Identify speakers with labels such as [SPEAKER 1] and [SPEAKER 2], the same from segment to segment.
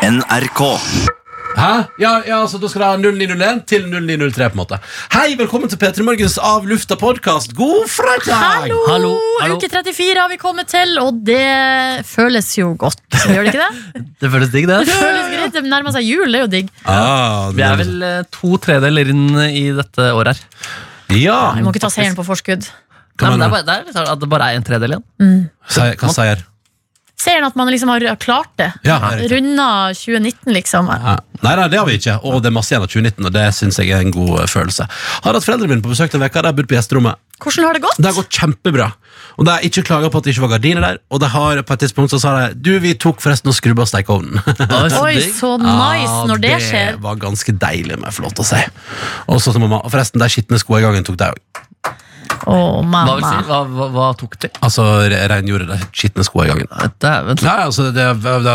[SPEAKER 1] NRK.
[SPEAKER 2] Hæ? Ja, ja altså, da skal det ha 0901 til 0903 på en måte Hei, velkommen til P3 Morgens Av Lufta podcast God fredag!
[SPEAKER 3] Hallo!
[SPEAKER 4] Hallo, hallo.
[SPEAKER 3] Uke 34 har vi kommet til, og det føles jo godt. Gjør det ikke det?
[SPEAKER 4] Det føles digg,
[SPEAKER 3] Det
[SPEAKER 4] det.
[SPEAKER 3] føles greit, det nærmer seg jul, det er jo digg.
[SPEAKER 2] Ah,
[SPEAKER 4] Vi er vel eh, to tredeler inn i dette året her.
[SPEAKER 2] Ja,
[SPEAKER 3] Vi må ikke ta seieren på forskudd.
[SPEAKER 4] Nei,
[SPEAKER 2] Hva
[SPEAKER 4] men
[SPEAKER 2] mener
[SPEAKER 4] det, er bare, det, er liksom at det bare er en tredel igjen.
[SPEAKER 2] Sa jeg- hva sa jeg?
[SPEAKER 3] Seieren at man liksom har klart det.
[SPEAKER 2] Ja, det er riktig.
[SPEAKER 3] Runda 2019, liksom.
[SPEAKER 2] Ja. Nei, nei, det har vi ikke. Og det er masse igjen av 2019, og det syns jeg er en god eh, følelse. Har hatt foreldrene mine på besøk denne uka. De har bodd på gjesterommet.
[SPEAKER 3] Hvordan har det gått?
[SPEAKER 2] Det har gått kjempebra. Og de har ikke klaga på at det ikke var gardiner der. Og de har eh, på et tidspunkt så sa de du, vi tok forresten og skrubba stekeovnen.
[SPEAKER 3] Oi, så nice
[SPEAKER 2] Ja,
[SPEAKER 3] når det skjer.
[SPEAKER 2] Det var ganske deilig, må jeg få lov til å si. Og så til mamma. Og forresten, de skitne skoene i gangen tok de òg.
[SPEAKER 3] Å,
[SPEAKER 4] Hva, vil si?
[SPEAKER 3] mamma.
[SPEAKER 4] hva, hva, hva tok de?
[SPEAKER 2] Altså re- rengjorde de skitne skoene i gangen.
[SPEAKER 4] Dæven.
[SPEAKER 2] Nei, altså det, det,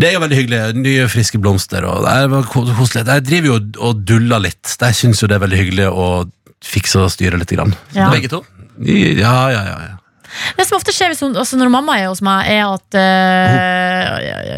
[SPEAKER 2] det er jo veldig hyggelig. Nye, friske blomster. Og det er vel ko- koselig. Jeg driver jo og- og duller litt. Jeg syns jo det er veldig hyggelig å fikse og styre litt. Grann.
[SPEAKER 3] Ja.
[SPEAKER 4] Begge to?
[SPEAKER 2] Ja, ja, ja, ja.
[SPEAKER 3] Det som ofte skjer hvis hun, altså når mamma er hos meg, er at eh,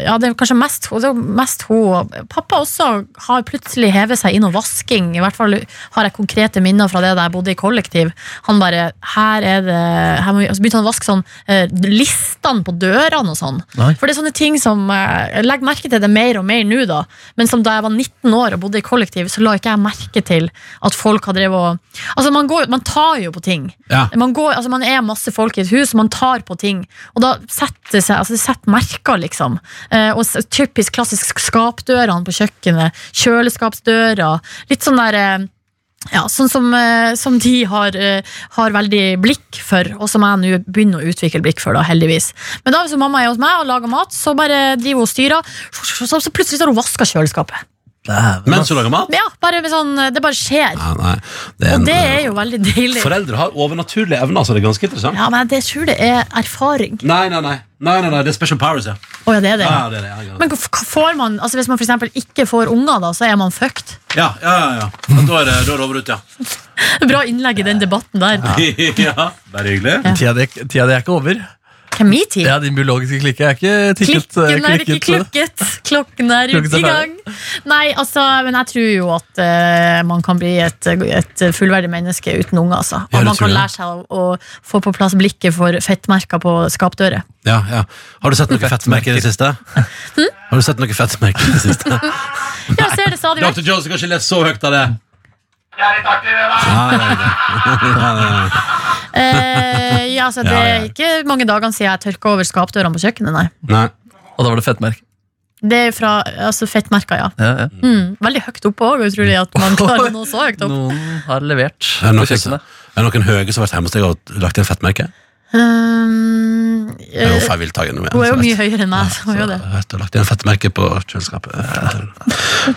[SPEAKER 3] Ja, det er kanskje mest, hun- det er jo mest hun. Pappa også har plutselig hevet seg innom vasking. I hvert fall har jeg konkrete minner fra det da jeg bodde i kollektiv. Han bare Her er det her må vi, Og så begynte han å vaske sånn eh, listene på dørene og sånn.
[SPEAKER 4] Nei.
[SPEAKER 3] For det er sånne ting som eh, Jeg legger merke til det mer og mer nå, da. Men som da jeg var 19 år og bodde i kollektiv, så la ikke jeg merke til at folk har drevet og Altså, man, går, man tar jo på ting.
[SPEAKER 2] Ja.
[SPEAKER 3] Man, går, altså, man er masse folk i et hus, og man tar på ting. Og da setter seg, altså, det setter merker, liksom. Eh, og s- typisk klassisk skapdørene på kjøkkenet, kjøleskapsdøra. Litt sånn der eh, ja, sånn som, eh, som de har, eh, har veldig blikk for, og som jeg nå begynner å utvikle blikk for, da, heldigvis. Men da hvis mamma er hos meg og lager mat, så bare driver hun og styrer, så, så, så plutselig så har hun vaska kjøleskapet.
[SPEAKER 4] Dæven.
[SPEAKER 2] Mens du lager mat?
[SPEAKER 3] Men ja, bare med sånn, eh, Det bare skjer.
[SPEAKER 2] Ja, nei. Det er
[SPEAKER 3] Og
[SPEAKER 2] en,
[SPEAKER 3] det er jo veldig deilig.
[SPEAKER 2] Foreldre har overnaturlige evner, så det er ganske interessant.
[SPEAKER 3] Ja, men jeg det- tror det er erfaring.
[SPEAKER 2] Nei, nei, nei. nei, nei, nei. Det er special powers, ja.
[SPEAKER 3] Å ja, det er det.
[SPEAKER 2] Ja, det er det. Ja, ja.
[SPEAKER 3] Men hvorf- hva får man, altså Hvis man for eksempel ikke får unger, da, så er man fucked.
[SPEAKER 2] ja, ja, ja, ja. Da er det, da er det over ut, ja.
[SPEAKER 3] Bra innlegg i den debatten der.
[SPEAKER 2] ja. Bare hyggelig.
[SPEAKER 4] Tida di tida di er ikke over.
[SPEAKER 3] Hvem er min tid?
[SPEAKER 4] Ja, Din biologiske klikke er ikke tikket. eh,
[SPEAKER 3] Klikken er ikke
[SPEAKER 4] klikket.
[SPEAKER 3] klukket. Klokken er
[SPEAKER 4] Klokken
[SPEAKER 3] ute i
[SPEAKER 4] er
[SPEAKER 3] gang. Nei, altså, men jeg tror jo at eh, man kan bli et, et fullverdig menneske uten unger. Altså.
[SPEAKER 2] Ja,
[SPEAKER 3] Og
[SPEAKER 2] det
[SPEAKER 3] man
[SPEAKER 2] tror
[SPEAKER 3] kan
[SPEAKER 2] jeg.
[SPEAKER 3] lære seg å, å få på plass blikket for fettmerker på skapdører.
[SPEAKER 2] Ja, ja. Har du sett noe fettmerke i det siste?
[SPEAKER 3] Hm?
[SPEAKER 2] Har du sett noe fettmerke i det siste?
[SPEAKER 3] Ja, jeg ser det stadig vekk.
[SPEAKER 2] Dr. Jones har kanskje lest så høyt av det.
[SPEAKER 3] Eh, ja, altså, det
[SPEAKER 2] Ja,
[SPEAKER 3] er
[SPEAKER 2] ja.
[SPEAKER 3] ikke mange dagene siden jeg tørka over skapdørene på kjøkkenet, nei.
[SPEAKER 2] Nei.
[SPEAKER 4] Og da var det fettmerk.
[SPEAKER 3] Det er fra altså, fettmerker, ja.
[SPEAKER 4] Ja, ja.
[SPEAKER 3] Mm, veldig høyt oppe òg, utrolig at man klarer noe så høyt opp.
[SPEAKER 4] Noen har levert
[SPEAKER 2] Er det
[SPEAKER 4] på
[SPEAKER 2] noen,
[SPEAKER 4] kjøkkenet.
[SPEAKER 2] er det noen høye som har vært hjemme hos deg og lagt inn fettmerke?
[SPEAKER 3] Um,
[SPEAKER 2] Det er jo
[SPEAKER 3] eh,
[SPEAKER 2] feil viltagen, men,
[SPEAKER 3] hun er
[SPEAKER 2] så
[SPEAKER 3] jo
[SPEAKER 2] vet
[SPEAKER 3] mye
[SPEAKER 2] jeg.
[SPEAKER 3] høyere enn meg, så hun er jo
[SPEAKER 2] Så
[SPEAKER 3] det.
[SPEAKER 2] jeg vet, jeg har lagt inn fettmerke på kjøleskapet.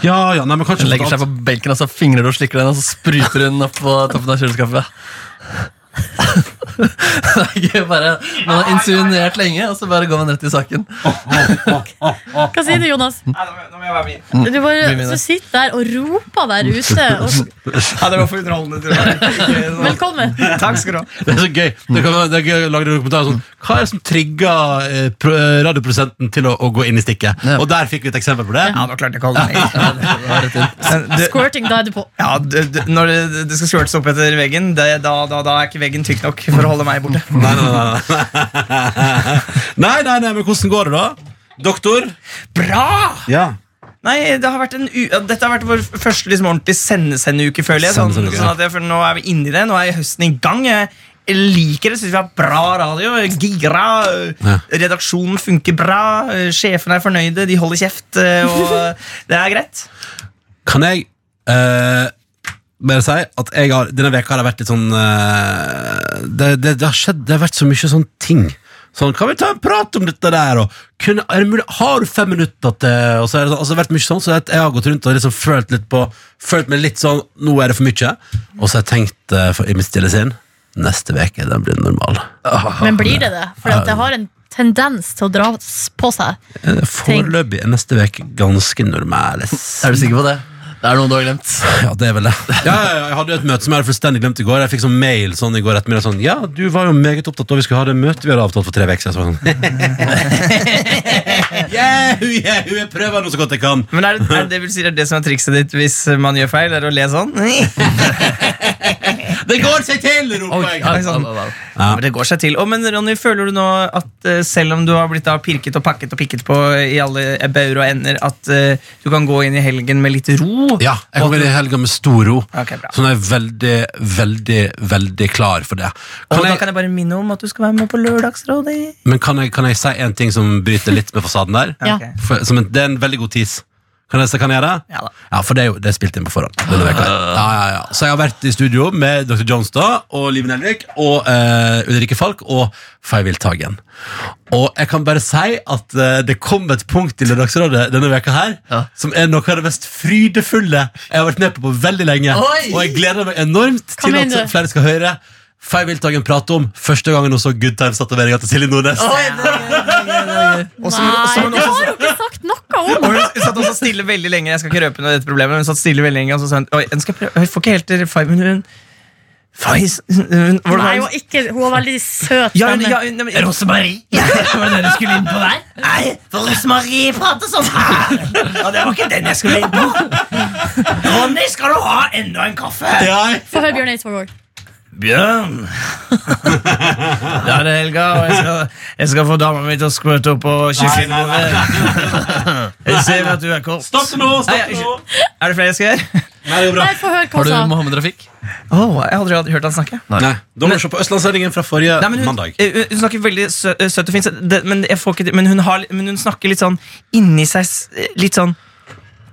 [SPEAKER 2] Ja, ja, nei, men kanskje
[SPEAKER 4] Hun legger seg på benken, og så fingrer du og slikker den, og så spruter hun opp på toppen av kjøleskapet. det er ikke bare Man har insinuert lenge, og så bare går man rett i saken.
[SPEAKER 3] Hva sier du, Jonas?
[SPEAKER 5] Nei, nå må jeg- nå må jeg være min.
[SPEAKER 3] Du bare
[SPEAKER 4] Bli med
[SPEAKER 3] du
[SPEAKER 4] deg.
[SPEAKER 3] sitter der og roper der ute. Og,
[SPEAKER 5] Nei, det var for underholdende. Tror jeg. Ok, nå-
[SPEAKER 3] velkommen.
[SPEAKER 5] Takk skal du ha.
[SPEAKER 2] Det er så gøy. Det kan, være- det er gøy å lage en dokumentar sånn Hva er det som trigger eh, pro- eh, radioprodusenten til å, å gå inn i stikket?
[SPEAKER 4] Ja.
[SPEAKER 2] Og der fikk vi et eksempel på det.
[SPEAKER 5] Ja, det var klart jeg kalte meg Men du-
[SPEAKER 3] Squirting da er du på.
[SPEAKER 5] ja, du, du, når det, det skal squirtes opp etter veggen, det, da, da, da er ikke veggen tykk nok for å holde meg borte.
[SPEAKER 2] Nei, nei, nei. nei, nei, nei, men hvordan går det da? Doktor?
[SPEAKER 5] Bra!
[SPEAKER 2] Ja.
[SPEAKER 5] Nei, det har vært en u ja, Dette har vært vår første liksom, ordentlig sendesendeuke, føler jeg. Sånn,
[SPEAKER 2] Sendesendeuke,
[SPEAKER 5] sånn
[SPEAKER 2] ja.
[SPEAKER 5] at jeg for nå er vi inne i det. Nå er høsten i gang. Jeg liker det. Syns vi har bra radio. Gira.
[SPEAKER 2] Ja.
[SPEAKER 5] Redaksjonen funker bra. Sjefene er fornøyde. De holder kjeft. eh, Og det er greit.
[SPEAKER 2] Kan jeg eh, bare si at jeg har, denne veka har det vært litt sånn eh, det, det, det har skjedd, det har vært så mye sånn ting. Sånn, kan vi ta en prat om dette der? Og, kunne, er det mulig, har du fem minutter til og så er det, sånn, altså, det har vært mye sånn, så jeg, jeg har gått rundt og liksom følt litt på Følt meg litt sånn, nå er det for mye. Og så har jeg tenkt eh, for, i mitt stille sinn Neste veke, den blir normal.
[SPEAKER 3] Men blir det det? For at det har en tendens til å dra s- på seg.
[SPEAKER 2] Eh, Foreløpig er neste veke ganske normal.
[SPEAKER 4] Er du sikker på det? Det er noe du har glemt.
[SPEAKER 2] Ja, det er vel det. Ja, ja, ja, jeg hadde jo et møte som jeg hadde fullstendig glemt i går. Jeg fikk sånn mail sånn i går ettermiddag sånn Ja, du var jo meget opptatt da vi skulle ha det møtet vi hadde avtalt for tre uker siden. Så var jeg Sånn. Yeah, yeah, jeg prøver nå så godt jeg kan.
[SPEAKER 5] Men er det, er det, det vil si det er det som er trikset ditt hvis man gjør feil? Er det å le sånn?
[SPEAKER 2] Det går seg til, roper jeg.
[SPEAKER 5] Oi, sånn. Ja, men det går seg til. Å, men Ronny, føler du nå at eh, selv om du har blitt da pirket og pakket og pikket på i alle bauger og ender, at eh, du kan gå inn i helgen med litt ro?
[SPEAKER 2] Ja, jeg kommer inn i helga med stor ro.
[SPEAKER 5] Ok, bra.
[SPEAKER 2] Så nå er jeg veldig, veldig, veldig klar for det.
[SPEAKER 5] Og
[SPEAKER 2] Kan
[SPEAKER 5] da
[SPEAKER 2] jeg,
[SPEAKER 5] kan jeg bare minne om at du skal være med på Lørdagsrådet.
[SPEAKER 2] men kan jeg, kan jeg si en ting som bryter litt med fasaden der?
[SPEAKER 3] Ja.
[SPEAKER 5] Ok.
[SPEAKER 2] For, som en, det er en veldig god tis. Kan jeg, kan jeg gjøre det?
[SPEAKER 5] Ja da.
[SPEAKER 2] Ja, for det er jo det er spilt inn på forhånd. Denne veka. Ja, ja, ja. Så jeg har vært i studio med Dr. Johnstad og Liv Nelvik og eh, Ulrikke Falk og Feivild Tagen. Og jeg kan bare si at eh, det kom et punkt i Lørdagsrådet denne veka her
[SPEAKER 4] Ja.
[SPEAKER 2] som er noe av det mest frydefulle jeg har vært med på på veldig lenge.
[SPEAKER 4] Oi!
[SPEAKER 2] Og jeg gleder meg enormt
[SPEAKER 3] Hva
[SPEAKER 2] til
[SPEAKER 3] mener
[SPEAKER 2] at
[SPEAKER 3] du?
[SPEAKER 2] flere skal høre Feivild Tagen prate om første gangen hun så Good Times-tatoveringa til Silje Nordnes.
[SPEAKER 5] Og så- og så-
[SPEAKER 3] Nei,
[SPEAKER 5] men
[SPEAKER 3] det
[SPEAKER 5] også-
[SPEAKER 3] har hun ikke sagt noe om!
[SPEAKER 5] Og hun hun satt også stille veldig lenge. Jeg skal ikke røpe noe av dette problemet, men hun satt stille veldig lenge, og så sa hun Oi, hun skal prøve. Hun får ikke helt til five, men hun Fais hun- hvordan
[SPEAKER 3] Nei,
[SPEAKER 5] var
[SPEAKER 3] hun,
[SPEAKER 5] det?
[SPEAKER 3] var ikke, hun var veldig søt.
[SPEAKER 5] Ja, hun,
[SPEAKER 3] stemme.
[SPEAKER 5] ja, hun, nei, men- Rosemarie! Var det det du skulle inn på der? Nei, for Rosemarie prater sånn her! Og det var ikke den jeg skulle inn på. Ronny, skal du ha enda en kaffe?
[SPEAKER 2] Ja,
[SPEAKER 3] Få høre Bjørn Eidsvåg òg.
[SPEAKER 5] Bjørn! Da er det helga, og jeg skal, jeg skal få dama mi til å squirte opp på kjøkkenbordet. Jeg ser at du er kort.
[SPEAKER 2] Stopp nå!
[SPEAKER 5] Nei,
[SPEAKER 2] stopp
[SPEAKER 5] jeg-
[SPEAKER 2] nå
[SPEAKER 5] Er det flere jeg skal gjøre?
[SPEAKER 2] Nei, det går bra.
[SPEAKER 3] Nei, få høre hva hun
[SPEAKER 4] Har du
[SPEAKER 3] sa.
[SPEAKER 4] Mohammed Rafik?
[SPEAKER 5] Åh, jeg har aldri hatt- hørt han snakke.
[SPEAKER 2] Nei, Da må du se på Østlandssendingen fra forrige
[SPEAKER 5] Nei, men hun,
[SPEAKER 2] mandag.
[SPEAKER 5] eh, hun snakker veldig sø, eh, søt og fint, så det, men, jeg får ikke, til- men, hun har, men hun snakker litt sånn inni seg s- eh, Litt sånn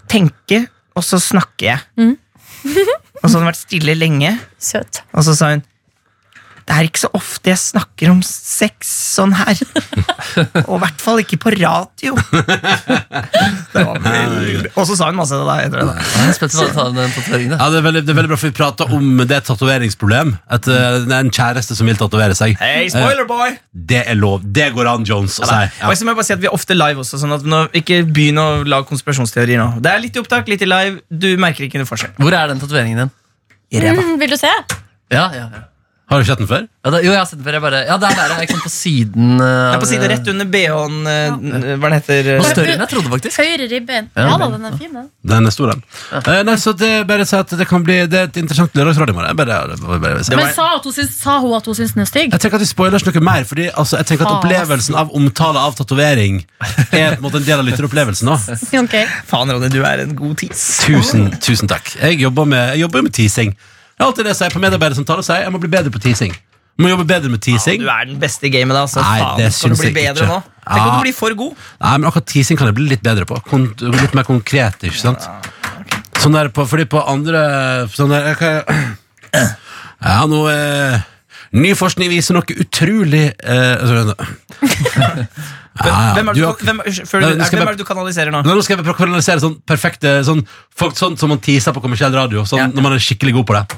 [SPEAKER 5] tenke, og så snakker jeg. og så har hun vært stille lenge,
[SPEAKER 3] Søt.
[SPEAKER 5] og så sa hun det er ikke så ofte jeg snakker om sex sånn her. Og i hvert fall ikke på radio. det var veldig... Og så sa hun masse det da, etter det. da.
[SPEAKER 4] Jeg er spent på å ta den tatoveringen.
[SPEAKER 2] Ja, det er, veldig, det er veldig bra, for Vi prata om det er et tatoveringsproblem. At eh, det er en kjæreste som vil tatovere seg.
[SPEAKER 5] Hei,
[SPEAKER 2] Eh,
[SPEAKER 5] spoiler boy!
[SPEAKER 2] det er lov. Det går an, Jones, å si.
[SPEAKER 5] Og
[SPEAKER 2] Ja.
[SPEAKER 5] så må jeg bare si at Vi er ofte live også, sånn at nå, ikke begynn å lage konspirasjonsteorier nå. Det er litt i opptak, litt i live. Du merker ikke noe forskjell.
[SPEAKER 4] Hvor er den tatoveringen din?
[SPEAKER 3] Mm, vil du se?
[SPEAKER 4] Ja, ja, ja.
[SPEAKER 2] Har du sett den før?
[SPEAKER 4] Ja, da, jo, jeg har sett den før. Jeg bare, ja, der er det. Ikke sant, på siden eh,
[SPEAKER 5] Det er
[SPEAKER 4] av-
[SPEAKER 5] på side rett under BH-en. eh, n- Hva den heter
[SPEAKER 4] Det var
[SPEAKER 5] eh,
[SPEAKER 4] Større enn jeg trodde, faktisk.
[SPEAKER 3] Høyre ribben. Ja da, den er fin, den.
[SPEAKER 2] Den er stor, den. Eh, nei, så det er bare å si at det kan bli Det er et interessant lørdagsråd i morgen. Jeg Bare, bare, bare, bare, si.
[SPEAKER 3] Men sa, at hun syns, sa hun at hun syns den er stygg?
[SPEAKER 2] Jeg tenker at vi spoilers noe mer, Fordi altså, jeg tenker at opplevelsen av omtale av tatovering er på en måte en del av lytteropplevelsen. nå.
[SPEAKER 3] Ok.
[SPEAKER 5] Faen, Ronny, du er en god tis.
[SPEAKER 2] Tusen, tusen takk. Jeg jobber med, jeg jobber med teasing. Det er alltid det jeg sier på medarbeidersamtaler. sier Jeg jeg må bli bedre på teasing. Jeg Må jobbe bedre med teasing.
[SPEAKER 5] Du er den beste i gamet, da. Så
[SPEAKER 2] Nei,
[SPEAKER 5] faen,
[SPEAKER 2] det
[SPEAKER 5] skal du
[SPEAKER 2] syns
[SPEAKER 5] bli
[SPEAKER 2] jeg
[SPEAKER 5] bedre
[SPEAKER 2] ikke. Ah.
[SPEAKER 5] nå? Tenk om
[SPEAKER 2] Ja.
[SPEAKER 5] du blir for god.
[SPEAKER 2] Nei, men akkurat teasing kan jeg bli litt bedre på. Kon litt mer konkret, ikke sant? Sånn der på, fordi på andre sånn der, jeg kan, Ja, nå eh, Ny forskning viser noe utrolig eh, altså, ja, Ah, ja.
[SPEAKER 5] Hvem er,
[SPEAKER 2] Du
[SPEAKER 5] det
[SPEAKER 2] har-
[SPEAKER 5] du, hvem, før,
[SPEAKER 2] Nei,
[SPEAKER 5] du-
[SPEAKER 2] nå skal jeg
[SPEAKER 5] hvem
[SPEAKER 2] bare-
[SPEAKER 5] er det du kanaliserer nå?
[SPEAKER 2] Nei, Nå skal jeg prøve å kanalisere sånn perfekte sånn, folk, sånn som man teaser på kommersiell radio. Sånn,
[SPEAKER 5] Ja.
[SPEAKER 2] Når man er skikkelig god på det.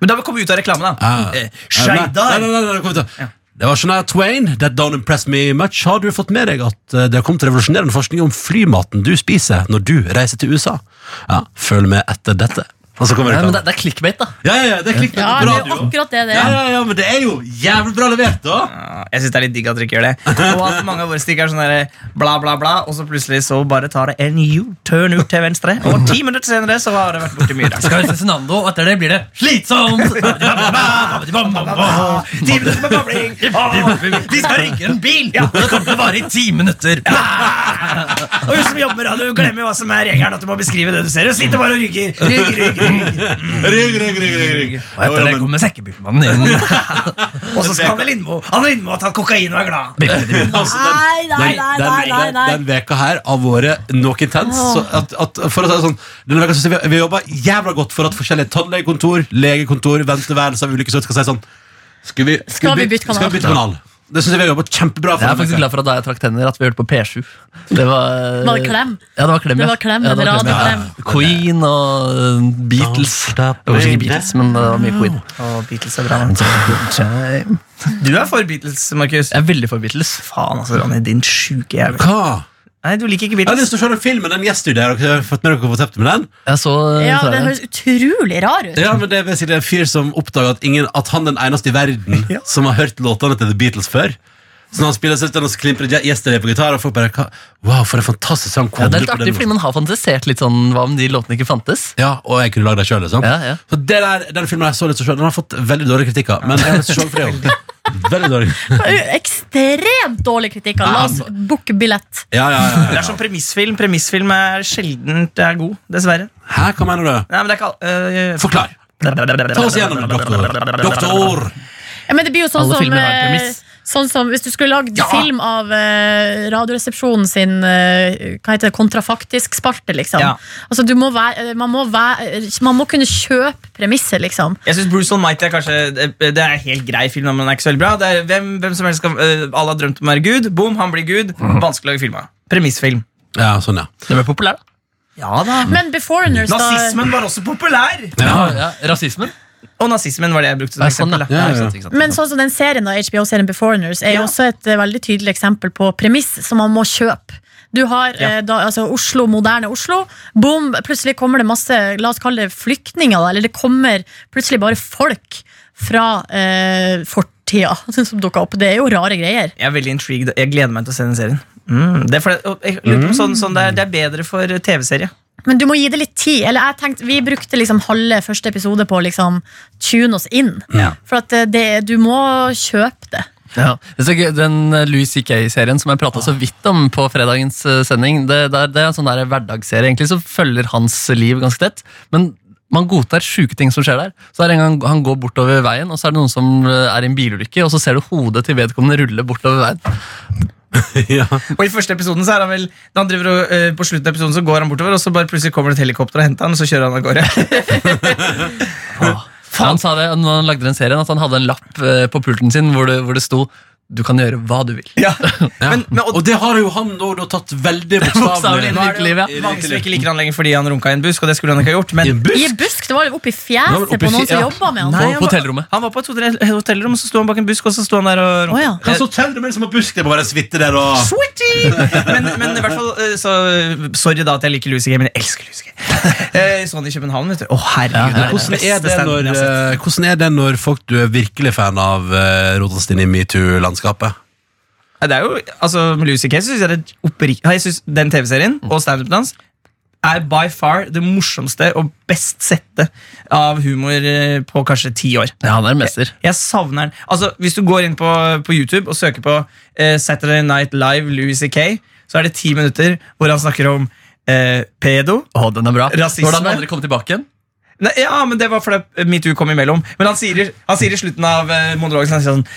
[SPEAKER 5] Men da kommer vi ut av reklamen, da. Eh,
[SPEAKER 2] Ja. Ah. Nei, nei,
[SPEAKER 5] Skeidar!
[SPEAKER 2] nei, nei, det kommer til å- Det var Shania Twain, That Don't Impress Me Much. Har du fått med deg at eh, det har kommet revolusjonerende forskning om flymaten du spiser når du reiser til USA? Ja, Følg med etter dette. Og så kommer
[SPEAKER 4] Nei, men det,
[SPEAKER 2] reklamen.
[SPEAKER 4] det er clickbait, da.
[SPEAKER 2] Ja, ja, ja, det er klipp
[SPEAKER 3] Ja,
[SPEAKER 2] på
[SPEAKER 3] det er jo
[SPEAKER 2] radio.
[SPEAKER 3] akkurat det det
[SPEAKER 2] Ja,
[SPEAKER 3] er.
[SPEAKER 2] ja, ja, men det er jo jævlig bra levert, da!
[SPEAKER 5] Ja, Eh, Jeg syns det er litt digg at dere ikke gjør det. Og at mange av våre stikk er sånn der, bla, bla, bla, og så plutselig så bare tar det en U-turn ut til venstre. Og ti minutter senere så har det vært borti mye rart.
[SPEAKER 4] Skal vi til Fernando, og etter det blir det slitsomt!
[SPEAKER 5] Ti minutter med babling! Å, Vi skal rigge en bil! Ja.
[SPEAKER 4] Det kommer til å vare i ti minutter.
[SPEAKER 5] Og hun som jobber med radio, glemmer hva som er regelen. At du må beskrive det du ser. Og sitter bare og rygger. Rygg, rygg, rygg.
[SPEAKER 2] Rygg, rygg, rygg, rygg, rygg.
[SPEAKER 4] Og etter det kommer sekkebilmannen inn.
[SPEAKER 5] Og så skal Anne Lindmo Anne Lindmo har tatt kokain og er glad.
[SPEAKER 2] Altså, den-
[SPEAKER 3] Nei, nei,
[SPEAKER 2] Den,
[SPEAKER 3] nei,
[SPEAKER 2] den,
[SPEAKER 3] nei, nei,
[SPEAKER 2] den,
[SPEAKER 3] nei.
[SPEAKER 2] den veka her har vært noe intens. Så at, at, for å si det sånn, denne veka synes jeg vi, vi jobba jævla godt for at forskjellige tannlegekontor, legekontor, venteværelser av ulike sorter skal si sånn Skal vi,
[SPEAKER 3] Skal vi bytte kanal?
[SPEAKER 2] Skal vi bytte kanal? Det syns jeg vi har jobba kjempebra for.
[SPEAKER 4] Jeg er
[SPEAKER 2] denne
[SPEAKER 4] faktisk
[SPEAKER 2] veka.
[SPEAKER 4] glad for at da jeg trakk tenner, at vi hørte på P7. Det var,
[SPEAKER 3] Var det klem?
[SPEAKER 4] Ja, det var klem.
[SPEAKER 3] Det
[SPEAKER 4] ja.
[SPEAKER 3] var klem,
[SPEAKER 4] ja,
[SPEAKER 3] en rad
[SPEAKER 4] klem,
[SPEAKER 3] klem.
[SPEAKER 4] ja. Queen og eh, Beatles. Det var kanskje ikke Beatles, men det var mye Queen.
[SPEAKER 5] Og Beatles er bra. man. Du er for Beatles, Markus.
[SPEAKER 4] Jeg er veldig for Beatles.
[SPEAKER 5] Faen, altså, Ronny. Din sjuke jævel.
[SPEAKER 2] Hva?
[SPEAKER 5] Nei, du liker ikke
[SPEAKER 2] Jeg har
[SPEAKER 5] Beatles.
[SPEAKER 2] lyst til å se den filmen, den gjeststudien. Har dere fått med dere konseptet med den?
[SPEAKER 4] Jeg så eh,
[SPEAKER 3] Ja, Den
[SPEAKER 4] traileren.
[SPEAKER 3] høres utrolig rar ut.
[SPEAKER 2] Ja, men det er basically en fyr som oppdager at, ingen, at han er den eneste i verden
[SPEAKER 5] Ja.
[SPEAKER 2] som har hørt låtene til The Beatles før. Så når han spiller så sitter han og klimprer ja- yesterday på gitar, og folk bare "Hva- Wow, for en fantastisk sang.
[SPEAKER 4] Ja, det er
[SPEAKER 2] Kobler
[SPEAKER 4] litt
[SPEAKER 2] på
[SPEAKER 4] artig,
[SPEAKER 2] den
[SPEAKER 4] fordi man har fantasert litt sånn Hva om de låtene ikke fantes?
[SPEAKER 2] Ja, og jeg kunne lagd det sjøl, liksom.
[SPEAKER 4] Ja, ja.
[SPEAKER 2] Så det der, den filmen jeg så litt så selv, den har fått veldig dårlige kritikker. Men jeg har lyst til å se den for det også. Veldig dårlig.
[SPEAKER 3] Ekstremt dårlig kritikk. altså. La oss booke billett.
[SPEAKER 2] Ja, ja, ja,
[SPEAKER 5] Det
[SPEAKER 2] ja.
[SPEAKER 5] er sånn premissfilm. Premissfilm er sjelden det er god, dessverre.
[SPEAKER 2] Hæ, hva mener du?
[SPEAKER 5] Nei, men det er ikke all- øh,
[SPEAKER 2] Forklar. Ta oss gjennom det, doktor. Doktor!
[SPEAKER 3] Ja, men det blir jo sånn
[SPEAKER 4] Alle
[SPEAKER 3] som,
[SPEAKER 4] filmer har
[SPEAKER 3] eh,
[SPEAKER 4] en premiss.
[SPEAKER 3] sånn som Hvis du skulle lagd
[SPEAKER 5] Ja.
[SPEAKER 3] film av eh, Radioresepsjonen sin eh, Hva heter det, kontrafaktisk spalte, liksom.
[SPEAKER 5] Ja.
[SPEAKER 3] Altså, du må være, eh, man, må være, man må kunne kjøpe premisser, liksom.
[SPEAKER 5] Jeg synes Bruce Almighty er kanskje Det er en helt grei film, men den er ikke så veldig bra. Det er hvem, hvem som helst skal, øh, Alle har drømt om å være Gud. Boom, han blir Gud. Vanskelig å lage film av. Premissfilm.
[SPEAKER 2] Ja, sånn, ja.
[SPEAKER 4] Den ble populær, da.
[SPEAKER 5] Ja da.
[SPEAKER 3] Men Beforeigners, da
[SPEAKER 5] Nazismen var også populær!
[SPEAKER 4] Ja, ja. Rasismen?
[SPEAKER 5] Og nazismen var det jeg brukte som
[SPEAKER 4] Nei, sånn,
[SPEAKER 5] eksempel.
[SPEAKER 4] da.
[SPEAKER 5] da.
[SPEAKER 2] Ja,
[SPEAKER 4] Ja,
[SPEAKER 2] ja.
[SPEAKER 4] ikke sant, ikke sant.
[SPEAKER 3] Men sånn som den serien, da, HBO-serien Beforeigners, er jo
[SPEAKER 5] Ja.
[SPEAKER 3] også et eh, veldig tydelig eksempel på premiss som man må kjøpe. Du har eh, da, altså Oslo, moderne Oslo. Boom, plutselig kommer det masse la oss kalle det flyktninger. Da, eller det kommer plutselig bare folk fra eh, fortida som dukker opp. Det er jo rare greier.
[SPEAKER 5] Jeg er veldig intrigued. Jeg gleder meg til å se den serien. Mm, det, er fordi- og jeg lurer på om sånn, sånn det, er, det er bedre for TV-serie.
[SPEAKER 3] Men du må gi det litt tid. Eller jeg tenkte, Vi brukte liksom halve første episode på å liksom tune oss inn. For at eh, det, du må kjøpe det.
[SPEAKER 4] Ja. Det er så gøy, Den eh, Louis CK-serien som jeg prata så vidt om på fredagens eh, sending, det, det, er, det er en sånn der hverdagsserie egentlig som følger hans liv ganske tett. Men man godtar sjuke ting som skjer der. Så er det en gang Han går bortover veien, og så er det noen som eh, er i en bilulykke, og så ser du hodet til vedkommende rulle bortover veien.
[SPEAKER 2] ja.
[SPEAKER 5] Og i første episoden så er han vel da han driver og, eh, På slutten av episoden så går han bortover, og så bare plutselig kommer det et helikopter og henter han, og så kjører han av gårde.
[SPEAKER 4] Han sa det når han lagde den serien, at han hadde en lapp eh, på pulten sin hvor det, hvor det sto 'Du kan gjøre hva du vil'.
[SPEAKER 5] ja.
[SPEAKER 2] Ja.
[SPEAKER 5] Men, men, og,
[SPEAKER 2] og det har jo han da, da tatt veldig
[SPEAKER 4] Bokstavelig
[SPEAKER 2] bokstavelig.
[SPEAKER 4] inn i virkelivet.
[SPEAKER 2] I
[SPEAKER 4] ja.
[SPEAKER 5] mange som ikke liker han lenger fordi han runka i en busk, og det skulle han ikke ha gjort.
[SPEAKER 2] I
[SPEAKER 5] Men
[SPEAKER 2] en
[SPEAKER 3] I
[SPEAKER 2] busk?
[SPEAKER 3] en busk! Det var oppe i
[SPEAKER 2] Det var
[SPEAKER 3] fjeset
[SPEAKER 2] oppe i
[SPEAKER 3] på noen
[SPEAKER 2] fje- ja.
[SPEAKER 3] som jobba med han.
[SPEAKER 5] Nei, han
[SPEAKER 4] på
[SPEAKER 5] var-
[SPEAKER 4] hotellrommet.
[SPEAKER 5] Han var på et hotell- hotellrom, og så sto han bak en busk, og så sto han der og Eh, runka.
[SPEAKER 3] Å, ja.
[SPEAKER 2] Hva så teller du med det som har busk? Det må være en suite der og
[SPEAKER 5] Switchy! Men, men i hvert fall eh, så, Sorry da at jeg liker Lucy Gay, men jeg elsker Lucy Gay. Eh, Sånn i København, vet du. Å, herregud.
[SPEAKER 4] Ja, ja, ja.
[SPEAKER 5] det beste standen
[SPEAKER 2] Hvordan er, det når,
[SPEAKER 5] jeg har sett.
[SPEAKER 2] eh, hvordan er det når folk du er virkelig fan av, uh, rotes inn i metoo-landskapet? eh,
[SPEAKER 5] Ja, Det er jo, altså, med Lucy Gay syns jeg det er oppri- Ja, Jeg synes den TV-serien og standupen hans er by far det morsomste og best sette av humor eh, på kanskje ti år.
[SPEAKER 4] Ja, han er en mester.
[SPEAKER 5] Jeg savner den. Altså, Hvis du går inn på, på YouTube og søker på eh, Saturday Night Live Louis C.K., så er det ti minutter hvor han snakker om eh, pedo.
[SPEAKER 4] Å, den er bra.
[SPEAKER 5] Rasisme.
[SPEAKER 4] Hvordan andre kom tilbake igjen?
[SPEAKER 5] Nei, ja, men det var fordi metoo kom imellom. Men han sier, han sier i slutten av eh, monologen så han sier sånn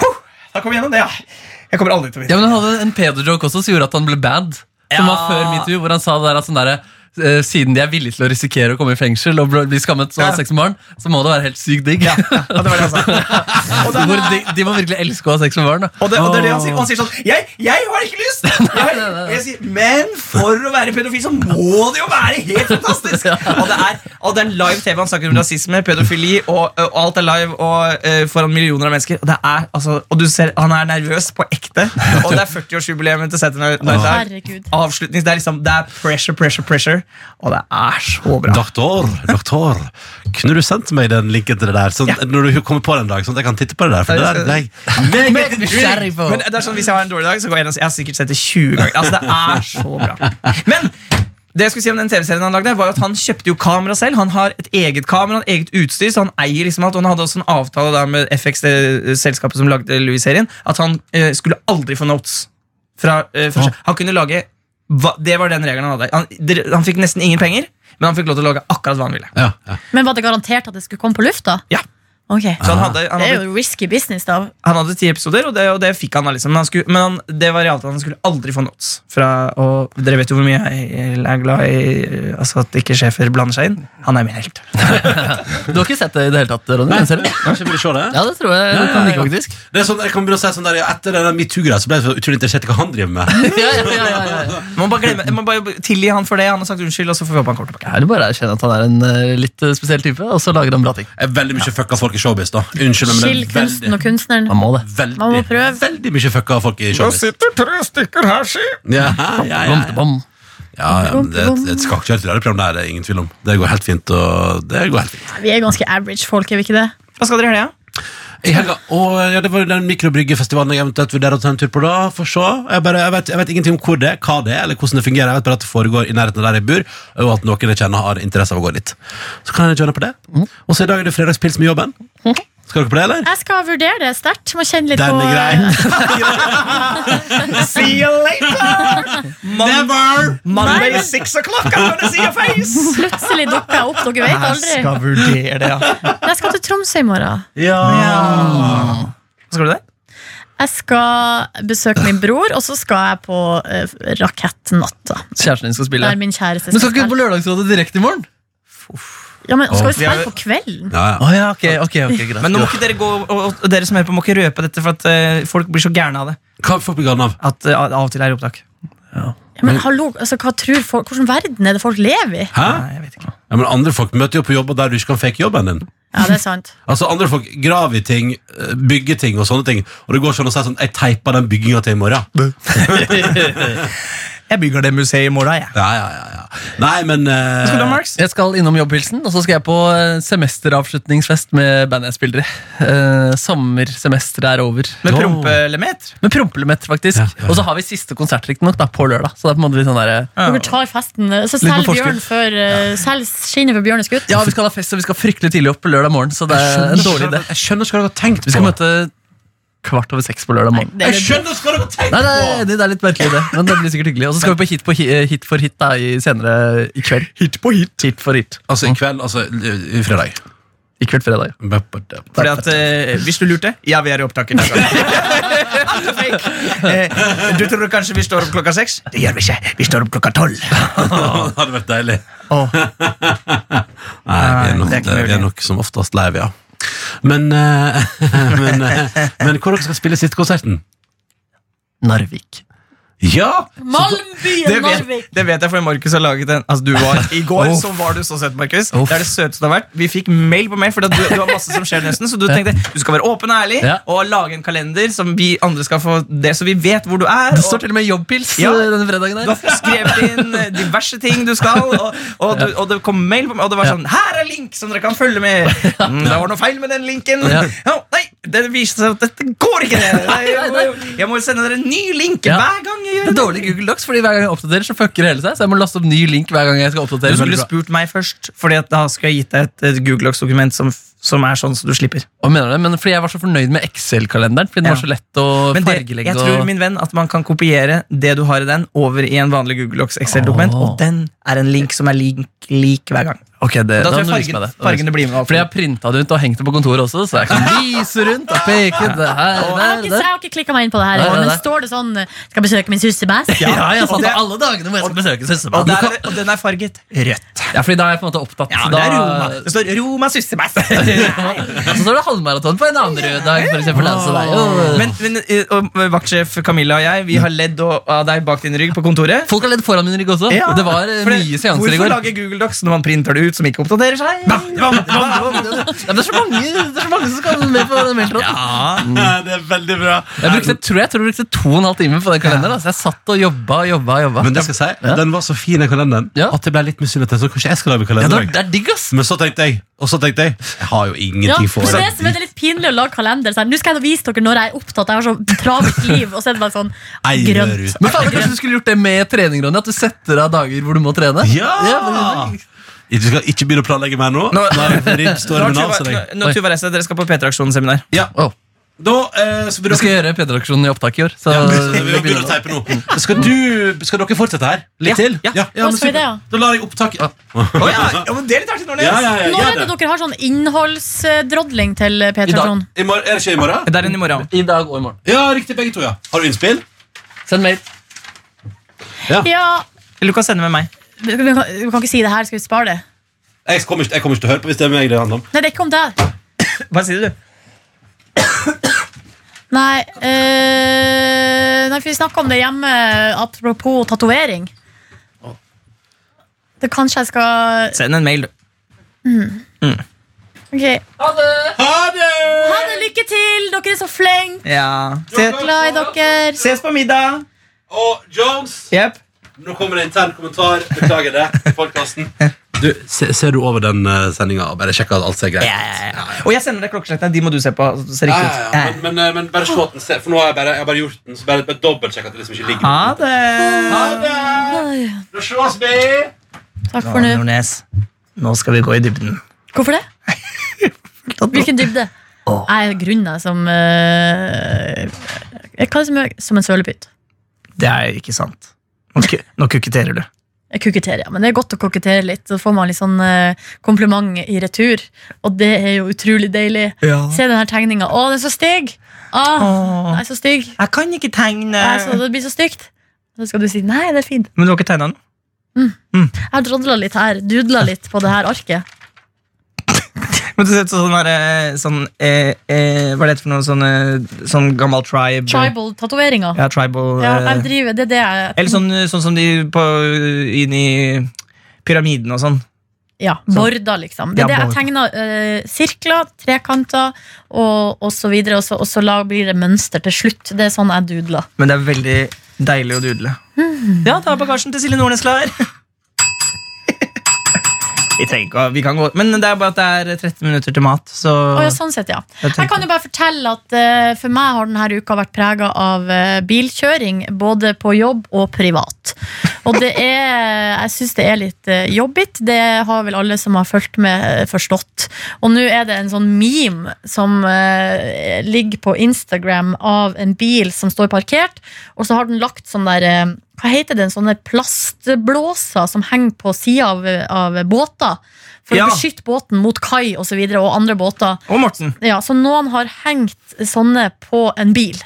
[SPEAKER 5] «Huh, Da kom jeg gjennom det, ja. Jeg kommer aldri til å vinne.
[SPEAKER 4] Ja, men Han hadde en pedo-joke også som gjorde at han ble banned. Som
[SPEAKER 5] Ja.
[SPEAKER 4] var før MeToo, hvor han sa det der at sånn derre eh, siden de er villige til å risikere å komme i fengsel og bli skammet, og ha
[SPEAKER 5] Ja.
[SPEAKER 4] sex med barn, så må det være helt sykt digg.
[SPEAKER 5] Ja, det var det han sa. altså. Og det,
[SPEAKER 4] Hvor de, de må virkelig elske å ha sex med barn. Da.
[SPEAKER 5] og det, og det er det han sier. Og han sier sånn Jeg, jeg har ikke lyst! Jeg, og jeg sier, men for å være pedofil så må det jo være helt fantastisk! Og det er, og det er live TV. Han snakker om rasisme, pedofili, og, ø, og alt er live og ø, foran millioner av mennesker. Og, det er, altså, og du ser, han er nervøs på ekte. Og det er 40-årsjubileet til Saturday Night Live.
[SPEAKER 3] Herregud.
[SPEAKER 5] avslutning. Det er liksom, det er pressure, pressure, pressure. Og det er så bra.
[SPEAKER 2] Doktor, doktor, kunne du sendt meg den linken til det der? Sånn,
[SPEAKER 5] Ja.
[SPEAKER 2] Når du kommer på det en dag, sånn at jeg kan titte på det der. For det der det er jeg meget nysgjerrig på.
[SPEAKER 5] Men det er sånn, Hvis jeg har en dårlig dag, så går jeg inn og jeg har sikkert sett det 20 ganger. Altså, det er så bra. Men det jeg skulle si om den TV-serien han lagde, var jo at han kjøpte jo kamera selv. Han har et eget kamera, han har eget utstyr, så han eier liksom alt. Og han hadde også en avtale da med FX, det selskapet som lagde Louis-serien, at han eh, skulle aldri få notes. Fra, eh, fra seg. Han kunne lage hva, Det var den regelen han hadde. Han, dere- han fikk nesten ingen penger, men han fikk lov til å lage akkurat hva han ville.
[SPEAKER 2] Ja, ja.
[SPEAKER 3] Men var det garantert at det skulle komme på lufta?
[SPEAKER 5] Ja.
[SPEAKER 3] Ok.
[SPEAKER 5] Så han hadde, han
[SPEAKER 3] Det
[SPEAKER 5] hadde
[SPEAKER 3] er jo risky business, da.
[SPEAKER 5] Han hadde ti episoder, og det, og det fikk han. da liksom Men, han skulle, men han, det var realt at han skulle aldri få notes. Fra, og dere vet jo hvor mye jeg er glad i eh, altså at ikke sjefer blander seg inn. Han er min helt.
[SPEAKER 4] Du har ikke sett det i det hele tatt, Ronny? den serien?
[SPEAKER 2] Kanskje vil du se det?
[SPEAKER 4] Ja, det tror jeg du kan like, faktisk.
[SPEAKER 2] Det er sånn, jeg kan begynne å si sånn der, ja, Etter den metoo-greia så ble jeg så utrolig interessert i hva han driver med.
[SPEAKER 4] Ja, ja, ja, ja, ja.
[SPEAKER 5] Man må bare, glemme, man må bare tilgi han for det. Han har sagt unnskyld, og så får vi håpe han kommer tilbake.
[SPEAKER 4] Er det bare å erkjenne at han er en eh, litt eh, spesiell type, og så lager han bra ting?
[SPEAKER 2] Jeg er veldig mye fucka folk i showbiz, da. Unnskyld, meg, men
[SPEAKER 3] Skill
[SPEAKER 2] det er
[SPEAKER 3] kunsten
[SPEAKER 2] veldig,
[SPEAKER 3] og kunstneren.
[SPEAKER 4] Man må det.
[SPEAKER 2] veldig,
[SPEAKER 3] Man må prøve.
[SPEAKER 2] veldig mye fucka folk i showbiz.
[SPEAKER 5] sitter tre stykker her, si!
[SPEAKER 2] Ja, ja, ja, ja.
[SPEAKER 4] Bom, bom.
[SPEAKER 2] Ja, ja, men det er et, et skakkjørt radioprogram, det er det ingen tvil om. Det går helt fint. Og det går helt fint.
[SPEAKER 3] Vi er ganske average folk, er vi ikke det?
[SPEAKER 5] Hva skal dere i helga?
[SPEAKER 2] i helga. Og ja, det var jo den mikrobryggefestivalen jeg eventuelt vurderer å ta en tur på da. For så. Jeg, bare, jeg, vet, jeg vet ingenting om hvor det er, hva det er, eller hvordan det fungerer. Jeg vet bare at det foregår i nærheten av der jeg bor, og at noen jeg kjenner har interesse av å gå dit. Så kan jeg kjenne på det.
[SPEAKER 5] Mm.
[SPEAKER 2] Og så i dag er det fredagspils med jobben. Skal dere på det, eller?
[SPEAKER 3] Jeg skal vurdere det sterkt. Må kjenne litt
[SPEAKER 2] Den
[SPEAKER 3] på eh,
[SPEAKER 2] er grei.
[SPEAKER 5] See you later! Mon
[SPEAKER 2] Never!
[SPEAKER 5] Monday six o'clock, I'm gonna see your face!
[SPEAKER 3] Plutselig dukker jeg opp, dere vet
[SPEAKER 5] Jeg
[SPEAKER 3] aldri.
[SPEAKER 5] skal vurdere det, ja.
[SPEAKER 3] Jeg skal til Tromsø i morgen.
[SPEAKER 2] Ja.
[SPEAKER 5] Skal du det?
[SPEAKER 3] Jeg skal besøke min bror, og så skal jeg på eh, Rakettnatta.
[SPEAKER 4] Kjæresten din skal spille.
[SPEAKER 3] Der min kjæreste
[SPEAKER 4] Men skal ikke
[SPEAKER 3] spille.
[SPEAKER 4] du på Lørdagsrådet direkte i morgen?
[SPEAKER 3] Ja, men skal vi
[SPEAKER 5] Vi har-
[SPEAKER 3] spille på kvelden?
[SPEAKER 2] Ja, ja.
[SPEAKER 4] Å ja, ok, ok, ok, greit
[SPEAKER 5] Men nå må ikke dere gå, og, og dere som hører på, må ikke røpe dette, for at eh, folk blir så gærne av det.
[SPEAKER 2] Hva får vi på gaten av?
[SPEAKER 5] At eh, av og til er det opptak.
[SPEAKER 3] Ja, men hallo, altså, hva tror folk, Hvordan verden er det folk lever i?
[SPEAKER 2] Hæ?
[SPEAKER 5] Nei, jeg vet ikke.
[SPEAKER 2] Ja, men andre folk møter jo på jobb og der du ikke kan fake jobben din.
[SPEAKER 3] Ja, det er sant.
[SPEAKER 2] Altså Andre folk graver i ting, eh, bygger ting og sånne ting. Og det går sånn å si sånn Jeg teipa den bygginga til i morgen.
[SPEAKER 5] Jeg bygger det museet i morgen, jeg.
[SPEAKER 2] Ja, ja, ja, ja. Nei, men eh,
[SPEAKER 5] Skal du ha Marks?
[SPEAKER 4] Jeg skal innom jobbhilsen, og så skal jeg på eh, semesteravslutningsfest med bandet jeg spiller i. Eh, Sommersemesteret er over.
[SPEAKER 5] Med prompeelement?
[SPEAKER 4] Med prompelemet, faktisk.
[SPEAKER 2] Ja, ja, ja.
[SPEAKER 4] Og så har vi siste konsert riktignok da, på lørdag. Så det er på en måte litt sånn der,
[SPEAKER 3] Dere tar festen. eh, Så
[SPEAKER 4] Litt på
[SPEAKER 3] selg bjørn
[SPEAKER 4] forskudd.
[SPEAKER 3] før eh, Selg skinnet før bjørn er skutt.
[SPEAKER 4] ja, vi skal ha fest, og vi skal fryktelig tidlig opp på lørdag morgen. Så det
[SPEAKER 2] jeg
[SPEAKER 4] er
[SPEAKER 2] skjønner
[SPEAKER 4] en dårlig idé.
[SPEAKER 2] ikke- Jeg skjønner ikke hva dere har tenkt
[SPEAKER 4] Vi skal
[SPEAKER 2] på.
[SPEAKER 4] møte kvart over seks på lørdag morgen.
[SPEAKER 3] Det er
[SPEAKER 2] Jeg skjønner ikke hva dere har tenkt
[SPEAKER 4] Nei,
[SPEAKER 2] på!
[SPEAKER 4] det er, det er litt merkelig, det. Men det blir sikkert hyggelig. Og så skal vi på Hit, på hi- eh, hit for hit da, i senere i kveld. Hit på hit. Hit for hit.
[SPEAKER 2] Altså, i kveld, altså i- i fredag.
[SPEAKER 4] I kveld fredag.
[SPEAKER 5] Fordi at, eh, hvis du lurte, ja, vi er i opptaket. Alt er fake. Eh, du tror kanskje vi står opp klokka seks? Det gjør vi ikke. Vi står opp klokka tolv.
[SPEAKER 2] det hadde vært deilig.
[SPEAKER 5] Åh.
[SPEAKER 2] Nei, vi er, nok,
[SPEAKER 5] det er ikke
[SPEAKER 2] vi er
[SPEAKER 5] mulig.
[SPEAKER 2] nok som oftest lei, vi, ja. Men, eh, men, eh, men hvor dere skal spille siste konserten?
[SPEAKER 4] Narvik.
[SPEAKER 2] Ja!
[SPEAKER 5] Det
[SPEAKER 3] Malmbyen
[SPEAKER 5] vet,
[SPEAKER 3] Narvik!
[SPEAKER 5] det vet jeg, for Markus har laget en altså, du var, I går så var du så søt, Markus. Det er det søteste det har vært. Vi fikk mail på mail, for du, du har masse som skjer nesten. Så du tenkte du skal være åpen og ærlig
[SPEAKER 4] Ja.
[SPEAKER 5] og lage en kalender som vi andre skal få det, så vi vet hvor du er.
[SPEAKER 4] Det
[SPEAKER 5] og-
[SPEAKER 4] står til og med jobbpils
[SPEAKER 5] Ja.
[SPEAKER 4] eh, denne fredagen.
[SPEAKER 5] Du
[SPEAKER 4] her.
[SPEAKER 5] har skrevet inn eh, diverse ting du skal, og, og, du, og det kom mail på meg, og det var sånn Her er link som dere kan følge med! Mm, det var noe feil med den linken.
[SPEAKER 4] Ja.
[SPEAKER 5] Ja, nei, det viste seg at dette går ikke ned. Nei, Jeg må, jeg må sende dere en ny link
[SPEAKER 4] Ja.
[SPEAKER 5] hver gang jeg
[SPEAKER 4] Det
[SPEAKER 5] gjør
[SPEAKER 4] er
[SPEAKER 5] det.
[SPEAKER 4] dårlig Google Docs, fordi hver gang jeg oppdaterer, så fucker det hele seg. Så jeg må laste opp ny link hver gang jeg skal oppdatere.
[SPEAKER 5] Du skulle
[SPEAKER 4] Veldig bra.
[SPEAKER 5] spurt meg først, Fordi at da skulle jeg gitt deg et, et Google Docs-dokument som, som er sånn, så du slipper.
[SPEAKER 4] Hva mener du det? Men fordi jeg var så fornøyd med Excel-kalenderen. Fordi den
[SPEAKER 5] Ja.
[SPEAKER 4] var så lett å
[SPEAKER 5] Men det,
[SPEAKER 4] fargelegge.
[SPEAKER 5] jeg tror
[SPEAKER 4] og-
[SPEAKER 5] min venn at man kan kopiere det du har i den, over i en vanlig Google Docs Excel-dokument,
[SPEAKER 4] Åh.
[SPEAKER 5] og den er en link som er lik, lik hver gang.
[SPEAKER 4] Ok, det,
[SPEAKER 5] Da
[SPEAKER 4] da
[SPEAKER 5] tror
[SPEAKER 4] må
[SPEAKER 5] jeg fargen,
[SPEAKER 4] du vise meg det. Da må du vise meg
[SPEAKER 5] fargene
[SPEAKER 4] det.
[SPEAKER 5] blir med. opp.
[SPEAKER 4] Fordi jeg har printa det ut og hengt det på kontoret også, så jeg kan vise rundt og peke.
[SPEAKER 3] Jeg
[SPEAKER 4] Det her,
[SPEAKER 3] har
[SPEAKER 4] der,
[SPEAKER 3] ikke, jeg
[SPEAKER 4] der.
[SPEAKER 3] har ikke klikka meg inn på det her,
[SPEAKER 4] Nei, nei,
[SPEAKER 3] men
[SPEAKER 4] nei.
[SPEAKER 3] står det sånn eh, 'Skal besøke min syssebæs'?
[SPEAKER 4] Ja, jeg sa
[SPEAKER 5] og
[SPEAKER 4] det
[SPEAKER 5] det-
[SPEAKER 4] alle dagene hvor jeg skal besøke søstera.
[SPEAKER 5] Og, der, og den er farget rødt.
[SPEAKER 4] Ja, fordi da er jeg på en måte opptatt.
[SPEAKER 5] Ja,
[SPEAKER 4] så
[SPEAKER 5] det
[SPEAKER 4] da,
[SPEAKER 5] er Roma. Det står Roma Sussebass.
[SPEAKER 4] så står det halvmaraton på en annen rød dag, for eksempel. da, Så det er jo...
[SPEAKER 5] Men, men eh, og vaktsjef Camilla og jeg Vi har ledd og- av deg bak din rygg på kontoret.
[SPEAKER 4] Folk har ledd foran min rygg også.
[SPEAKER 5] Ja,
[SPEAKER 4] Det var eh,
[SPEAKER 5] for det-
[SPEAKER 4] mye seanser i
[SPEAKER 5] Hvorfor
[SPEAKER 4] går.
[SPEAKER 5] lage Google Docs når man printer det ut som ikke oppdaterer seg?
[SPEAKER 4] Ja, det, er så mange, det er så mange som skal med på den meldtråden.
[SPEAKER 3] Ah.
[SPEAKER 2] Det er veldig bra.
[SPEAKER 4] Jeg, brukte, tror jeg tror jeg brukte to og en halv time på den kalenderen. Altså. Jeg satt og jobba og jobba. og jobba.
[SPEAKER 2] Men det skal jeg si, den var så fin, den kalenderen,
[SPEAKER 4] Ja.
[SPEAKER 2] at jeg ble litt misunnelig. Jeg tenkte, Kanskje jeg skal lage
[SPEAKER 4] ja,
[SPEAKER 2] kalender?
[SPEAKER 4] det, det er digg, ass!
[SPEAKER 2] Men så tenkte jeg, og så tenkte jeg Jeg har jo
[SPEAKER 3] Ja,
[SPEAKER 2] ingenting
[SPEAKER 3] for
[SPEAKER 2] for
[SPEAKER 3] det er det er litt pinlig å lage kalender. Sånn. Nå skal jeg da vise dere når jeg er opptatt. Jeg har så travelt liv. Og så er det bare sånn
[SPEAKER 2] Ei,
[SPEAKER 3] grønt.
[SPEAKER 2] rødrute.
[SPEAKER 4] Men faen, Kanskje du skulle gjort det med trening, Ronny? At du setter av dager hvor du må trene?
[SPEAKER 2] Ja! Du skal ikke begynne å planlegge mer nå.
[SPEAKER 5] Nå-
[SPEAKER 2] Nei, ribb
[SPEAKER 5] Nå har
[SPEAKER 2] stormen av seg.
[SPEAKER 5] Tuva- nå- nå, Tuva reiser, dere skal på P3-aksjonen-seminar.
[SPEAKER 2] Ja,
[SPEAKER 4] Åh,
[SPEAKER 2] da eh, så
[SPEAKER 4] Vi
[SPEAKER 2] burde
[SPEAKER 4] skal gjøre P3-aksjonen i opptak i år. Så
[SPEAKER 2] Så vi begynner å teipe nå. Skal, du, skal dere fortsette her? Litt
[SPEAKER 5] Ja,
[SPEAKER 2] til?
[SPEAKER 5] ja.
[SPEAKER 3] Hva
[SPEAKER 2] men
[SPEAKER 3] skal vi
[SPEAKER 2] super.
[SPEAKER 3] det, ja?
[SPEAKER 2] Da lar jeg opptaket ja.
[SPEAKER 5] Oh, ja. ja, men det er litt artig, Nordnes.
[SPEAKER 2] Ja, ja, ja,
[SPEAKER 3] Når er
[SPEAKER 2] gjør
[SPEAKER 3] det
[SPEAKER 2] det.
[SPEAKER 3] dere har sånn innholdsdrodling til eh,
[SPEAKER 4] I dag.
[SPEAKER 3] P3-aksjonen?
[SPEAKER 2] I morgen- Er det ikke i morgen?
[SPEAKER 5] Det er en i morgen.
[SPEAKER 4] I dag og i morgen.
[SPEAKER 2] Ja, riktig. Begge to, ja. Har du innspill?
[SPEAKER 4] Send mail.
[SPEAKER 3] Ja,
[SPEAKER 5] Eller du kan sende med meg.
[SPEAKER 3] vi vi kan, vi kan ikke si det her, skal vi spare det?
[SPEAKER 2] Jeg kommer ikke, jeg kommer ikke til å høre på hvis det er meg det handler om.
[SPEAKER 3] Nei, det er ikke om deg.
[SPEAKER 5] Hva sier du?
[SPEAKER 3] Nei, eh, nei for vi snakka om det hjemme apropos tatovering. Det kanskje jeg skal
[SPEAKER 5] Send en mail, du.
[SPEAKER 3] Ok,
[SPEAKER 2] Ha det!
[SPEAKER 3] Ha det, lykke til! Dere er så flinke!
[SPEAKER 5] Ja. Se,
[SPEAKER 3] Glad i dere.
[SPEAKER 5] ses på middag.
[SPEAKER 2] Og Jones,
[SPEAKER 5] Jepp.
[SPEAKER 2] nå kommer det intern kommentar. Beklager det. Podkasten. Du, se, ser du over den uh, sendinga og bare sjekker at alt ser greit ut?
[SPEAKER 5] Ja, ja, ja. Og jeg sender deg klokkeslettene. De må du se på. så det ser
[SPEAKER 2] Ja,
[SPEAKER 5] riktig
[SPEAKER 2] ja,
[SPEAKER 5] ut.
[SPEAKER 2] ja.
[SPEAKER 5] Ja.
[SPEAKER 2] Men, men, eh, men bare se at den ser For nå har jeg bare, jeg har bare gjort den, så bare, bare dobbeltsjekk at det liksom ikke ligger
[SPEAKER 4] Ah.
[SPEAKER 5] Ha det!
[SPEAKER 2] noe.
[SPEAKER 3] Ai,
[SPEAKER 2] Da ses vi!
[SPEAKER 3] Takk for
[SPEAKER 5] Nå,
[SPEAKER 3] nå.
[SPEAKER 5] Nordnes, nå skal vi gå i dybden.
[SPEAKER 3] Hvorfor det? Hvilken dybde?
[SPEAKER 5] Åh.
[SPEAKER 3] Jeg er grunna som eh, Jeg kaller det som, jeg- som en sølepytt.
[SPEAKER 5] Det er ikke sant. Nå, ku- nå kuketterer du.
[SPEAKER 3] Jeg koketterer, ja. Men det er godt å kokettere litt. Så får man litt sånn eh, kompliment i retur. Og det er jo utrolig deilig. Se den her tegninga. Å, den er så stygg! Ah, den
[SPEAKER 5] Åh,
[SPEAKER 3] er så stygg.
[SPEAKER 5] jeg kan ikke tegne.
[SPEAKER 3] Nei, så det blir så stygt. Så skal du si nei, det er fint.
[SPEAKER 5] Men du har ikke tegna den?
[SPEAKER 3] Jeg har drodla litt her, dudla litt på det her arket.
[SPEAKER 5] Men du ser ut som sånn, derre- sånn eh, eh, Hva er det for noe sånn, eh, sånn gammel tribe?
[SPEAKER 3] Tribal-tatoveringer.
[SPEAKER 5] Ja, tribal.
[SPEAKER 3] Ja,
[SPEAKER 5] eh,
[SPEAKER 3] jeg driver, det er det jeg
[SPEAKER 5] eller sånn, sånn som de på, inn i pyramiden og sånn.
[SPEAKER 3] Ja, border, liksom.
[SPEAKER 5] Ja,
[SPEAKER 3] Det er det jeg
[SPEAKER 5] border.
[SPEAKER 3] tegner eh, sirkler, trekanter og, og så videre, og så, og så la- blir det mønster til slutt. Det er sånn jeg dudler.
[SPEAKER 5] Men det er veldig deilig å dudle.
[SPEAKER 3] Hmm.
[SPEAKER 5] Ja, ta bagasjen til Silje Nordnes klar. Vi trenger ikke å, vi kan gå Men det er bare at det er 13 minutter til mat, så
[SPEAKER 3] Å, ja, sånn sett, ja.
[SPEAKER 5] jeg
[SPEAKER 3] Jeg
[SPEAKER 5] tenker-
[SPEAKER 3] kan jo bare fortelle at eh, for meg har denne uka vært prega av eh, bilkjøring, både på jobb og privat. Og det er Jeg syns det er litt uh, jobbigt. Det har vel alle som har fulgt med, eh, forstått. Og nå er det en sånn meme som eh, ligger på Instagram av en bil som står parkert, og så har den lagt sånn der eh, hva heter det, en sånne plastblåser som henger på sida av, av båter? For
[SPEAKER 5] Ja.
[SPEAKER 3] å beskytte båten mot kai og, så videre, og andre båter.
[SPEAKER 5] Og Morten.
[SPEAKER 3] Ja, så noen har hengt sånne på en bil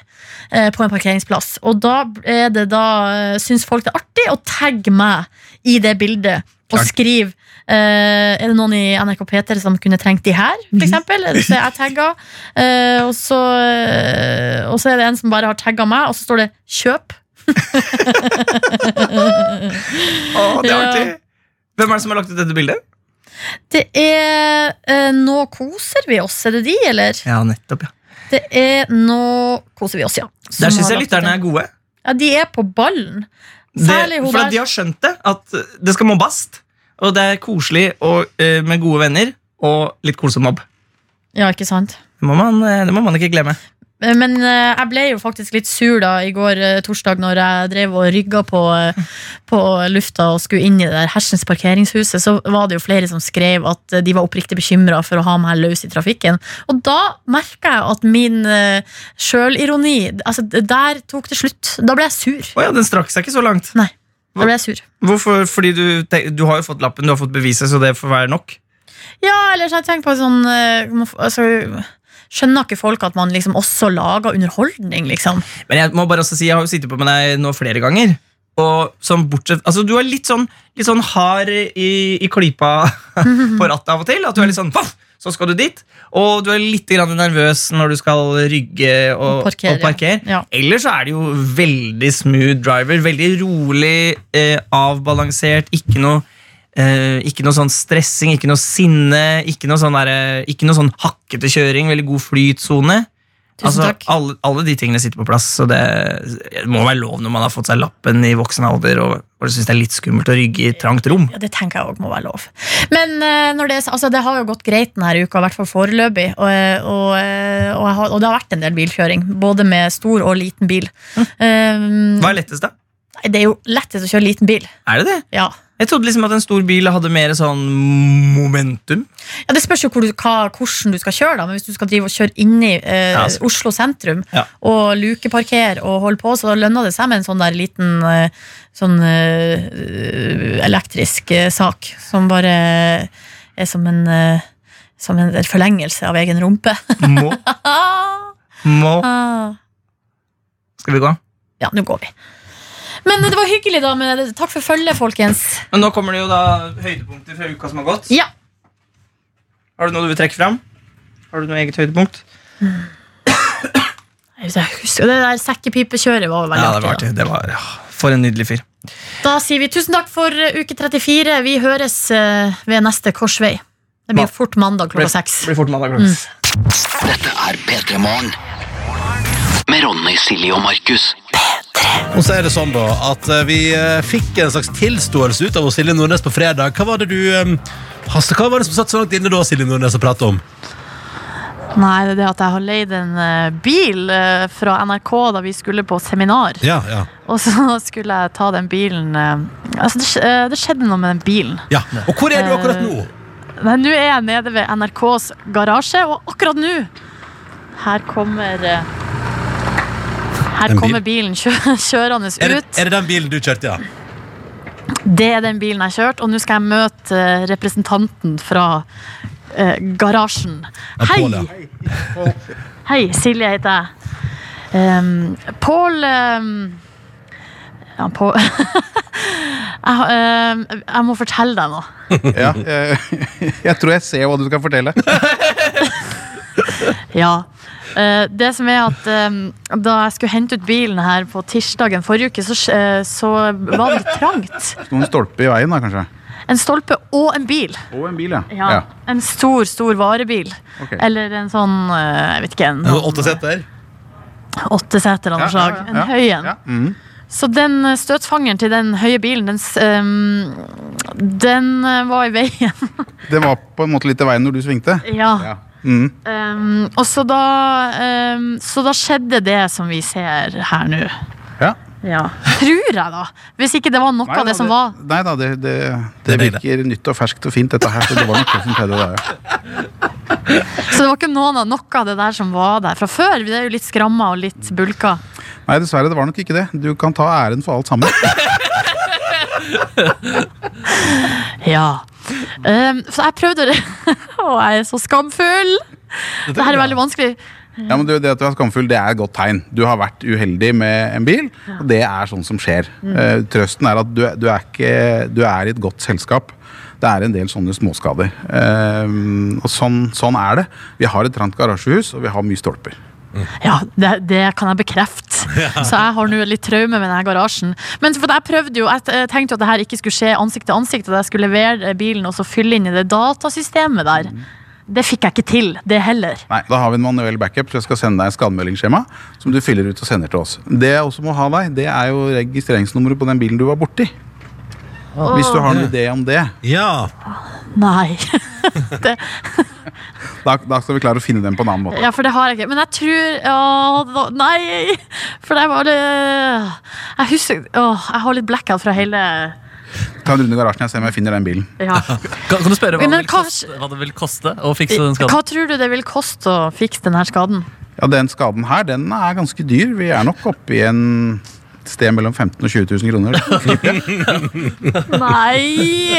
[SPEAKER 3] eh, på en parkeringsplass. Og da, er det da eh, syns folk det er artig å tagge meg i det bildet og skrive eh, Er det noen i NRK P3 som kunne trengt de her,
[SPEAKER 5] Mhm.
[SPEAKER 3] for eksempel? Så jeg tagga. Eh, og, så, eh, og så er det en som bare har tagga meg, og så står det 'kjøp'.
[SPEAKER 5] Å, det er
[SPEAKER 3] Ja.
[SPEAKER 5] artig. Hvem er det som har lagt ut dette bildet?
[SPEAKER 3] Det er eh, 'Nå koser vi oss', er det de, eller?
[SPEAKER 5] Ja, nettopp, ja.
[SPEAKER 3] Det er 'Nå koser vi oss', ja. som
[SPEAKER 5] Der syns
[SPEAKER 3] har
[SPEAKER 5] jeg
[SPEAKER 3] lagt ut
[SPEAKER 5] lytterne
[SPEAKER 3] den.
[SPEAKER 5] er gode.
[SPEAKER 3] Ja, de er på ballen. Særlig
[SPEAKER 5] Det,
[SPEAKER 3] hun
[SPEAKER 5] for at
[SPEAKER 3] der.
[SPEAKER 5] de har skjønt det, at det skal mobbast. Og det er koselig og, eh, med gode venner og litt koselig mobb.
[SPEAKER 3] Ja, ikke sant?
[SPEAKER 5] Det må man, eh, det må man ikke glemme.
[SPEAKER 3] Eh, Men eh, jeg ble jo faktisk litt sur da i går eh, torsdag når jeg drev og rygga på, eh, på lufta og skulle inn i det der hersens parkeringshuset. Så var det jo flere som skrev at eh, de var oppriktig bekymra for å ha meg løs i trafikken. Og da merka jeg at min eh, sjølironi altså, d- Der tok det slutt. Da ble jeg sur.
[SPEAKER 5] Å ja, den strakk seg ikke så langt.
[SPEAKER 3] Nei. Da ble jeg sur.
[SPEAKER 5] Hvorfor? Fordi du, te- du har jo fått lappen, du har fått beviset, så det får være nok.
[SPEAKER 3] Ja, eller så har jeg tenkt på sånn eh, må f- altså, Skjønner ikke folk at man liksom også lager underholdning, liksom?
[SPEAKER 5] Men jeg må bare også si, jeg har jo sittet på med deg nå flere ganger. Og sånn bortsett Altså, du er litt sånn, litt sånn hard i, i klypa på rattet av og til. At du er litt sånn paff, så skal du dit. Og du er litt grann nervøs når du skal rygge og, og parkere.
[SPEAKER 3] Parkere, ja. Ja.
[SPEAKER 5] Ellers så er det jo veldig smooth driver. Veldig rolig, eh, avbalansert. Ikke noe eh, ikke noe sånn stressing, ikke noe sinne, ikke noe sånn, derre- ikke noe sånn hakkete kjøring. Veldig god flytsone. Altså,
[SPEAKER 3] Tusen takk.
[SPEAKER 5] Alle, alle de tingene sitter på plass, så det, det må være lov når man har fått seg lappen i voksen alder og, og syns det er litt skummelt å rygge i et trangt rom.
[SPEAKER 3] Ja, Det tenker jeg òg må være lov. Men eh, når det, er så- altså, det har jo gått greit denne uka, i hvert fall foreløpig. Og, eh, og, eh, og, jeg har, og det har vært en del bilkjøring, både med stor og liten bil. Um,
[SPEAKER 5] Hva er lettest, da?
[SPEAKER 3] nei, det er jo lettest å kjøre liten bil.
[SPEAKER 5] Er det det?
[SPEAKER 3] Ja.
[SPEAKER 5] Jeg trodde liksom at en stor bil hadde mer sånn momentum.
[SPEAKER 3] ja, Det spørs jo hvor du, hva, hvordan du skal kjøre, da. men hvis du skal drive og kjøre inni eh,
[SPEAKER 5] Ja, altså.
[SPEAKER 3] Oslo sentrum
[SPEAKER 5] Ja.
[SPEAKER 3] og lukeparkere og holde på, så lønner det seg med en sånn der liten eh, sånn eh, elektrisk eh, sak som bare er som en eh, som en forlengelse av egen rumpe.
[SPEAKER 5] Må,
[SPEAKER 3] Ah,
[SPEAKER 5] må
[SPEAKER 3] ah.
[SPEAKER 5] Skal vi gå?
[SPEAKER 3] Ja, nå går vi. Men det var hyggelig, da. Med det. Takk for følget, folkens.
[SPEAKER 5] Men nå kommer det jo da høydepunkter fra uka som har gått.
[SPEAKER 3] Ja.
[SPEAKER 5] Har du noe du vil trekke fram? Har du noe eget høydepunkt?
[SPEAKER 3] Jeg husker, det der sekkepipekjøret var veldig
[SPEAKER 5] Ja, det var
[SPEAKER 3] artig.
[SPEAKER 5] artig. Det var, ja. For en nydelig fyr.
[SPEAKER 3] Da. da sier vi tusen takk for eh, uke 34. Vi høres eh, ved neste korsvei. Det
[SPEAKER 5] Ma-
[SPEAKER 3] blir fort mandag klokka seks.
[SPEAKER 5] Blir fort mandag klokka
[SPEAKER 3] Mm.
[SPEAKER 5] seks.
[SPEAKER 1] Dette er P3 Morgen. Med Ronny, Silje og Markus.
[SPEAKER 2] Og så er det sånn da at eh, vi eh, fikk en slags tilståelse ut av oss, Silje Nordnes på fredag. Hva var det du eh, Hasse, hva var det som satt så langt inne da, Silje Nordnes, å prate om?
[SPEAKER 3] Nei, det er det at jeg har leid en eh, bil eh, fra NRK da vi skulle på seminar.
[SPEAKER 2] Ja, ja,
[SPEAKER 3] Og så skulle jeg ta den bilen eh, Altså, det, skj- eh, det skjedde noe med den bilen.
[SPEAKER 2] ja. Og hvor er du akkurat nå?
[SPEAKER 3] Eh, Nei, nå er jeg nede ved NRKs garasje, og akkurat nå Her kommer eh, Her
[SPEAKER 2] En bil?
[SPEAKER 3] kommer bilen kjø kjørende ut.
[SPEAKER 2] Er det, er det den bilen du kjørte, ja?
[SPEAKER 3] Det er den bilen jeg kjørte, og nå skal jeg møte eh, representanten fra eh, garasjen.
[SPEAKER 2] Ja,
[SPEAKER 3] Hei!
[SPEAKER 2] Pål, ja.
[SPEAKER 3] Hei, Silje heter jeg. Um, Pål ehm, ja, Pål jeg, har- ehm, jeg må fortelle deg noe.
[SPEAKER 1] Ja, eh, jeg tror jeg ser hva du skal fortelle.
[SPEAKER 3] Ja. Eh, det som er at ehm, Da jeg skulle hente ut bilen her på tirsdagen forrige uke, så, sk- eh, så var det trangt.
[SPEAKER 1] Noen stolper i veien, da, kanskje.
[SPEAKER 3] En stolpe og en bil.
[SPEAKER 1] Og en bil, ja.
[SPEAKER 3] Ja, En stor, stor varebil.
[SPEAKER 1] Ok.
[SPEAKER 3] Eller en sånn eh, Jeg vet ikke. En,
[SPEAKER 2] Åtte seter?
[SPEAKER 3] Åtte seter av noe slag. En høy en.
[SPEAKER 1] Ja. mhm.
[SPEAKER 3] Så den eh, støtfangeren til den høye bilen, den, s- ehm, den eh, var i veien.
[SPEAKER 1] Det var på en måte litt i veien når du svingte.
[SPEAKER 3] ja.
[SPEAKER 1] Ja. Mhm.
[SPEAKER 3] Ehm, og så da, ehm, så da skjedde det som vi ser her nå.
[SPEAKER 1] ja.
[SPEAKER 3] Ja. Tror jeg, da. Hvis ikke det var noe av det som var
[SPEAKER 1] Nei da, det, det, det,
[SPEAKER 2] Det er deg,
[SPEAKER 1] virker nytt og ferskt og fint, dette her. Så det var noe som skjedde der, ja.
[SPEAKER 3] Så det var ikke noen av noe av det der som var der fra før. Det er jo litt skramma og litt bulka.
[SPEAKER 1] Nei, dessverre, det var nok ikke det. Du kan ta æren for alt sammen.
[SPEAKER 3] Ja. Ehm, så jeg prøvde det. Å, jeg er så skamfull! Det her er veldig vanskelig.
[SPEAKER 1] Ja, men du, Det at du er skamfull, det er et godt tegn. Du har vært uheldig med en bil, og det er sånn som skjer. Eh, trøsten er at du, du, er ikke, du er i et godt selskap. Det er en del sånne småskader. Eh, og sånn, sånn er det. Vi har et trangt garasjehus, og vi har mye stolper.
[SPEAKER 3] Ja, det, det kan jeg bekrefte. Så jeg har nå litt traume med denne garasjen. Men for jeg prøvde jo, jeg t- tenkte jo at det her ikke skulle skje ansikt til ansikt, at jeg skulle levere bilen og så fylle inn i det datasystemet der. Det fikk jeg ikke til, det heller.
[SPEAKER 1] Nei, Da har vi en manuell backup, så jeg skal sende deg en skademeldingsskjema. Som du fyller ut og sender til oss. Det jeg også må ha deg, det er jo registreringsnummeret på den bilen du var borti. Hvis du har en idé om det,
[SPEAKER 2] Ja.
[SPEAKER 3] Nei.
[SPEAKER 1] da, da skal vi klare å finne den på en annen måte.
[SPEAKER 3] Ja, for det har jeg ikke. Men jeg tror Åh, da- nei! For det var det Jeg husker Åh, jeg har litt blackout fra hele
[SPEAKER 1] Ta en runde i garasjen, jeg ser om jeg finner den bilen.
[SPEAKER 3] Ja.
[SPEAKER 4] Kan, kan du spørre hva,
[SPEAKER 3] Men
[SPEAKER 4] det vil
[SPEAKER 3] hva-
[SPEAKER 4] koste, hva det vil koste å fikse den skaden?
[SPEAKER 3] Hva tror du det vil koste å fikse denne skaden?
[SPEAKER 1] Ja, Den skaden her, den er ganske dyr. Vi er nok oppe i en et sted mellom 15 og 20 000 kroner.
[SPEAKER 3] Nei!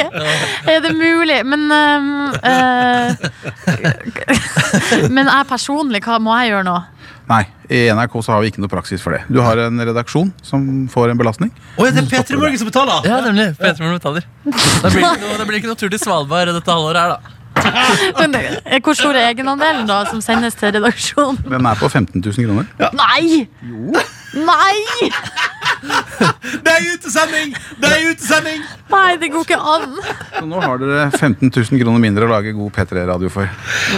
[SPEAKER 3] Er det mulig? Men øhm, øh, Men jeg personlig, hva må jeg gjøre nå?
[SPEAKER 1] Nei, i NRK så har vi ikke noe praksis for det. Du har en redaksjon som får en belastning.
[SPEAKER 2] Å, ja, det er P3 Morgen som betaler!
[SPEAKER 4] Ja, nemlig. Peter Morgen betaler. Da blir det ikke noe, da blir det ikke noe tur til Svalbard dette halvåret her, da.
[SPEAKER 3] Men, eh, hvor stor er egenandelen da som sendes til redaksjonen?
[SPEAKER 1] Den er på 15 000 kroner.
[SPEAKER 3] Nei! Nei!
[SPEAKER 2] Det er utesending! Det er utesending!
[SPEAKER 3] Nei, det går ikke an.
[SPEAKER 1] Så nå har dere 15 000 kroner mindre å lage god P3-radio for.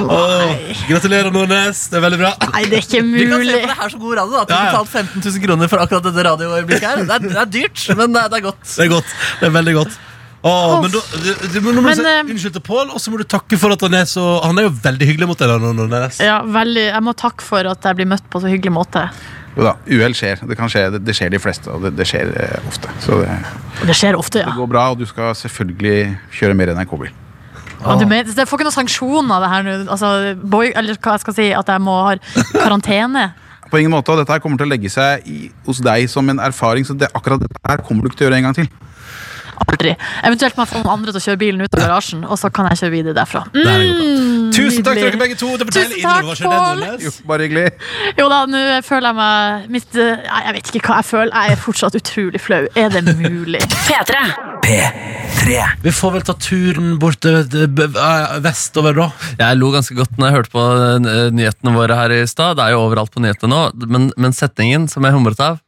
[SPEAKER 2] Åh, gratulerer, Nordnes. Det er veldig bra.
[SPEAKER 3] Nei, det er ikke
[SPEAKER 4] Vi kan se
[SPEAKER 3] mulig.
[SPEAKER 4] på det her som god radio, da. At vi
[SPEAKER 2] Ja, ja.
[SPEAKER 4] betalt 15 000 kroner for akkurat dette radioøyeblikket her. Det er, det er dyrt, men det er, det er godt.
[SPEAKER 2] Det er godt. Det er veldig godt. Åh, men da, du, du, nå må
[SPEAKER 3] Men,
[SPEAKER 2] du si
[SPEAKER 3] eh,
[SPEAKER 2] unnskyld til Pål, og så må du takke for at han er så Han er jo veldig hyggelig mot deg. da, Nå, Nordnes.
[SPEAKER 3] Ja, veldig, Jeg må takke for at jeg blir møtt på så hyggelig måte.
[SPEAKER 1] Jo da, uhell skjer. Det, kan skje, det, det skjer de fleste, og det, det skjer eh, ofte. Så det,
[SPEAKER 3] Og Det skjer ofte, ja.
[SPEAKER 1] det går bra, og du skal selvfølgelig kjøre mer NRK-bil.
[SPEAKER 3] Og du mener, jeg får ikke noen sanksjoner av det her nå? Altså, boy, eller hva jeg skal si, at jeg må ha karantene?
[SPEAKER 1] På ingen måte, og dette her kommer til å legge seg i, hos deg som en erfaring, så det, akkurat dette her kommer du ikke til å gjøre en gang til.
[SPEAKER 3] Aldri. Eventuelt må jeg få noen andre til å kjøre bilen ut av garasjen, og så kan jeg kjøre videre derfra.
[SPEAKER 2] Det her er godt. Tusen takk til
[SPEAKER 3] nydelig.
[SPEAKER 2] dere begge to. Det var
[SPEAKER 3] Tusen
[SPEAKER 2] deilig innhold,
[SPEAKER 3] takk,
[SPEAKER 2] var ikke det,
[SPEAKER 3] Pål.
[SPEAKER 2] Nordnes?
[SPEAKER 1] Jo, bare hyggelig.
[SPEAKER 3] Jo da, nå føler jeg meg mitt, eh, Nei, jeg vet ikke hva jeg føler. Jeg er fortsatt utrolig flau. Er det mulig?
[SPEAKER 6] P3.
[SPEAKER 2] Vi får vel ta turen bort eh, d- b- eh, vestover, da.
[SPEAKER 4] Jeg lo ganske godt når jeg hørte på eh, nyhetene våre her i stad. Det er jo overalt på nyhetene nå, men, men setningen som jeg humret av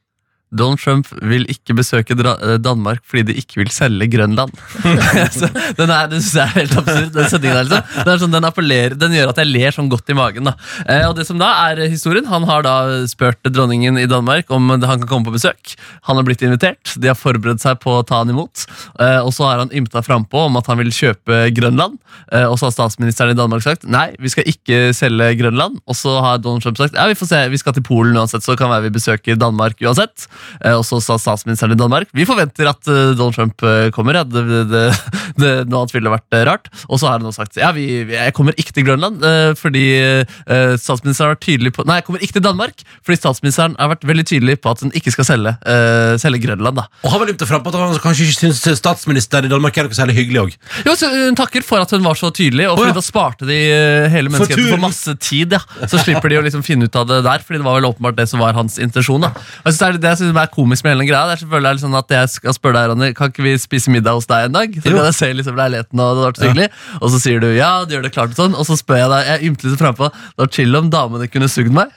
[SPEAKER 4] Donald Trump vil ikke besøke Dra eh, Danmark fordi de ikke vil selge Grønland. Så Altså, den er, det synes jeg er helt absurd, den sendingen der. liksom. Den, er sånn, den, appellerer, den gjør at jeg ler sånn godt i magen. da. Eh, og det som da er historien, Han har da spurt dronningen i Danmark om han kan komme på besøk. Han har blitt invitert, de har forberedt seg på å ta han imot. Eh, og så har han ymta frampå om at han vil kjøpe Grønland. Eh, og så har statsministeren i Danmark sagt nei, vi skal ikke selge Grønland. Og så har Donald Trump sagt ja, vi får se, vi skal til Polen uansett, så kan være vi besøker Danmark uansett. Eh, og så sa statsministeren i Danmark vi forventer at eh, Donald Trump eh, kommer. Ja. Det, det, det, det, noe annet ville vært eh, rart. Og så har han nå sagt ja, vi, vi- jeg kommer ikke til Grønland eh, fordi eh, statsministeren har vært tydelig på Nei, jeg kommer ikke til Danmark fordi statsministeren har vært veldig tydelig på at hun ikke skal selge, eh, selge Grønland. da.
[SPEAKER 2] Og han var ymta frampå at han kanskje ikke syns statsminister i Danmark er noe særlig hyggelig òg.
[SPEAKER 4] Jo, så eh, Hun takker for at hun var så tydelig, og
[SPEAKER 2] Å,
[SPEAKER 4] fordi
[SPEAKER 2] ja.
[SPEAKER 4] da sparte de eh, hele
[SPEAKER 2] For
[SPEAKER 4] menneskeheten for
[SPEAKER 2] turen.
[SPEAKER 4] masse tid. ja Så slipper de å liksom finne ut av det der, Fordi det var vel åpenbart det som var hans intensjon. da Og jeg synes Det er det jeg synes er komisk med hele den greia. Det er selvfølgelig er det sånn at jeg skal spørre deg, Ronny, kan ikke vi spise middag hos deg en dag? Så
[SPEAKER 2] Jo.
[SPEAKER 4] kan jeg se liksom leiligheten Og det hadde vært så hyggelig Og så sier du ja, du gjør det klart og sånn, og så spør jeg deg, jeg ymter litt frampå, det var chill om damene kunne sugd meg.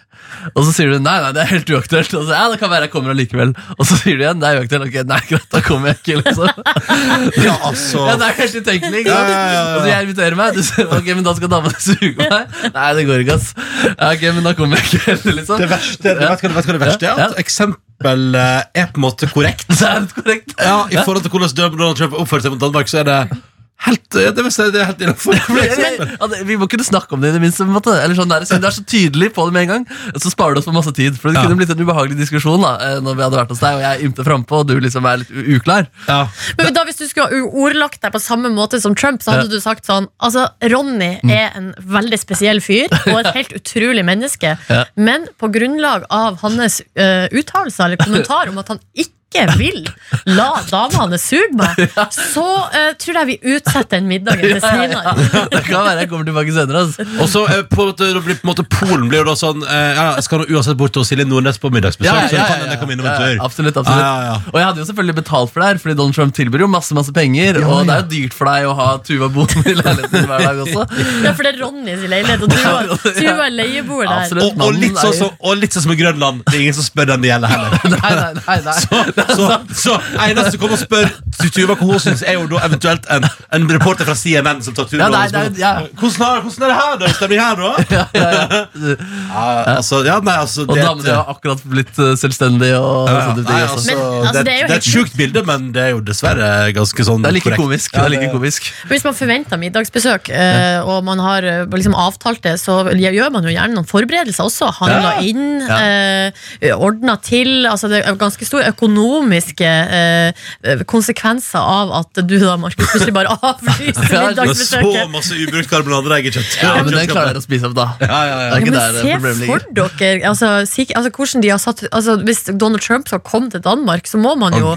[SPEAKER 4] Og så sier du nei, nei, det er helt uaktuelt. Og så, ja, det kan være jeg kommer allikevel. Og så sier du igjen det er uaktuelt. Ok, nei, greit, da kommer jeg ikke, liksom.
[SPEAKER 2] Ja, altså.
[SPEAKER 4] Ja, det er helt utenkelig. ikke
[SPEAKER 2] Ja,
[SPEAKER 4] sant?
[SPEAKER 2] ja, ja, ja.
[SPEAKER 4] Altså, jeg inviterer meg, du sier ok, men da skal damene suge meg. Nei, det går ikke, ass. Ja, ok, men da kommer jeg ikke heller, liksom.
[SPEAKER 2] Det verste, du vet, hva, du vet hva det verste er? At eksempel eh, er på en måte korrekt.
[SPEAKER 4] Det er helt korrekt.
[SPEAKER 2] Ja, I forhold til hvordan Donald Trump oppførte seg mot Danmark, så er det helt, eh, det vil si, det er helt
[SPEAKER 4] Men
[SPEAKER 2] innenfor.
[SPEAKER 4] jeg- jeg- at Vi må kunne snakke om det i det minste. på en måte. Eller sånn der, Siden du er så tydelig på det med en gang, så sparer du oss for masse tid. For det
[SPEAKER 2] Ja.
[SPEAKER 4] kunne blitt en ubehagelig diskusjon da, eh, når vi hadde vært hos deg, og jeg ymter frampå, og du liksom er litt u- uklar.
[SPEAKER 2] Ja.
[SPEAKER 3] Men da, Hvis du skulle ha ordlagt deg på samme måte som Trump, så hadde du sagt sånn Altså, Ronny
[SPEAKER 4] Mm.
[SPEAKER 3] er en veldig spesiell fyr og et helt utrolig menneske,
[SPEAKER 4] Ja.
[SPEAKER 3] men på grunnlag av hans uh, uttalelser eller kommentar om at han ikke vil la dama hans suge meg, så eh, tror jeg vi utsetter den middagen til
[SPEAKER 4] Ja,
[SPEAKER 3] senere.
[SPEAKER 4] det kan være jeg kommer tilbake senere. ass.
[SPEAKER 2] Og så eh, på en måte, da blir på en måte Polen blir jo da sånn eh, ja, Jeg skal nå uansett bort til Silje Nordnes på middagsbesøk, så det kan hende jeg kommer innom en
[SPEAKER 4] Ja, ja,
[SPEAKER 2] tur.
[SPEAKER 4] Absolutt, absolutt.
[SPEAKER 2] Ja, ja, ja.
[SPEAKER 4] Og jeg hadde jo selvfølgelig betalt for det her, fordi Donald Trump tilbyr jo masse masse penger. Og det er jo dyrt for deg å ha Tuva boende i leiligheten hver dag også.
[SPEAKER 3] Ja, for det er Ronny sin leilighet, og du er, du er leieboer der.
[SPEAKER 4] Absolutt.
[SPEAKER 2] Og, og, litt sånn som- og litt sånn som i Grønland. Det er ingen som spør den det gjelder heller.
[SPEAKER 4] Nei, nei, nei, nei.
[SPEAKER 2] Så, så eneste som kommer og spør Tuva hva hun syns, er jo da eventuelt en, en reporter fra CNN som tar turen.
[SPEAKER 4] Ja, nei,
[SPEAKER 2] og spør
[SPEAKER 4] det er- ja.
[SPEAKER 2] sånn, Hvordan, har- hvordan er det her, da? Stemmer det her, da? Ja, altså, ja, nei, altså
[SPEAKER 4] Og
[SPEAKER 2] det,
[SPEAKER 4] damene har akkurat blitt eh, selvstendige. og
[SPEAKER 2] ja,
[SPEAKER 4] sånne
[SPEAKER 2] nei,
[SPEAKER 4] ting
[SPEAKER 2] altså,
[SPEAKER 4] også.
[SPEAKER 3] Men, altså,
[SPEAKER 2] det,
[SPEAKER 3] det er jo
[SPEAKER 2] det er et
[SPEAKER 3] helt-
[SPEAKER 2] sjukt bilde, men det er jo dessverre ganske sånn
[SPEAKER 4] Det er like
[SPEAKER 2] korrekt.
[SPEAKER 4] komisk. Det er like komisk.
[SPEAKER 3] Hvis man forventer middagsbesøk, eh, og man har eh, liksom avtalt det, så gjør man jo gjerne noen forberedelser også. Handla inn,
[SPEAKER 4] Ja.
[SPEAKER 3] eh, ordna til. Altså det er ganske store økonomiske eh, konsekvenser av at du da, Markus, plutselig bare avlyser
[SPEAKER 4] Ja,
[SPEAKER 2] Det er så
[SPEAKER 3] middagsbesøket.
[SPEAKER 2] masse ubrukt karbonadeegg i kjøtt.
[SPEAKER 4] Ja, men den klarer jeg å spise opp, da.
[SPEAKER 2] Ja, ja, ja.
[SPEAKER 4] Det er
[SPEAKER 3] Ja,
[SPEAKER 4] ikke
[SPEAKER 3] men
[SPEAKER 4] der
[SPEAKER 3] se
[SPEAKER 4] eh, problemet ligger.
[SPEAKER 3] for dere altså, sik altså, hvordan de har satt, altså, Hvis Donald Trump skal komme til Danmark, så må man jo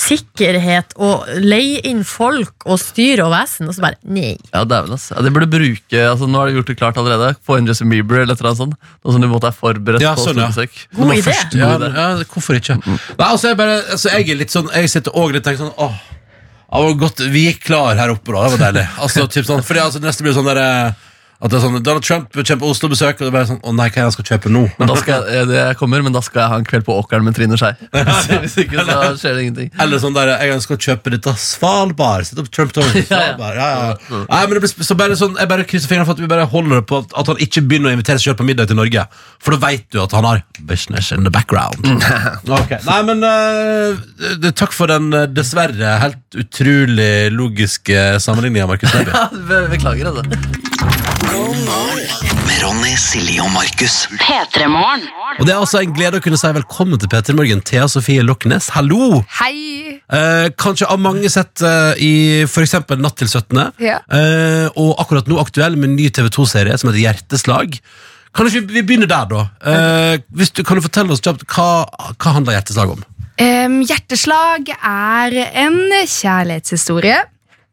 [SPEAKER 3] sikkerhet og leie inn folk og styre og vesen, og så bare nei.
[SPEAKER 4] Ja, dæven, ass. Ja, det burde bruke, altså Nå har de gjort det klart allerede. Få inn Justin Bieber eller et eller annet sånt. Noe som du måtte er forberedt
[SPEAKER 2] Ja,
[SPEAKER 4] på.
[SPEAKER 2] sånn,
[SPEAKER 4] å
[SPEAKER 2] ja.
[SPEAKER 4] stå besøk.
[SPEAKER 3] God idé.
[SPEAKER 2] Ja, ja, hvorfor ikke? Nei, altså, jeg, bare, altså, jeg er litt sånn Jeg sitter også litt og tenker sånn Åh, det var godt Vi gikk klar her oppe, da. Det var deilig. Altså, typ sånn, fordi altså, neste blir jo sånn der eh, At det er sånn Donald Trump kommer Oslo-besøk, og det er bare sånn Å nei, hva er det jeg skal kjøpe nå?
[SPEAKER 4] Men da skal jeg, eh, jeg kommer, men da skal jeg ha en kveld på åkeren med Trine Skei. Hvis hvis ikke, så skjer det ingenting.
[SPEAKER 2] Eller sånn der Jeg skal kjøpe dette Svalbard. Sett opp Trump Tower på
[SPEAKER 4] Ja, ja.
[SPEAKER 2] Svalbard. Ja, ja. Nei, men det blir, så bare sånn, jeg bare krysser fingrene for at vi bare holder det på at, at han ikke begynner å invitere seg selv på middag til Norge. For da veit du at han har business in the background. Ok. Nei, men eh, det- takk for den eh, dessverre helt utrolig logiske sammenligninga, Markus Neby.
[SPEAKER 4] Ja, be- Beklager, altså.
[SPEAKER 6] Med Ronny, Silje og Markus.
[SPEAKER 7] P3-morgen.
[SPEAKER 2] Og det er altså en glede å kunne si velkommen til Peter Morgen, Thea Sofie Loknes. Hallo!
[SPEAKER 8] Hei!
[SPEAKER 2] Eh, kanskje av mange sett eh, i for eksempel Natt til 17.
[SPEAKER 8] Ja.
[SPEAKER 2] Eh, og akkurat nå aktuell med en ny TV2-serie som heter Hjerteslag. Kan ikke vi begynne der, da? Eh, hvis du, kan du fortelle oss kjapt hva, hva handler Hjerteslag om?
[SPEAKER 8] Em, hjerteslag er en kjærlighetshistorie,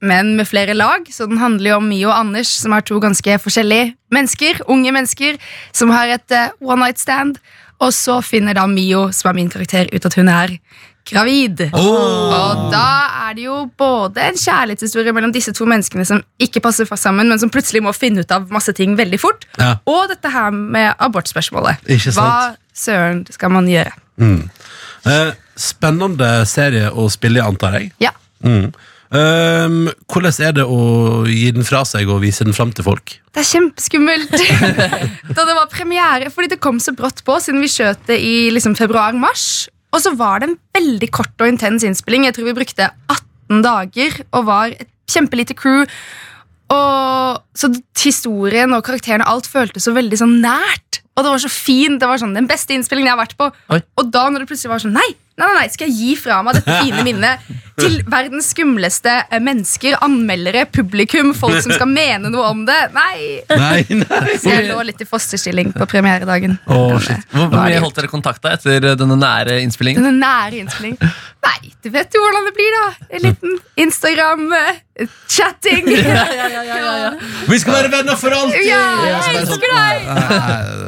[SPEAKER 8] men med flere lag. Så den handler jo om Mio og Anders, som er to ganske forskjellige mennesker. Unge mennesker som har et eh, one night stand. Og så finner da Mio, som er min karakter, ut at hun er gravid. Og da er det jo både en kjærlighetshistorie mellom disse to menneskene som ikke passer fast sammen, men som plutselig må finne ut av masse ting veldig fort.
[SPEAKER 2] Ja.
[SPEAKER 8] Og dette her med abortspørsmålet.
[SPEAKER 2] Ikke sant?
[SPEAKER 8] Hva søren skal man gjøre?
[SPEAKER 9] Eh, spennende serie å spille i, antar jeg.
[SPEAKER 8] Ja.
[SPEAKER 9] Mm. Ehm, hvordan er det å gi den fra seg og vise den fram til folk?
[SPEAKER 8] Det er kjempeskummelt! da det var premiere, fordi det kom så brått på, siden vi skjøt det i liksom, februar-mars. Og så var det en veldig kort og intens innspilling. Jeg tror vi brukte 18 dager og var et kjempelite crew. Og så d- historien og karakterene alt føltes så veldig sånn nært. Og det var så fint. Det var sånn den beste innspillingen jeg har vært på.
[SPEAKER 4] Oi.
[SPEAKER 8] Og da når det plutselig var sånn Nei, nei, nei, nei skal jeg gi fra meg dette fine minnet til verdens skumleste eh, mennesker, anmeldere, publikum, folk som skal mene noe om det? Nei!
[SPEAKER 9] Nei, nei.
[SPEAKER 8] Så jeg lå litt i fosterstilling på premieredagen.
[SPEAKER 9] Å, shit.
[SPEAKER 4] Hvor
[SPEAKER 8] Hva er
[SPEAKER 4] mye
[SPEAKER 8] det?
[SPEAKER 4] holdt dere kontakta etter denne nære innspillingen?
[SPEAKER 8] Denne nære innspilling. Nei, du vet jo hvordan det blir, da. En liten eh, Instagram-chatting. Ja, ja, ja,
[SPEAKER 9] Vi skal være venner for alltid!
[SPEAKER 8] jeg elsker deg!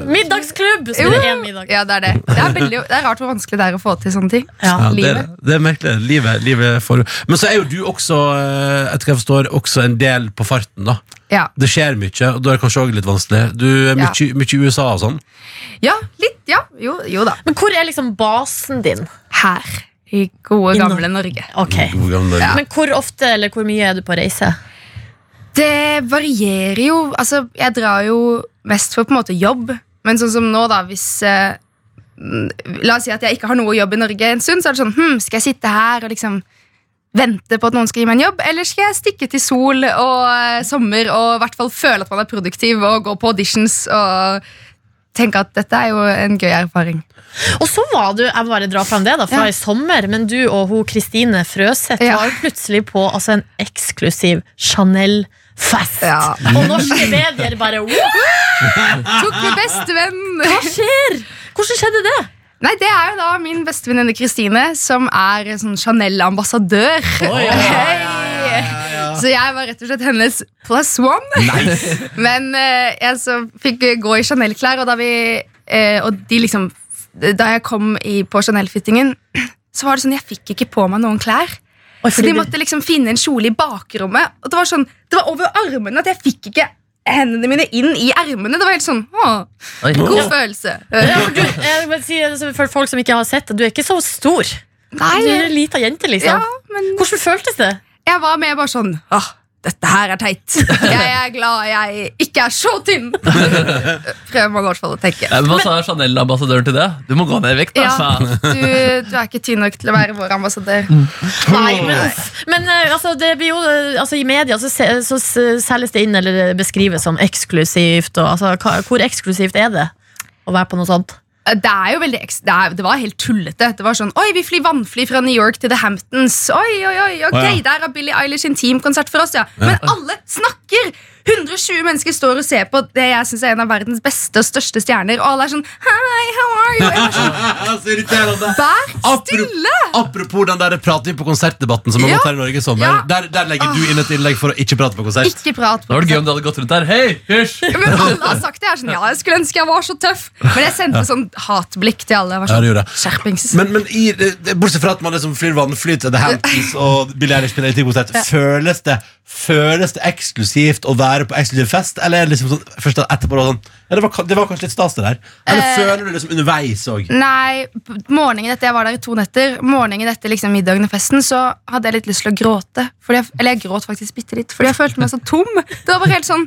[SPEAKER 3] Middagsklubb! Så blir det én middag.
[SPEAKER 8] Ja, det er det. Det er, veldig, det er rart hvor vanskelig det er å få til sånne ting.
[SPEAKER 9] Ja, det, er-
[SPEAKER 8] Livet.
[SPEAKER 9] det er merkelig. Livet, livet får Men så er jo du også, eh, etter hva jeg forstår, også en del på farten, da.
[SPEAKER 8] Ja.
[SPEAKER 9] Det skjer mye, og da er det kanskje også litt vanskelig. Du er
[SPEAKER 8] Ja.
[SPEAKER 9] mye, mye i USA og sånn.
[SPEAKER 8] ja, litt. Ja, jo, jo da.
[SPEAKER 3] Men hvor er liksom basen din?
[SPEAKER 8] Her i gode, gamle Norge.
[SPEAKER 3] Ok.
[SPEAKER 9] God gammel-
[SPEAKER 3] Men hvor ofte eller hvor mye er du på reise?
[SPEAKER 8] Det varierer jo. Altså, jeg drar jo mest for på en måte jobb. Men sånn som nå, da, hvis eh, mm, La oss si at jeg ikke har noe jobb i Norge en stund, så er det sånn hm, Skal jeg sitte her og liksom vente på at noen skal gi meg en jobb, eller skal jeg stikke til sol og eh, sommer og i hvert fall føle at man er produktiv og gå på auditions og tenke at dette er jo en gøy erfaring?
[SPEAKER 3] Og så var du jeg må bare dra frem det da, fra
[SPEAKER 8] Ja.
[SPEAKER 3] i sommer, men du og hun Kristine Frøseth
[SPEAKER 8] Ja.
[SPEAKER 3] var jo plutselig på altså, en eksklusiv Chanel-fest.
[SPEAKER 8] Ja.
[SPEAKER 3] Og norske medier bare wow,
[SPEAKER 8] Tok min bestevenn!
[SPEAKER 3] Hva skjer? Hvordan skjedde det?
[SPEAKER 8] Nei, det er jo da min bestevenninne Kristine, som er sånn Chanel-ambassadør. Hei! Så jeg var rett og slett hennes plus one. Men eh, jeg så fikk gå i Chanel-klær, og da vi eh, Og de liksom Da jeg kom i, på Chanel-fittingen, så var det sånn Jeg fikk ikke på meg noen klær.
[SPEAKER 3] Oi,
[SPEAKER 8] Så de måtte liksom finne en kjole i bakrommet. Og det var sånn, det var over armene at jeg fikk ikke hendene mine inn i ermene. Det var helt sånn åh,
[SPEAKER 4] Oi.
[SPEAKER 8] God følelse.
[SPEAKER 3] ja, for du, jeg vil si, altså, For folk som ikke har sett det, du er ikke så stor.
[SPEAKER 8] Nei,
[SPEAKER 3] Du er en lita jente, liksom.
[SPEAKER 8] ja, men
[SPEAKER 3] Hvordan føltes det?
[SPEAKER 8] Jeg var med bare sånn Åh, dette her er teit. Jeg er glad jeg ikke er så tynn. Prøver man i hvert fall å tenke.
[SPEAKER 4] Eh, Hva sa Chanel-ambassadøren til det? Du må gå ned i vekt,
[SPEAKER 8] Ja,
[SPEAKER 4] altså.
[SPEAKER 8] du, du er ikke tynn nok til å være vår ambassadør.
[SPEAKER 3] Nei, men, uff. men eh, altså, det blir jo, eh, altså, i media så, se- så s- selges det inn eller beskrives som eksklusivt. Og, altså, hva, hvor eksklusivt er det å være på noe sånt?
[SPEAKER 8] eh, Det er jo veldig eks- det, er, det var helt tullete. Det var sånn Oi, vi flyr vannfly fra New York til The Hamptons. Oi, oi, oi, ok,
[SPEAKER 9] Å, ja.
[SPEAKER 8] Der har Billie Eilish intimkonsert for oss, ja. Men alle snakker! 120 mennesker står og ser på det jeg syns er en av verdens beste og største stjerner, og alle er sånn Hi, how are you? Jeg var sånn,
[SPEAKER 9] Så irriterende.
[SPEAKER 8] Vær
[SPEAKER 9] Apropos-
[SPEAKER 8] stille!
[SPEAKER 9] Apropos den der prating på konsertdebatten som har
[SPEAKER 8] Ja.
[SPEAKER 9] gått her i Norge i sommer.
[SPEAKER 8] Ja.
[SPEAKER 9] Der, der legger du inn et innlegg for å ikke prate på konsert.
[SPEAKER 8] Ikke prat.
[SPEAKER 4] Det var det gøy om du hadde gått rundt der. Hei, hysj!
[SPEAKER 8] Men alle har sagt det. Jeg er sånn, ja, jeg skulle ønske jeg var så tøff. Men jeg sendte sånn hatblikk til alle. Jeg
[SPEAKER 9] Ja,
[SPEAKER 8] var sånn,
[SPEAKER 9] det gjorde jeg.
[SPEAKER 8] Skjerpings.
[SPEAKER 9] Men, men i, det- det- bortsett fra at man liksom flyr vannfly til The Hamptons og Billie Eilish spiller intimkonsert, føles, det- føles det eksklusivt å være på eksklusiv fest? Eller er det liksom sånn, først etterpå da sånn, ja, det, var, ka- det var kanskje litt stas, det der? Eller
[SPEAKER 8] Eh.
[SPEAKER 9] føler du liksom underveis òg?
[SPEAKER 8] Nei, p- morgenen etter jeg var der i to netter, morgenen etter liksom middagen og festen, så hadde jeg litt lyst til å gråte. Fordi jeg, eller jeg gråt faktisk bitte litt, fordi jeg følte meg så tom. Det var bare helt sånn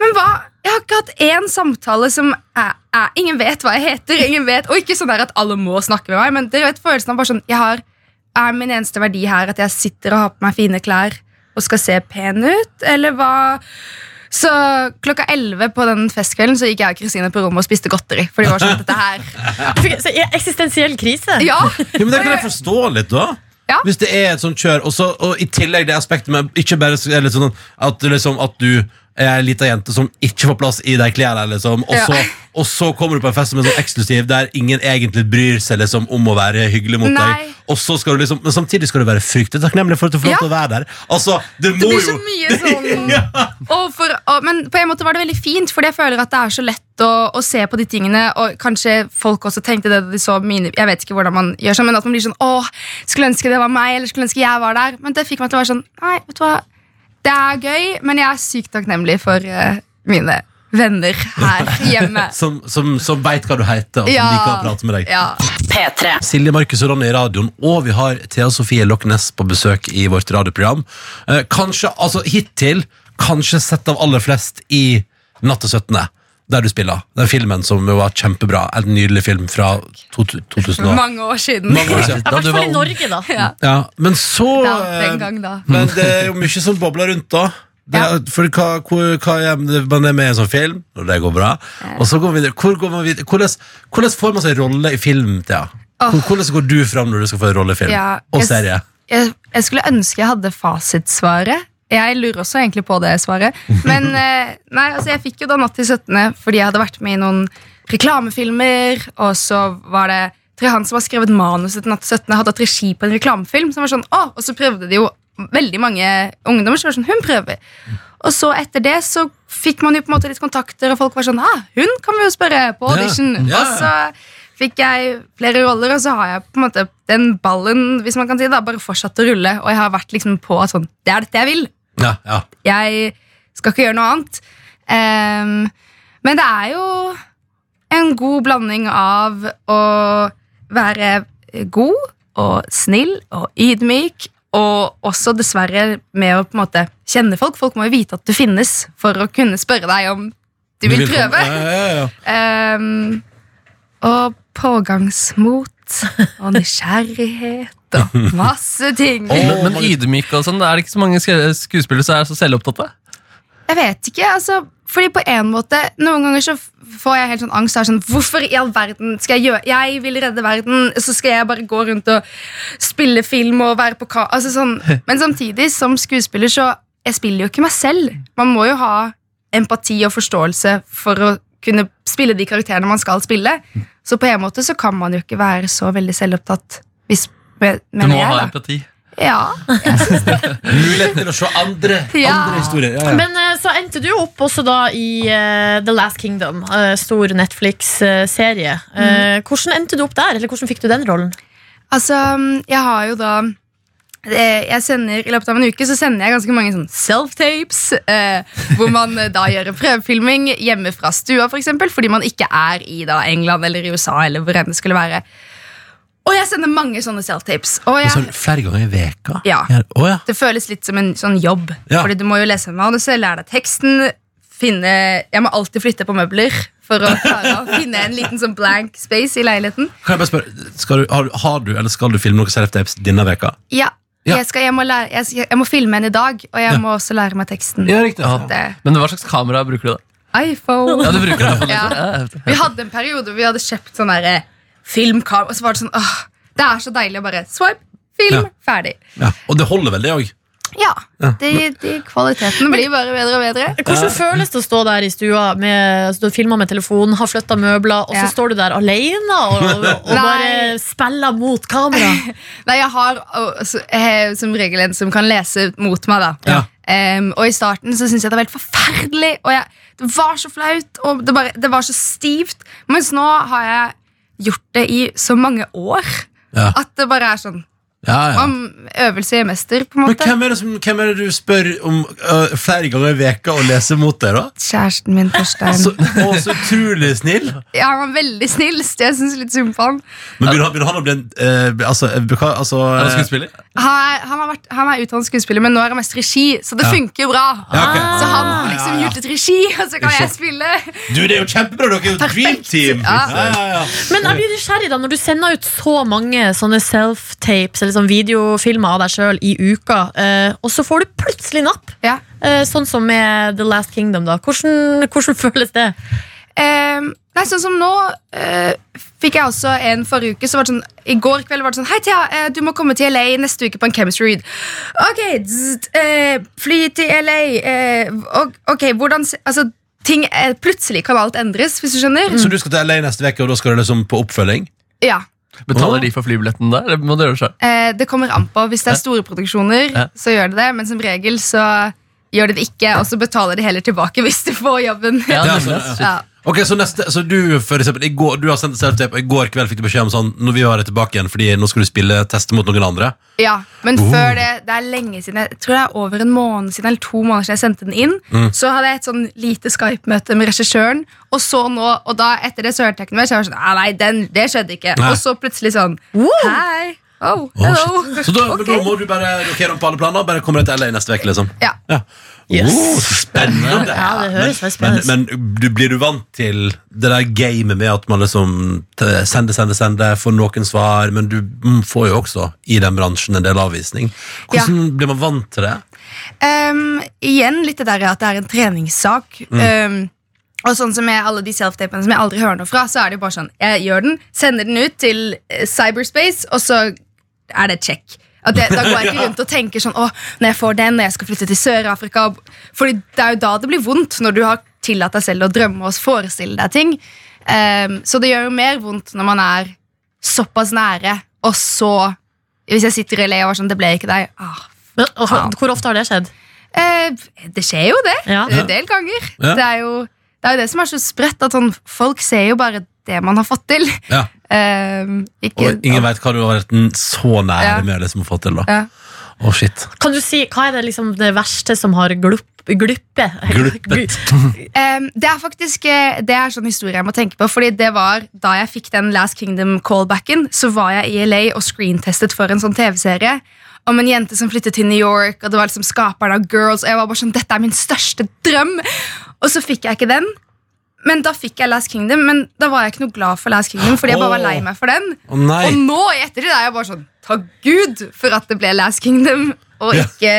[SPEAKER 8] Men hva? Jeg har ikke hatt én samtale som er, er, Ingen vet hva jeg heter, ingen vet Og ikke sånn der at alle må snakke med meg, men dere vet følelsen av bare sånn Jeg har Er min eneste verdi her at jeg sitter og har på meg fine klær og skal se pen ut, eller hva? Så klokka 11 på den festkvelden så gikk jeg og Kristine på rommet og spiste godteri. For de var sånn, dette her
[SPEAKER 3] Fy- så er Eksistensiell krise?
[SPEAKER 8] ja.
[SPEAKER 9] Ja, men Det kan jeg forstå litt, da.
[SPEAKER 8] Ja.
[SPEAKER 9] Hvis det er et sånt kjør. Og, så, og i tillegg det aspektet med ikke bare så- eller sånn at, du liksom, at du er ei lita jente som ikke får plass i de klærne, liksom. Og,
[SPEAKER 8] Ja.
[SPEAKER 9] så, og så kommer du på en fest som er sånn eksklusiv, der ingen egentlig bryr seg liksom, om å være hyggelig mot
[SPEAKER 8] Nei.
[SPEAKER 9] deg. Og så skal du liksom, men samtidig skal du være fryktelig takknemlig for at du får lov
[SPEAKER 8] Ja.
[SPEAKER 9] til å være der. Altså, det
[SPEAKER 8] Det
[SPEAKER 9] må
[SPEAKER 8] blir
[SPEAKER 9] jo
[SPEAKER 8] så mye sånn og for, og, Men på en måte var det veldig fint, Fordi jeg føler at det er så lett å, å se på de tingene. Og kanskje folk også tenkte det da de så mine Jeg vet ikke hvordan man gjør sånn, men at man blir sånn Åh, skulle ønske det var meg, eller skulle ønske jeg var der. Men det fikk meg til å være sånn Nei, vet du hva, det er gøy, men jeg er sykt takknemlig for eh, mine venner her hjemme.
[SPEAKER 9] Som, som, som veit hva du heter, og som
[SPEAKER 8] Ja.
[SPEAKER 9] liker å prate med deg.
[SPEAKER 8] Ja.
[SPEAKER 10] P3.
[SPEAKER 9] Silje, Markus og Ronny i radioen, og vi har Thea Sofie Loch Ness på besøk i vårt radioprogram. Eh, kanskje, altså hittil, kanskje sett av aller flest i Natt til 17., der du spiller. Den filmen som jo var kjempebra. En nydelig film fra to, to- 2000 og...
[SPEAKER 8] Mange år siden.
[SPEAKER 9] Mange år siden.
[SPEAKER 3] I
[SPEAKER 4] Da
[SPEAKER 3] hvert fall i
[SPEAKER 4] du var ung.
[SPEAKER 3] Norge, da.
[SPEAKER 8] Ja,
[SPEAKER 9] Ja, men så
[SPEAKER 8] da,
[SPEAKER 9] eh,
[SPEAKER 8] den gang da.
[SPEAKER 9] Men det er jo mye som bobler rundt da. Det er, For hva, hvor, hva er, man er med i en sånn film, og det går bra. Og så går man videre. Hvor går man videre? Hvordan, hvordan får man seg rolle i film, Thea? Hvor- Hvordan går du fram når du skal få en rolle i film?
[SPEAKER 8] Ja,
[SPEAKER 9] og
[SPEAKER 8] jeg s-
[SPEAKER 9] serie?
[SPEAKER 8] Jeg, jeg skulle ønske jeg hadde fasitsvaret. Jeg lurer også egentlig på det svaret. Men eh, nei, altså jeg fikk jo da Natt til 17. fordi jeg hadde vært med i noen reklamefilmer. Og så var det Tre Han som har skrevet manuset til Natt til 17. hadde hatt regi på en reklamefilm. Som var sånn, å, og så prøvde de jo veldig mange ungdommer. Så var det sånn, hun prøver. Og så etter det så fikk man jo på en måte litt kontakter, og folk var sånn ah, hun kan vi jo spørre på audition.
[SPEAKER 9] Ja, ja.
[SPEAKER 8] Mm. Og så fikk jeg flere roller, og så har jeg på en måte den ballen hvis man kan si det, da, bare fortsatt å rulle. Og jeg har vært liksom på at sånn, det er dette jeg vil.
[SPEAKER 9] Ja, ja.
[SPEAKER 8] Jeg skal ikke gjøre noe annet. Ehm, men det er jo en god blanding av å være god og snill og ydmyk, og også dessverre med å på en måte kjenne folk. Folk må jo vite at du finnes for å kunne spørre deg om du vil
[SPEAKER 9] komme-
[SPEAKER 8] prøve.
[SPEAKER 9] Ja, ja, ja.
[SPEAKER 8] Ehm, og pågangsmot og nysgjerrighet og masse ting.
[SPEAKER 9] Å,
[SPEAKER 4] Men, men
[SPEAKER 9] mange-
[SPEAKER 4] ydmyk og sånn, er det ikke så mange ske- skuespillere som er så selvopptatte?
[SPEAKER 8] Jeg vet ikke, altså Fordi på en måte, noen ganger så f- får jeg helt sånn angst og er sånn, Hvorfor i all verden skal jeg gjøre Jeg vil redde verden Så skal jeg bare gå rundt og spille film Og være på ka altså, sånn. Men samtidig som skuespiller så Jeg spiller jo ikke meg selv Man må jo ha empati og forståelse For å kunne spille de karakterene man skal spille Så på en måte så kan man jo ikke være så veldig selvopptatt Hvis, men,
[SPEAKER 4] Du må
[SPEAKER 8] jeg,
[SPEAKER 4] ha
[SPEAKER 8] da.
[SPEAKER 4] empati.
[SPEAKER 8] Ja,
[SPEAKER 9] Mulighet til å se andre,
[SPEAKER 8] Ja.
[SPEAKER 9] andre historier. Ja, ja.
[SPEAKER 3] Men eh, så endte du jo opp også da i eh, The Last Kingdom, eh, stor Netflix-serie.
[SPEAKER 8] Mm.
[SPEAKER 3] Eh, hvordan endte du opp der, eller hvordan fikk du den rollen?
[SPEAKER 8] Altså, jeg har jo da eh, jeg sender, I løpet av en uke så sender jeg ganske mange sånn self-tapes, eh, hvor man eh, da gjør en prøvefilming hjemme fra stua, for eksempel, fordi man ikke er i da England eller i USA. eller hvor enn det skulle være. Og jeg sender mange sånne self-tapes. Og
[SPEAKER 9] Og
[SPEAKER 8] jeg,
[SPEAKER 9] Sånn, flere ganger i veka?
[SPEAKER 8] Ja.
[SPEAKER 9] Å, ja.
[SPEAKER 8] det føles litt som en sånn jobb.
[SPEAKER 9] Ja.
[SPEAKER 8] Fordi du må jo lese manuset, lære deg teksten finne, Jeg må alltid flytte på møbler for å klare å finne en liten sånn blank space i leiligheten.
[SPEAKER 9] Kan jeg bare spørre, skal du, har, har du eller skal du filme noen self-tapes denne veka?
[SPEAKER 8] Ja,
[SPEAKER 9] Ja.
[SPEAKER 8] Jeg, skal, jeg, må lære, jeg, skal- jeg må filme en i dag, og jeg må også lære meg teksten.
[SPEAKER 9] riktig.
[SPEAKER 4] Ja.
[SPEAKER 8] Det-
[SPEAKER 4] Men hva slags kamera bruker du da?
[SPEAKER 8] iPhone.
[SPEAKER 4] Ja, du bruker det.
[SPEAKER 8] Ja. Vi hadde en periode hvor vi hadde kjøpt sånn derre filmkamera, og så var det sånn åh, Det er så deilig å bare swipe, film,
[SPEAKER 9] Ja.
[SPEAKER 8] ferdig.
[SPEAKER 9] Ja. Og det holder vel, det òg?
[SPEAKER 8] Ja. De, de kvaliteten blir bare bedre og bedre.
[SPEAKER 3] Hvordan føles det å stå der i stua med altså, du har filma med telefonen, har flytta møbler, og så
[SPEAKER 8] Ja.
[SPEAKER 3] står du der alene og, og, og bare
[SPEAKER 8] Nei.
[SPEAKER 3] spiller mot kamera?
[SPEAKER 8] Nei, jeg har og, så, eh, som regel en som kan lese mot meg, da.
[SPEAKER 9] Ja.
[SPEAKER 8] Em, og i starten så syntes jeg det var helt forferdelig, og jeg, det var så flaut, og det, bare, det var så stivt. Mens nå har jeg gjort det i så mange år
[SPEAKER 9] Ja.
[SPEAKER 8] at det bare er sånn
[SPEAKER 9] Ja, ja.
[SPEAKER 8] om øvelse gjør mester, på en
[SPEAKER 9] Men
[SPEAKER 8] måte.
[SPEAKER 9] hvem er, det som, hvem er det du spør om øh, flere ganger i veka og leser mot deg, da?
[SPEAKER 8] Kjæresten min, Torstein.
[SPEAKER 9] Så, og så utrolig snill.
[SPEAKER 8] Ja, han var veldig snill, så jeg syns litt synd på han.
[SPEAKER 9] Men vil, du ha- vil han bli en eh, Altså, eh, hva- altså
[SPEAKER 4] Er du
[SPEAKER 9] eh,
[SPEAKER 4] skuespiller?
[SPEAKER 8] Han er, han har vært, han er utdannet skuespiller, men nå er han mest regi, så det funker jo bra.
[SPEAKER 9] Ja, ok.
[SPEAKER 8] Så han har liksom
[SPEAKER 9] Ja, ja.
[SPEAKER 8] gjort et regi, og så kan
[SPEAKER 9] Ikke
[SPEAKER 8] jeg
[SPEAKER 9] sant.
[SPEAKER 8] spille.
[SPEAKER 9] Du, det er jo kjempebra! Dere er jo et dream
[SPEAKER 8] Perfekt.
[SPEAKER 9] team!
[SPEAKER 8] Ja.
[SPEAKER 9] Ja, ja, ja.
[SPEAKER 3] Men jeg blir nysgjerrig da, når du sender ut så mange sånne self-tapes eller sånn videofilmer av deg sjøl i uka, eh, og så får du plutselig napp.
[SPEAKER 8] Ja.
[SPEAKER 3] Eh, sånn som med The Last Kingdom, da. Hvordan, hvordan føles det?
[SPEAKER 8] Ehm, nei, sånn som nå eh, fikk jeg også en forrige uke. Så var det sånn, I går kveld var det sånn Hei, Thea, eh, du må komme til LA neste uke på en chemistry read. Ok, zzzt, eh, fly til LA. eh, og, ok, hvordan se- Altså, ting eh, Plutselig kan alt endres, hvis du skjønner.
[SPEAKER 9] Så du skal til LA neste uke, og da skal du liksom på oppfølging?
[SPEAKER 8] Ja.
[SPEAKER 4] Betaler de for flybilletten da? Eller må du gjøre det selv?
[SPEAKER 8] Eh, det kommer an på. Hvis det er store produksjoner,
[SPEAKER 4] Ja.
[SPEAKER 8] så gjør det det. Men som regel så gjør det det ikke, og så betaler de heller tilbake hvis du får jobben.
[SPEAKER 4] Ja,
[SPEAKER 9] Ja,
[SPEAKER 4] nemlig,
[SPEAKER 9] altså,
[SPEAKER 4] ass.
[SPEAKER 8] Ja.
[SPEAKER 9] Ok, så, neste, så du for eksempel, i går, du har sendt self-tape, og i går kveld fikk du beskjed om sånn Når vi har det tilbake igjen, fordi nå skal du spille teste mot noen andre.
[SPEAKER 8] Ja, men før det Det er lenge siden Jeg tror det er over en måned siden Eller to måneder siden jeg sendte den inn
[SPEAKER 9] Mm.
[SPEAKER 8] Så hadde jeg et sånn lite Skype-møte med regissøren Og så nå Og da etter det så hørte jeg ikke noe mer Så jeg var sånn «Ah, Nei, den, det skjedde ikke
[SPEAKER 9] Nei.
[SPEAKER 8] Og så plutselig sånn Hei Oh,
[SPEAKER 9] Å,
[SPEAKER 8] hello
[SPEAKER 9] shit. Så da, men da
[SPEAKER 8] Ok.
[SPEAKER 9] må du bare rokere om på alle planer, bare komme deg til LA neste uke, liksom.
[SPEAKER 8] Ja.
[SPEAKER 9] Yes. spennende!
[SPEAKER 3] Ja, det høres veldig spennende
[SPEAKER 9] Men,
[SPEAKER 3] ut.
[SPEAKER 9] men du, blir du vant til det der gamet med at man liksom t- sender, sender, sender, får noen svar, men du mm, får jo også i den bransjen en del avvisning. Hvordan blir man vant til det?
[SPEAKER 8] Ehm, igjen litt det der at det er en treningssak. Ehm, og sånn som med alle de self-tapene som jeg aldri hører noe fra, så er det jo bare sånn Jeg gjør den, sender den ut til eh, cyberspace, og så er det check. At jeg, da går jeg ikke rundt og tenker sånn Å, når jeg får den, når jeg skal flytte til Sør-Afrika Fordi det er jo da det blir vondt, når du har tillatt deg selv å drømme og forestille deg ting. Ehm, så det gjør jo mer vondt når man er såpass nære, og så Hvis jeg sitter i LA og var sånn Det ble ikke deg. Ah,
[SPEAKER 3] Men, og, hvor ofte har det skjedd?
[SPEAKER 8] Eh, det skjer jo det.
[SPEAKER 3] Ja.
[SPEAKER 8] En del ganger.
[SPEAKER 9] Ja.
[SPEAKER 8] Det, er jo, det er jo det som er så spredt, at sånn, folk ser jo bare det man har fått til.
[SPEAKER 9] Ja.
[SPEAKER 8] Eh, ikke,
[SPEAKER 9] Og ingen veit hva du har vært n- så nære
[SPEAKER 8] Ja.
[SPEAKER 9] med å liksom få til. da Å,
[SPEAKER 8] Ja.
[SPEAKER 9] shit.
[SPEAKER 3] Kan du si, Hva er det, liksom, det verste som har glupp, gluppe?
[SPEAKER 9] Gluppet.
[SPEAKER 8] Eh, det er faktisk eh, Det er sånn historie jeg må tenke på. Fordi det var Da jeg fikk den Last Kingdom-callbacken, Så var jeg i LA og screentestet for en sånn TV-serie om en jente som flyttet til New York. Og det var liksom skaperen av Girls Og jeg var bare sånn, dette er min største drøm Og så fikk jeg ikke den. Men da fikk jeg Last Kingdom, men da var jeg ikke noe glad for Last Kingdom. Fordi jeg bare var lei meg for den
[SPEAKER 9] Å nei!
[SPEAKER 8] Og nå i ettertid er jeg bare sånn Takk Gud for at det ble Last Kingdom Og
[SPEAKER 9] Ja.
[SPEAKER 8] ikke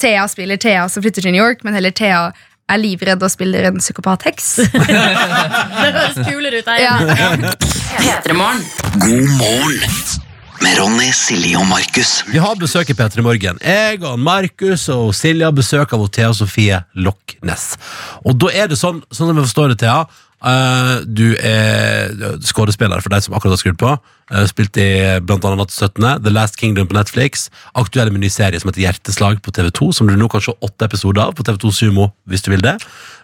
[SPEAKER 8] Thea spiller Thea som flytter til New York Men heller Thea er livredd og spiller en psykopat-heks
[SPEAKER 3] Det høres kulere ut. Jeg.
[SPEAKER 8] ja.
[SPEAKER 6] God morgen med Ronny, Silje og Markus.
[SPEAKER 9] Vi har besøk i P3 Morgen. Jeg og Markus og Silje har besøk av Thea Sofie Loch Ness. Og da er det sånn, sånn som jeg forstår det, Thea, eh, du er skådespiller for deg som akkurat har skrudd på. Eh, Spilt i blant annet Natt til 17., The Last Kingdom på Netflix, aktuell med ny serie som heter Hjerteslag på TV2, som du nå kan se åtte episoder av på TV2 Sumo, hvis du vil det.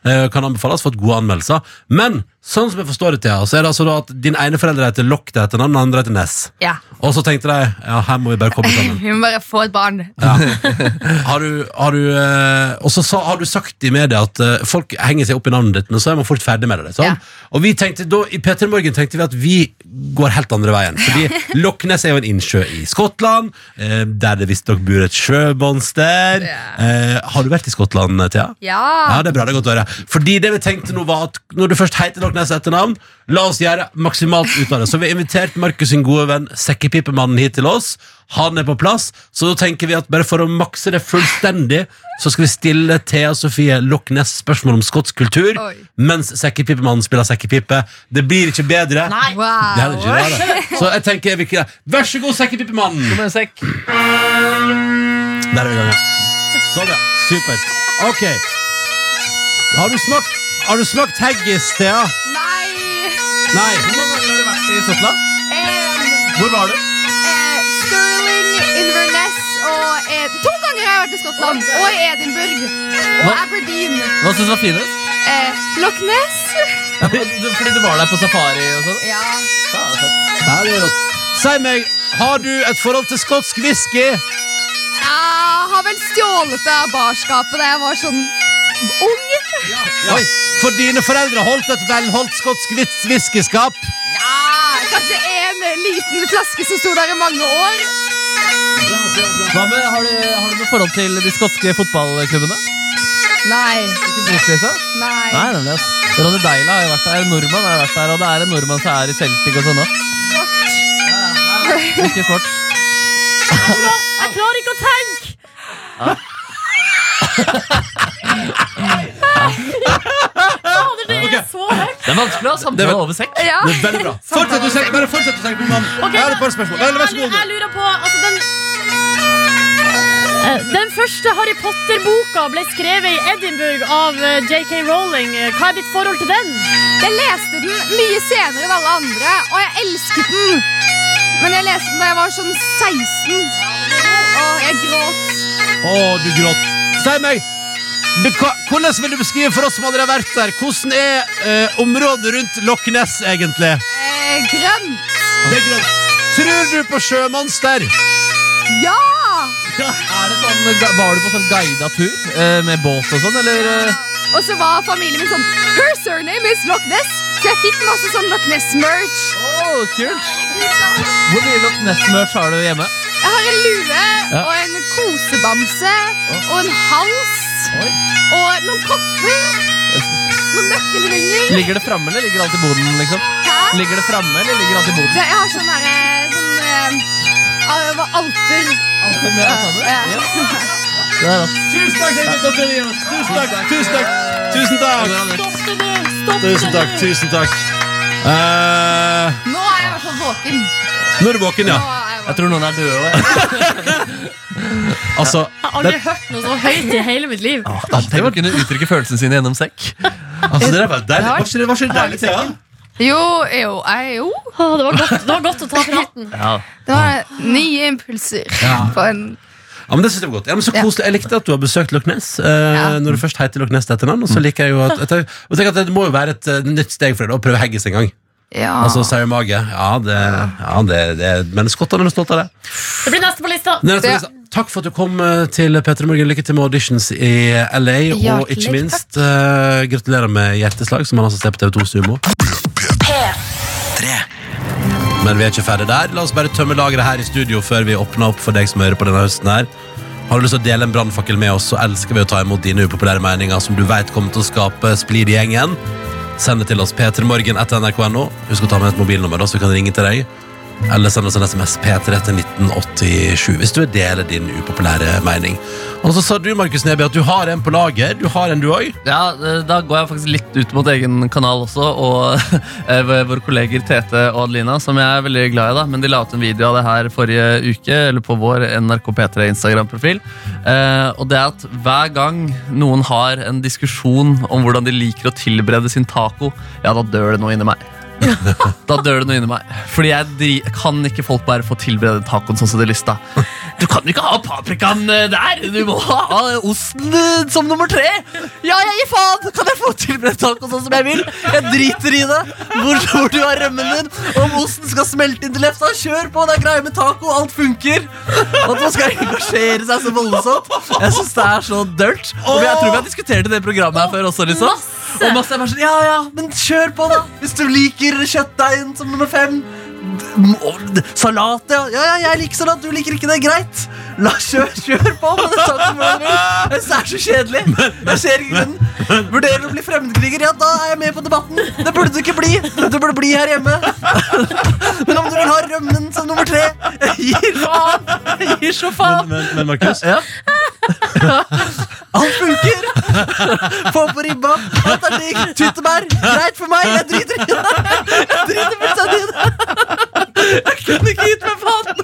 [SPEAKER 9] Eh, Kan anbefales, fått gode anmeldelser. Men sånn som jeg forstår det, Thea, så er det altså da at din ene forelder heter Loch, det heter han, den andre heter Ness.
[SPEAKER 8] ja,
[SPEAKER 9] Og så tenkte de, ja, her må vi bare komme sammen.
[SPEAKER 8] vi må bare få et barn
[SPEAKER 9] Har du, har du, eh, og så sa, har du sagt i media at eh, folk henger seg opp i navnet ditt, men så er man fort ferdig med det. Sånn?
[SPEAKER 8] Ja.
[SPEAKER 9] Og vi tenkte da, I P3 Morgen tenkte vi at vi går helt andre veien. Fordi Loch Ness er jo en innsjø i Skottland, eh, der det visstnok bor et sjømonster. Eh, har du vært i Skottland, Thea? Ja,
[SPEAKER 8] Ja,
[SPEAKER 9] det er bra, det er godt å høre Fordi det vi tenkte nå var at Når du først heter Loch Ness etternavn La oss gjøre maksimalt ut av det Så vi har invitert Markus sin gode venn Sekkepipemannen hit til oss Han er på plass Så da tenker vi at bare for å makse det fullstendig Så skal vi stille Thea Sofie Loch Ness spørsmål om skotsk kultur
[SPEAKER 8] Oi.
[SPEAKER 9] Mens Sekkepipemannen spiller Sekkepipe Det blir ikke bedre
[SPEAKER 3] Nei.
[SPEAKER 9] Det er ikke
[SPEAKER 8] wow
[SPEAKER 9] det, det. Så jeg tenker vi ikke Vær så god Sekkepipemannen
[SPEAKER 4] Kom med en sekk.
[SPEAKER 9] der er vi i gang, ja. Sånn, ja. Supert. Ok. Har du smakt, har du smakt haggis, Thea?
[SPEAKER 8] Nei,
[SPEAKER 9] Nei. Hvor mange ganger har du vært i Skottland?
[SPEAKER 8] en
[SPEAKER 9] Hvor var du?
[SPEAKER 8] eh, Stirling, Inverness og eh, To ganger har jeg vært i Skottland Og i Edinburgh Og
[SPEAKER 4] Hva?
[SPEAKER 8] Aberdeen
[SPEAKER 4] Hva syns du var finest?
[SPEAKER 8] eh, Loch Ness
[SPEAKER 4] Ja, du- Fordi du var der på safari og sånn? Ja,
[SPEAKER 8] Ja,
[SPEAKER 4] det er fett.
[SPEAKER 9] Ja, det var rått. Si meg, har du et forhold til skotsk whisky?
[SPEAKER 8] jeg har vel stjålet det av barskapet Da jeg var sånn ung
[SPEAKER 9] Oi, for dine foreldre holdt et velholdt skotsk whis- whiskyskap.
[SPEAKER 8] Ja, kanskje en liten flaske som sto der i mange år.
[SPEAKER 4] Hva med, har, du, har du noe forhold til de skotske fotballklubbene?
[SPEAKER 8] Nei,
[SPEAKER 4] Ikke Brooklyn, så?
[SPEAKER 8] nei.
[SPEAKER 4] Nei, nemlig. ass. Ronny Deila har jo vært der, en nordmann har vært der, og det er en nordmann som er i Celtic og sånn òg. Ikke svart.
[SPEAKER 3] Jeg klarer ikke å tenke! Fader, det er så høyt!
[SPEAKER 4] Det er vanskelig å ha
[SPEAKER 9] Det
[SPEAKER 4] samtale
[SPEAKER 9] er-
[SPEAKER 4] over sekk.
[SPEAKER 8] Ja.
[SPEAKER 9] Det er veldig bra. Fortsett å tenke, bare fortsett å tenke på mannen.
[SPEAKER 3] Ok,
[SPEAKER 9] Jeg har et par spørsmål.
[SPEAKER 3] ja,
[SPEAKER 9] Vel, vær så god.
[SPEAKER 3] Jeg lurer på altså, den, Eh, den første Harry Potter-boka ble skrevet i Edinburgh av eh, JK Rowling. Eh, Hva er ditt forhold til den?
[SPEAKER 8] Jeg leste den mye senere enn alle andre, og jeg elsket den. Men jeg leste den da jeg var sånn 16, og jeg gråt.
[SPEAKER 9] Å, du gråt. Si meg, Be- hva- Hvordan vil du beskrive for oss som aldri har vært der? Hvordan er eh, området rundt Loch Ness, egentlig?
[SPEAKER 8] Eh, grønn!
[SPEAKER 9] Det er grønt. Tror du på sjømonster?
[SPEAKER 8] Ja!
[SPEAKER 4] Er det sånn, var du på sånn guida tur eh, med båt og sånn, eller? eh?
[SPEAKER 8] Og så var familien min sånn Her surname is Loch Ness! Så jeg fikk masse sånn Loch Ness-merch.
[SPEAKER 4] Åh, kult! Hvor mye Loch Ness-merch har du hjemme?
[SPEAKER 8] Jeg har en lue
[SPEAKER 4] Ja.
[SPEAKER 8] og en kosebamse og en hals
[SPEAKER 4] Oi.
[SPEAKER 8] og noen kopper. Noen nøkkelringer.
[SPEAKER 4] Ligger det framme, eller ligger alt i boden, liksom?
[SPEAKER 8] Hæ?
[SPEAKER 4] Ligger det framme, eller ligger alt i boden?
[SPEAKER 8] Så jeg har sånn derre sånn, eh, al- hva- alter.
[SPEAKER 4] Alt er med, alt sammen?
[SPEAKER 8] Ja.
[SPEAKER 4] Yes. Det er rått.
[SPEAKER 9] Tusen takk, Helvete og Trine Jonas. Tusen takk, tusen takk. Tusen takk.
[SPEAKER 3] Stopp det nå! Stopp det
[SPEAKER 9] Tusen takk.
[SPEAKER 3] nå.
[SPEAKER 9] Tusen takk. Eh,
[SPEAKER 8] Nå er jeg i hvert fall våken.
[SPEAKER 9] nå er du våken, ja.
[SPEAKER 8] Nå er jeg
[SPEAKER 4] Jeg
[SPEAKER 8] våken.
[SPEAKER 4] tror noen er døde.
[SPEAKER 9] Altså,
[SPEAKER 3] Jeg har aldri hørt noe så høyt i hele mitt liv.
[SPEAKER 4] Tenk å kunne uttrykke følelsene sine gjennom sekk.
[SPEAKER 9] altså det der var deilig. Var ikke det- Var ikke det deilig, Thea?
[SPEAKER 8] Jo, jo, jeg, jo.
[SPEAKER 3] Å, det, var godt, det var godt å ta praten.
[SPEAKER 8] Det var nye impulser på en
[SPEAKER 9] Ja, men det synes jeg var godt. Ja, men så
[SPEAKER 8] Ja.
[SPEAKER 9] koselig. Jeg likte at du har besøkt Loch Ness. eh, Når du først heter Loch Ness til etternavn. Og så liker jeg jo at, at, jeg- og tenk at det må jo være et eh, nytt steg for deg da, å prøve Haggis en gang.
[SPEAKER 8] Ja.
[SPEAKER 9] Altså sau mage. Ja, det, ja det, det, men skottene er stolte av det.
[SPEAKER 3] Det blir neste på lista.
[SPEAKER 9] Nei, altså,
[SPEAKER 8] Ja.
[SPEAKER 9] Lisa, Takk for at du kom eh, til Petra Morgen. Lykke til med auditions i LA. og
[SPEAKER 8] Hjertelig
[SPEAKER 9] ikke minst, eh, gratulerer med Hjerteslag, som man altså ser på TV2 Sumo. Men vi er ikke ferdig der. La oss bare tømme lageret her i studio før vi åpner opp for deg som hører på denne høsten her. Har du lyst til å dele en brannfakkel med oss, så elsker vi å ta imot dine upopulære meninger som du vet kommer til å skape splid i gjengen. Send det til oss p3morgen etter nrk.no. Husk å ta med et mobilnummer, da, så vi kan ringe til deg. Eller send oss en SMS P3 til 1987 hvis du vil dele din upopulære mening. Og så sa du, Markus Neby, at du har en på lager. Du har en, du òg.
[SPEAKER 4] Ja, eh, Da går jeg faktisk litt ut mot egen kanal også, og eh, v- våre kolleger Tete og Adelina, som jeg er veldig glad i, da, men de la ut en video av det her forrige uke, eller på vår NRK P3 Instagram-profil. Eh, og det er at hver gang noen har en diskusjon om hvordan de liker å tilberede sin taco, ja, da dør det noe inni meg. Da dør det noe inni meg. Fordi jeg dri kan ikke folk bare få tilberede tacoen sånn som de har lyst til. Du kan ikke ha paprikaen eh, der! Du må ha eh, osten eh, som nummer tre! Ja, jeg gir faen! Kan jeg få tilberede taco sånn som jeg vil? Jeg driter i det! Hvor, hvor du har rømmen din, om osten skal smelte inn til lefsa, kjør på! Det er greier med taco, alt funker! At man skal engasjere seg så voldsomt. Jeg syns det er så dølt. Og jeg tror vi har diskutert det i det programmet her før også, liksom. Og masse er bare sånn, ja, ja, men kjør på da Hvis du liker kjøttdeigen som nummer fem D- og d- Salat, ja. ja, ja, jeg liker salat, du liker ikke det, greit La kjør, kjør på med det saken Jeg synes det er så kjedelig Jeg ser ikke grunnen Vurderer du å bli fremmedkriger, ja, da er jeg med på debatten Det burde du ikke bli, du burde bli her hjemme Men om du vil ha rømmen som nummer tre Jeg gir faen Jeg gir så faen
[SPEAKER 9] Men, men Markus,
[SPEAKER 4] ja. Alt funker! Få på ribba. Alt er digg. Tyttebær. Greit for meg. Jeg driter i det. Jeg driter fullstendig i det. Jeg kunne ikke gitt meg faen.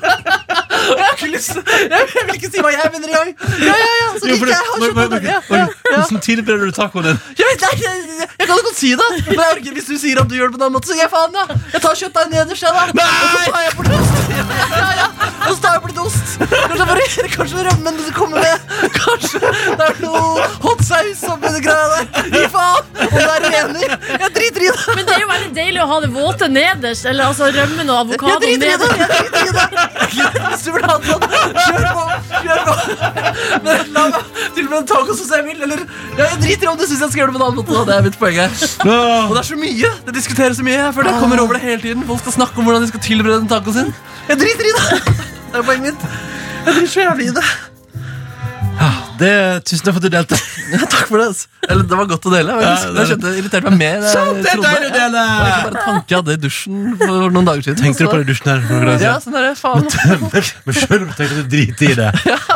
[SPEAKER 4] Jeg, har ikke lyst. jeg jeg vil ikke si hva jeg mener engang. Ja, ja, ja. Så
[SPEAKER 9] Jo,
[SPEAKER 4] liker
[SPEAKER 9] for det-
[SPEAKER 4] jeg har
[SPEAKER 9] men- men-
[SPEAKER 4] skjønt det. Ja, ja, ja.
[SPEAKER 9] hvordan tilbereder du tacoen din?
[SPEAKER 4] Jeg, vet, nei, jeg, jeg, jeg kan jo godt si det, men jeg orker, hvis du sier at du gjør det på en annen måte, så gir jeg faen, ja. Jeg tar kjøttdeigen nederst, jeg, da. Og så tar jeg bort ost. Ja, ja, ja. Og så tar jeg bort ost. Kanskje, bare, kanskje rømmen du kommer med. Kanskje det er noe hot saus oppi det greia der. Gi faen. Om det er rener. Jeg driter i det.
[SPEAKER 3] Men det er jo veldig deilig å ha det våte nederst. Eller altså rømmen og
[SPEAKER 4] Jeg
[SPEAKER 3] avokadoen
[SPEAKER 4] driter i det.
[SPEAKER 3] nederst.
[SPEAKER 4] Jeg driter i det. Hvis du vil ha det sånn, kjør på. Kjør på. Men la meg til og med ta taco som jeg vil, eller ja, Jeg driter i om du syns jeg skal gjøre det på en annen måte. da. Det er mitt poeng her. Og det er så mye. Det diskuteres så mye. Jeg føler jeg
[SPEAKER 9] Ah.
[SPEAKER 4] kommer over det hele tiden. Folk skal snakke om hvordan de skal tilberede den tacoen sin. Jeg driter i det! Det er poenget mitt. Jeg driter så jævlig i det.
[SPEAKER 9] Det, tusen takk for at du delte.
[SPEAKER 4] Ja, takk for det. altså. Eller, det var godt å dele.
[SPEAKER 9] Ja,
[SPEAKER 4] faktisk.
[SPEAKER 9] det er
[SPEAKER 4] Jeg skjønte det irriterte meg mer. enn jeg
[SPEAKER 9] det er
[SPEAKER 4] trodde.
[SPEAKER 9] deilig å dele.
[SPEAKER 4] Det var ikke bare en tanke jeg hadde i dusjen for noen dager siden.
[SPEAKER 9] Tenkte du på det i dusjen her? for noen dager
[SPEAKER 4] Ja,
[SPEAKER 9] siden?
[SPEAKER 4] sånn er det. Faen.
[SPEAKER 9] Men selv om du tenkte at du driter i det,